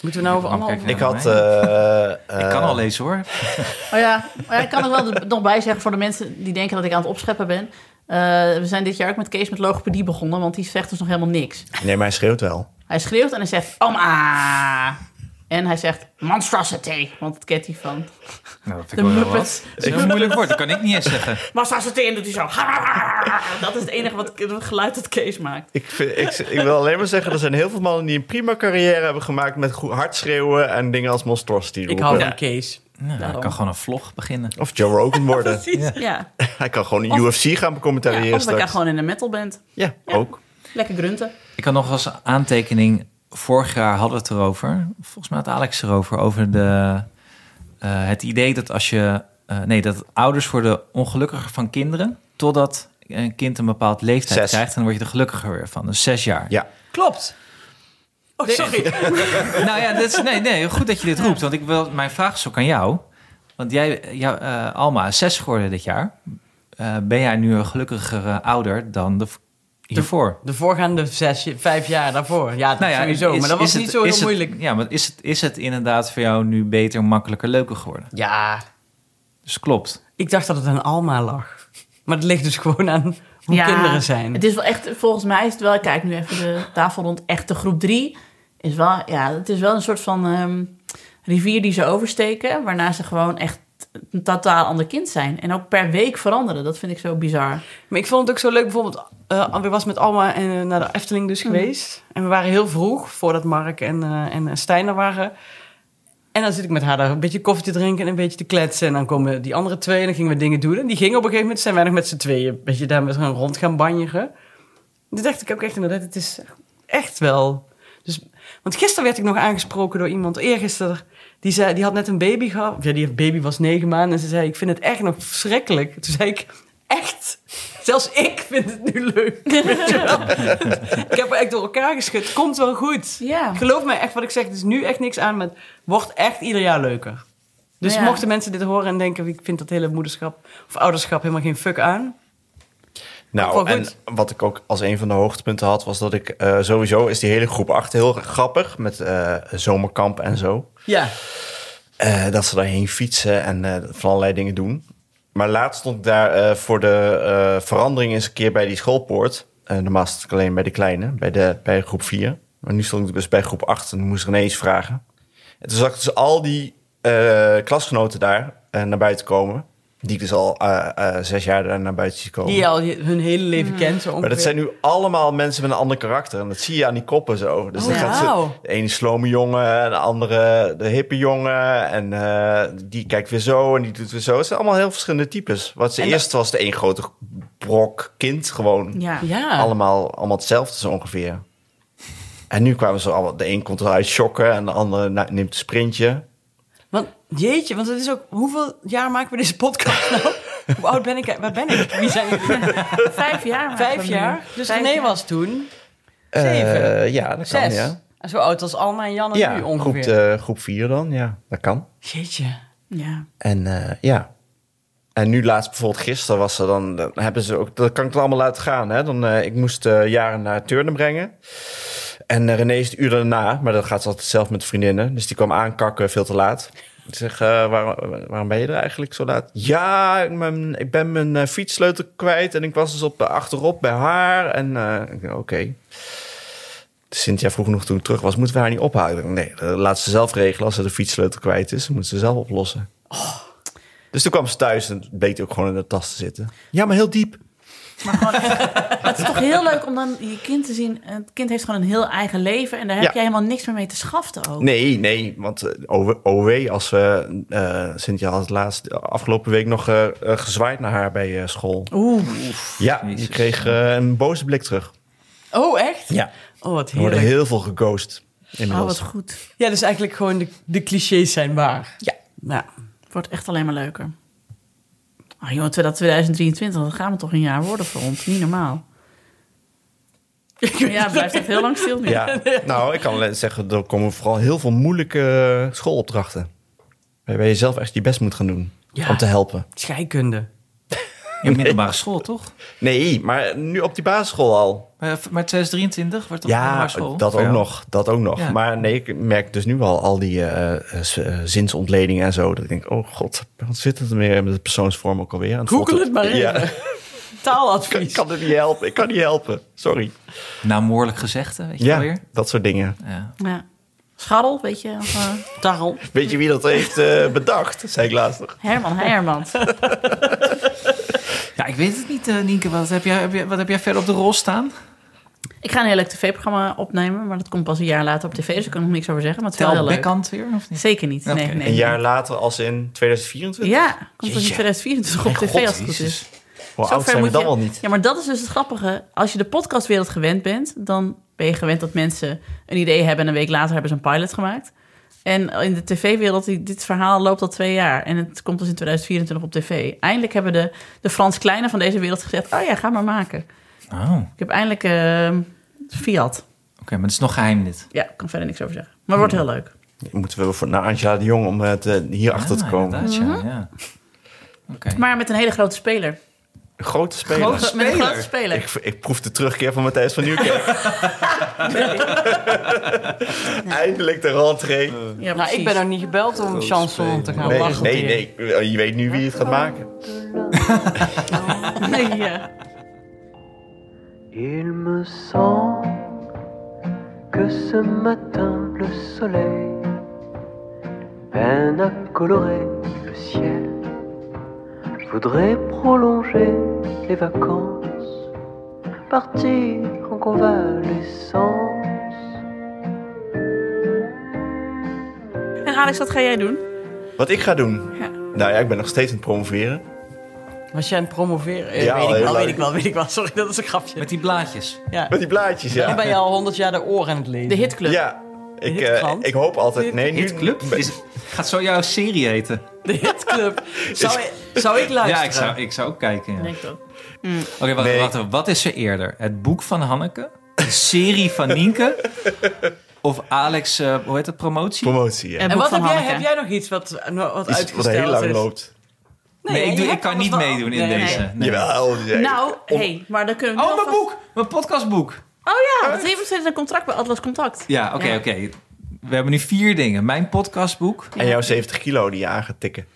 Moeten we nou over Kijk, allemaal... Oh, kijk, Ik had... Ik eh, eh, kan al lezen hoor. Oh ja, maar ja, ik kan er wel de- nog bij zeggen voor de mensen die denken dat ik aan het opscheppen ben. Eh, we zijn dit jaar ook met Kees met logopedie begonnen, want die zegt dus nog helemaal niks. Nee, maar hij schreeuwt wel. Hij schreeuwt en hij zegt, oma. En hij zegt, monstrosity, want dat kent hij van. Nou, dat vind De ik wel heel Muppets. wat. Dat is een heel moeilijk woord, dat kan ik niet eens zeggen. Monstrosity, en doet hij zo. Dat is het enige wat, het geluid dat Kees maakt. Ik, vind, ik, ik wil alleen maar zeggen, er zijn heel veel mannen die een prima carrière hebben gemaakt met goed hard schreeuwen en dingen als monstrosity Ik roepen. hou van Kees. Nou, ik kan gewoon een vlog beginnen. Of Joe Rogan worden. Ja, Hij kan gewoon een Of- UFC gaan becommentariëren ja of we straks. gaan gewoon in een metalband. Ja, ook. Lekker grunten. Ik had nog als aantekening, vorig jaar hadden we het erover, volgens mij had Alex erover, over de, eh, het idee dat als je, eh, nee, dat ouders worden ongelukkiger van kinderen, totdat een kind een bepaald leeftijd Zes. krijgt, en dan word je er gelukkiger weer van, dus zes jaar. Ja. Klopt. Oh, sorry. Nou ja, dat is, nee, nee, goed dat je dit roept, want ik wil, mijn vraag is ook aan jou, want jij, jou, eh, Alma, is zes geworden dit jaar, Eh, ben jij nu een gelukkigere ouder dan de, hiervoor? De voorgaande zes, vijf jaar daarvoor. Ja, dat sowieso. Nou is- maar dat was is niet het- zo is heel het- moeilijk. ja, maar is het, is het inderdaad voor jou nu beter, makkelijker, leuker geworden? Ja, Dus klopt. ik dacht dat het aan Alma lag. Maar het ligt dus gewoon aan hoe kinderen zijn. Het is wel echt, volgens mij is het wel, ik kijk nu even de tafel rond, echt de groep drie. Is wel, ja, het is wel een soort van ehm, rivier die ze oversteken, waarna ze gewoon echt een totaal ander kind zijn. En ook per week veranderen, dat vind ik zo bizar. Maar ik vond het ook zo leuk, bijvoorbeeld, eh ik was met Alma en, eh, naar de Efteling dus geweest. En we waren heel vroeg, voordat Mark en, eh, en eh, Stijn er waren. En dan zit ik met haar daar een beetje koffie te drinken en een beetje te kletsen. En dan komen die andere twee en dan gingen we dingen doen. En die gingen op een gegeven moment, zijn wij nog met z'n tweeën, een beetje daar met gaan rond gaan banjeren. Toen dacht ik ook echt inderdaad, het is echt wel... Dus, want gisteren werd ik nog aangesproken door iemand, eergisteren, die, zei, die had net een baby gehad. Ja, die baby was negen maanden en ze zei, ik vind het echt nog verschrikkelijk. Toen zei ik, echt? Zelfs ik vind het nu leuk. Weet je wel? ik heb er echt door elkaar geschud. Het Komt wel goed. Ja. Geloof me echt wat ik zeg. Er is nu echt niks aan. Maar het wordt echt ieder jaar leuker. Dus Nou ja. mochten mensen dit horen en denken... ik vind dat hele moederschap of ouderschap helemaal geen fuck aan. Nou, Ook wel en goed. wat ik ook als een van de hoogtepunten had, was dat ik eh, sowieso is die hele groep 8 heel grappig met eh, zomerkamp en zo. Ja. Eh, dat ze daarheen fietsen en eh, van allerlei dingen doen. Maar laatst stond ik daar eh, voor de eh, verandering eens een keer bij die schoolpoort. Eh, normaal stond ik alleen bij de kleine, bij, de, bij groep 4. Maar nu stond ik dus bij groep 8 en toen moest René eens vragen. En toen zag ik dus al die eh, klasgenoten daar eh, naar buiten komen. Die ik dus al eh, eh, zes jaar daar naar buiten zie komen. Die je al je- hun hele Mm. leven kent. Zo Maar dat ongeveer. zijn nu allemaal mensen met een ander karakter. En dat zie je aan die koppen zo. Dus dan Oh, gaat ze, wauw. de ene slome jongen, de andere de hippe jongen. En eh, die kijkt weer zo en die doet weer zo. Het zijn allemaal heel verschillende types. Wat ze En dat- eerst was de één grote brok kind gewoon. Ja. Ja. Allemaal, allemaal hetzelfde zo ongeveer. En nu kwamen ze allemaal... De een komt eruit shocken en de andere na- neemt een sprintje. Want Jeetje, want het is ook... Hoeveel jaar maken we deze podcast nou? Hoe oud ben ik? Waar ben ik? Wie zijn jullie? Vijf jaar. maken we Vijf nu. jaar. Dus Vijf René jaar. was toen Zeven. Eh, ja, dat kan, zes. ja. En Zo oud als Alma en Janne nu Ja, groep, ongeveer. eh, groep vier dan, ja. Dat kan. Jeetje. Ja. En eh, ja. En nu laatst bijvoorbeeld gisteren was er dan, dan hebben ze ook, dat kan ik het allemaal laten gaan. Hè? Dan, eh, ik moest eh, jaren naar Turnen brengen. En eh, René is het uur daarna, maar dat gaat ze altijd zelf met de vriendinnen. Dus die kwam aankakken veel te laat. Ik zeg, eh, waarom, waarom ben je er eigenlijk zo laat? Ja, ik ben- ik ben mijn eh, fietssleutel kwijt en ik was dus op, achterop bij haar. En eh, ik dacht, oké. Cynthia vroeg nog toen ik terug was, moeten we haar niet ophouden? Nee, dat laat ze zelf regelen. Als ze de fietssleutel kwijt is, dan moet ze zelf oplossen. Dus toen kwam ze thuis en bleek ook gewoon in de tas te zitten. Ja, maar heel diep. Het is toch heel leuk om dan je kind te zien. Het kind heeft gewoon een heel eigen leven. En daar heb Ja. jij helemaal niks meer mee te schaften ook. Nee, nee, want eh, OW, OW, als we... eh Cynthia had laatst eh, afgelopen week nog eh, eh, gezwaaid naar haar bij eh, school. Oeh. ja, Jezus. die kreeg eh, een boze blik terug. Oh, echt? Ja. Oh, wat Er worden heerlijk. heel veel geghost Oh, inmiddels. wat goed. Ja, dus eigenlijk gewoon de, de clichés zijn waar. Ja. Nou, Wordt echt alleen maar leuker. Oh, jongen, dat 2023, dat gaan we toch een jaar worden voor ons. Niet normaal. Ja, het blijft echt heel lang stil nu. ja. Nou, ik kan alleen zeggen, er komen vooral heel veel moeilijke eh, schoolopdrachten. Waarbij je zelf echt je best moet gaan doen Ja. om te helpen. scheikunde. In middelbare school, toch? Nee, maar nu op die basisschool al. Maar, maar 2023 wordt toch Ja, middelbare school? dat Voor ook jou? nog. Dat ook nog. Ja. Maar nee, ik merk dus nu al al die eh, eh, z- eh, zinsontledingen en zo. Dat ik denk, oh god, wat zit het er meer met de persoonsvorm ook alweer? En Google volgt- het maar even. Ja, ik Taaladvies. kan het niet helpen. Ik kan niet helpen. Sorry. Naamwoordelijk Nou, gezegde, weet je wel Ja, weer? dat soort dingen. Ja. Ja. Scharrel, weet je. Of, eh, Tarrel. Weet je wie dat heeft eh, bedacht? Zei ik laatst nog. Herman Heijerman. ja, ik weet het niet, eh, Nienke. Wat heb, jij, heb jij- wat heb jij verder op de rol staan? Ik ga een heel leuk tv-programma opnemen, maar dat komt pas een jaar later op tv, dus daar kan ik nog niks over zeggen. Maar het is wel Tel heel leuk. backhand weer, of niet? Zeker niet. Nee, Oké. nee. Een jaar later als in 2024? Ja, komt pas in Jeetje. 2024 op Mijn tv god, als het goed is. Hoe oud Zover zijn we moet dan je- wel niet? Ja, maar dat is dus het grappige. Als je de podcastwereld gewend bent, dan ben je gewend dat mensen een idee hebben en een week later hebben ze een pilot gemaakt. En in de tv-wereld, die- dit verhaal loopt al twee jaar. En het komt dus in 2024 op tv. Eindelijk hebben de, de Frans Kleine van deze wereld gezegd... oh ja, ga maar maken. Oh, oké. Ik heb eindelijk eh, Fiat. maar het is nog geheim dit. Ja, ik kan verder niks over zeggen. Maar het Hmm. wordt heel leuk. Moeten we voor, naar Angela de Jong om het, eh, hierachter Ah, Ja, te komen. Ah, inderdaad, Ja, ja. Oké. Maar met een hele grote speler. Grote speler. Grote- met een speler? grote speler. Ik, ik proef de terugkeer van Matthijs van Nieuwkerk. Eindelijk de rentree. Ja, Nou, ik ben nog niet gebeld om chanson te gaan nee, lachen. nee, nee, Oh, je weet nu wie het gaat maken. ook... Nee, ja. Il me semble que ce matin le soleil peine à colorer le ciel. Je voudrais prolonger les vacances, partir en convalescence. En Alex, wat ga jij doen? Wat ik ga doen? Ja. Nou ja, ik ben nog steeds aan het promoveren. Was jij aan het promoveren? Eh, Ja, weet, heel ik, wel, leuk. weet ik wel, weet ik wel. Sorry, dat is een grapje. Met die blaadjes. ja. Met die blaadjes, Dan ben je ja. al honderd jaar de oren aan het lezen. De hitclub. Ja, ik, eh, Hitkrant? ik hoop altijd... Nee, nu, Hitclub? Is, gaat zo jouw serie heten? De hitclub. Zou, ik- zou ik luisteren? Ja, ik zou, ik zou ook kijken. ja. Denk ik ook. Oké, wacht, Nee. wacht, Wat is er eerder? Het boek van Hanneke? De serie van Nienke? Of Alex, eh, hoe heet dat, promotie? Promotie, ja. En wat van heb jij, Hanneke. heb jij nog iets wat, eh, wat Iets wat uitgesteld heel lang is? loopt. nee, ik, doe, ik kan niet meedoen in deze. Nee. Jawel. ja. Nou, Om- hey, maar dan kunnen we... nu Oh, mijn alvast- boek! Mijn podcastboek! Oh ja, want heeft nog steeds een contract bij Atlas Contact. Ja, oké, Ja. oké. We hebben nu vier dingen. Mijn podcastboek. En jouw 70 kilo die je aan gaat tikken.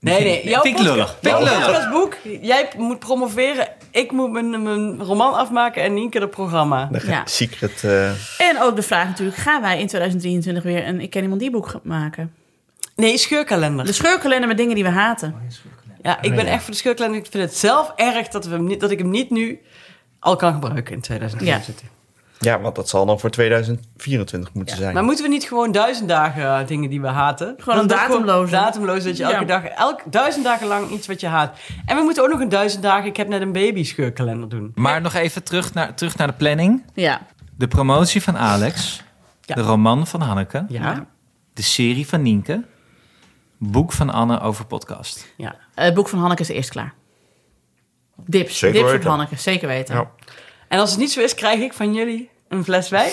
Nee, nee. Jouw Vind ik podcast- lullig. Jouw Vind ik lullig. podcastboek. Jij moet promoveren. Ik moet mijn, mijn roman afmaken en Nienke het programma. Dan ga Ja. ik secret... eh, En ook de vraag natuurlijk, gaan wij in 2023 weer een Ik ken iemand die boek gaan maken? Nee, scheurkalender. De scheurkalender met dingen die we haten. Ja, ik ben echt voor de scheurkalender. Ik vind het zelf erg dat, we hem niet, dat ik hem niet nu al kan gebruiken in 2023. Ja, want dat zal dan voor 2024 moeten zijn. Maar moeten we niet gewoon duizend dagen eh, dingen die we haten? Gewoon een Dat is ook datumloze. Datumloos, dat je elke Ja. dag, elk, duizend dagen lang iets wat je haat. En we moeten ook nog een duizend dagen, ik heb net een baby scheurkalender doen. Maar nog even terug naar, terug naar de planning. Ja. De promotie van Alex. Ja. De roman van Hanneke. Ja. De serie van Nienke. Boek van Anne over podcast. Ja. Het boek van Hanneke is eerst klaar. Dips. Zeker Dips weten. van Hanneke, zeker weten. Ja. En als het niet zo is, krijg ik van jullie een fles wijn.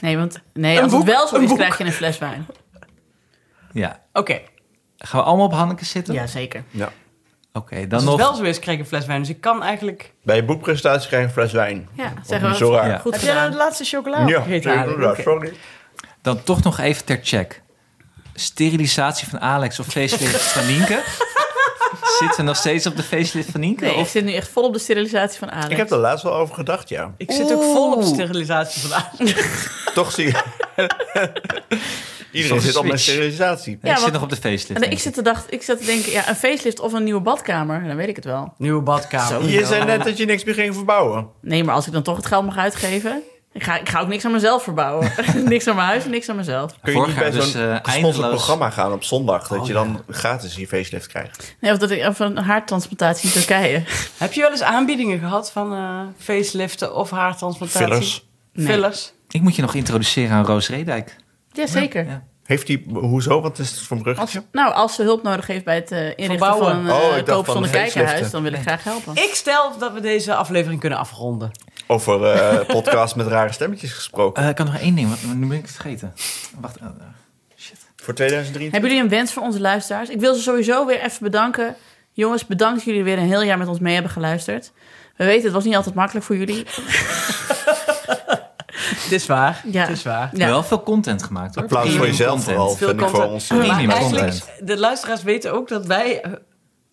Nee, want nee, Een als boek, het wel zo een is, boek. krijg je een fles wijn. Ja. Oké. Gaan we allemaal op Hanneke zitten? Ja, zeker. Ja. Oké, Als dan het nog. wel zo is, krijg ik een fles wijn. Dus ik kan eigenlijk... Bij je boekpresentatie krijg je een fles wijn. Ja, Of zeggen niet we zo dat. raar. Ja. Goed Heb jij nou gedaan. de laatste chocola ja, opgegeten? zeker, Ali? inderdaad, Oké. sorry. Dan toch nog even ter check. Sterilisatie van Alex of facelift van Nienke? Zit ze nog steeds op de facelift van Nienke? Nee, ik of... zit nu echt vol op de sterilisatie van Alex. Ik heb er laatst wel over gedacht, ja. Ik zit ook vol op Oeh. sterilisatie vandaag. Toch zie je... Iedereen Zo'n zit op mijn switch. sterilisatie. Nee, Ja, ik zit want- nog op de facelift. en ik denk zit te dacht, ik zat te denken, ja, een facelift of een nieuwe badkamer, dan weet ik het wel. Nieuwe badkamer. Je zei net dat je niks meer ging verbouwen. Nee, maar als ik dan toch het geld mag uitgeven, ik ga, ik ga ook niks aan mezelf verbouwen. niks aan mijn huis en niks aan mezelf. Kun je Vorig niet jaar bij zo'n dus, eh, gesponsord eindeloos- Oh, programma gaan op zondag... dat je dan gratis je facelift krijgt? Nee, of dat ik of een haartransplantatie in Turkije. Heb je wel eens aanbiedingen gehad van eh, faceliften of haartransplantatie? Fillers. Nee. Fillers. Ik moet je nog introduceren aan Roos Redijk. Jazeker. Ja. Heeft die... Hoezo? Wat is het voor een Als, bruggetje? nou, als ze hulp nodig heeft bij het eh, inrichten Verbouwen. van een Oh, ik eh dacht koop van zonder de kijkerhuis, faceliften. dan wil ik graag helpen. Ik stel dat we deze aflevering kunnen afronden. Over eh podcast met rare stemmetjes gesproken. Eh, ik kan nog één ding, want nu ben ik het vergeten. Wacht. eh, eh. Voor 2023. Hebben jullie een wens voor onze luisteraars? Ik wil ze sowieso weer even bedanken. Jongens, bedankt dat jullie weer een heel jaar met ons mee hebben geluisterd. We weten, het was niet altijd makkelijk voor jullie. Het is waar. Ja. Het is waar. Ja. Wel veel content gemaakt hoor. Applaus voor Premium jezelf content. vooral, vind ik voor content. ons. eh, Maar Premium eigenlijk, content. de luisteraars weten ook dat wij eh,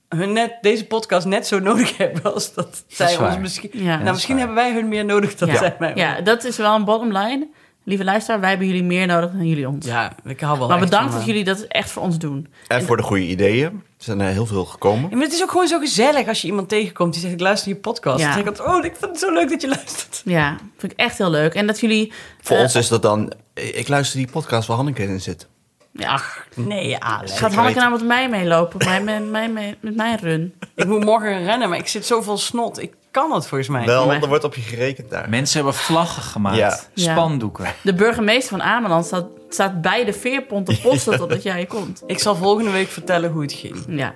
hun net, deze podcast net zo nodig hebben als dat zij ons waar. misschien... Ja. nou, Dat is misschien waar. hebben wij hun meer nodig dan zij mij. Ja, dat is wel een bottom line. Lieve luisteraar, wij hebben jullie meer nodig dan jullie ons. ja, ik hou wel maar echt bedankt van, dat eh, jullie dat echt voor ons doen. En voor de goede ideeën. Er zijn er heel veel gekomen. Ja, maar het is ook gewoon zo gezellig als je iemand tegenkomt die zegt: Ik luister je podcast. Ja. Dan zeg ik altijd: Oh, ik vind het zo leuk dat je luistert. Ja, vind ik echt heel leuk. En dat jullie... Voor eh, ons is dat dan... Ik luister die podcast waar Hanneke in zit. Ja, Nee, Alex. gaat Hanneke weten. nou met mij meelopen? op Mijn, mijn, mijn, mijn- met mijn run? Ik moet morgen gaan rennen, maar ik zit zoveel snot. Ik kan het volgens mij. Wel, maar- er wordt op je gerekend daar. Mensen hebben vlaggen gemaakt, Ja. Ja. spandoeken. De burgemeester van Ameland staat, staat bij de veerpont te posten totdat jij komt. Ik zal volgende week vertellen hoe het ging. Ja,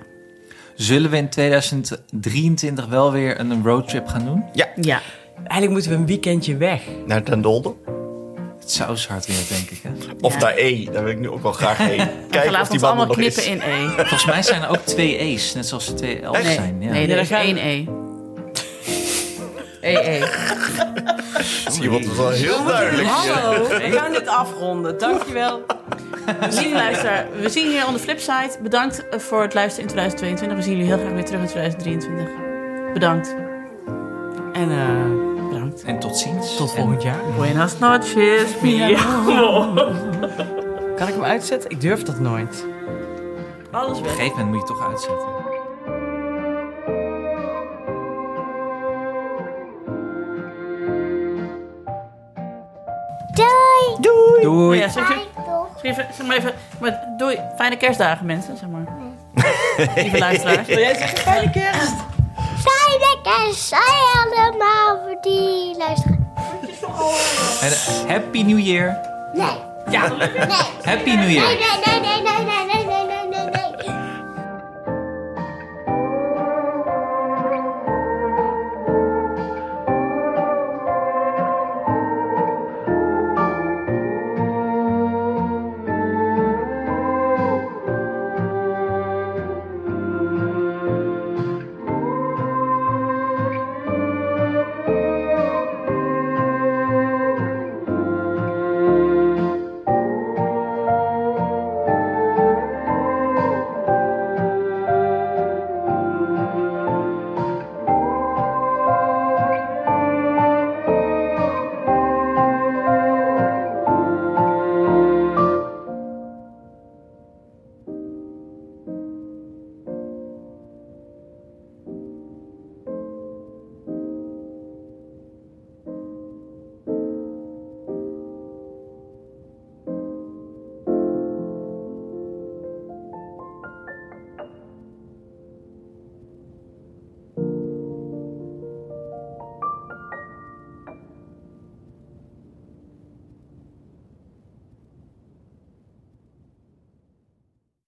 Zullen we in 2023 wel weer een roadtrip gaan doen? ja. Eigenlijk moeten we een weekendje weg. Naar Den Dolder. Het zou zo hard weer, denk ik. Hè? Of Ja. naar E. Daar wil ik nu ook wel graag heen. We Kijken of laten ons die man er allemaal nog knippen is. in E. Volgens mij zijn er ook twee E's, net zoals er twee L's Echt? zijn. Ja. Ja, Nee, er dan is gaan we- één E. E, E. Je wordt het wel heel duidelijk. Hallo, we gaan dit afronden. Dankjewel. Lieve luisteraar, we zien jullie on de flipside. Bedankt eh, voor het luisteren in 2022. We zien jullie heel graag weer terug in 2023. Bedankt. En eh, Bedankt. En tot ziens. tot En- volgend jaar. Buenas noches, Kan ik hem uitzetten? Ik durf dat nooit. Alles Op weg. een gegeven moment moet je toch uitzetten. Doei! Oh Doei. ja, zeg, zeg, Doei! zeg, zeg maar even. Maar doei. Fijne kerstdagen, mensen. Zeg maar. Lieve luisteraars. Wil jij zeggen fijne kerst? Fijne kerst, zij allemaal voor die luisteren. En, eh, happy New Year. Nee, Ja. nee, Happy New Year. nee, nee, nee, nee.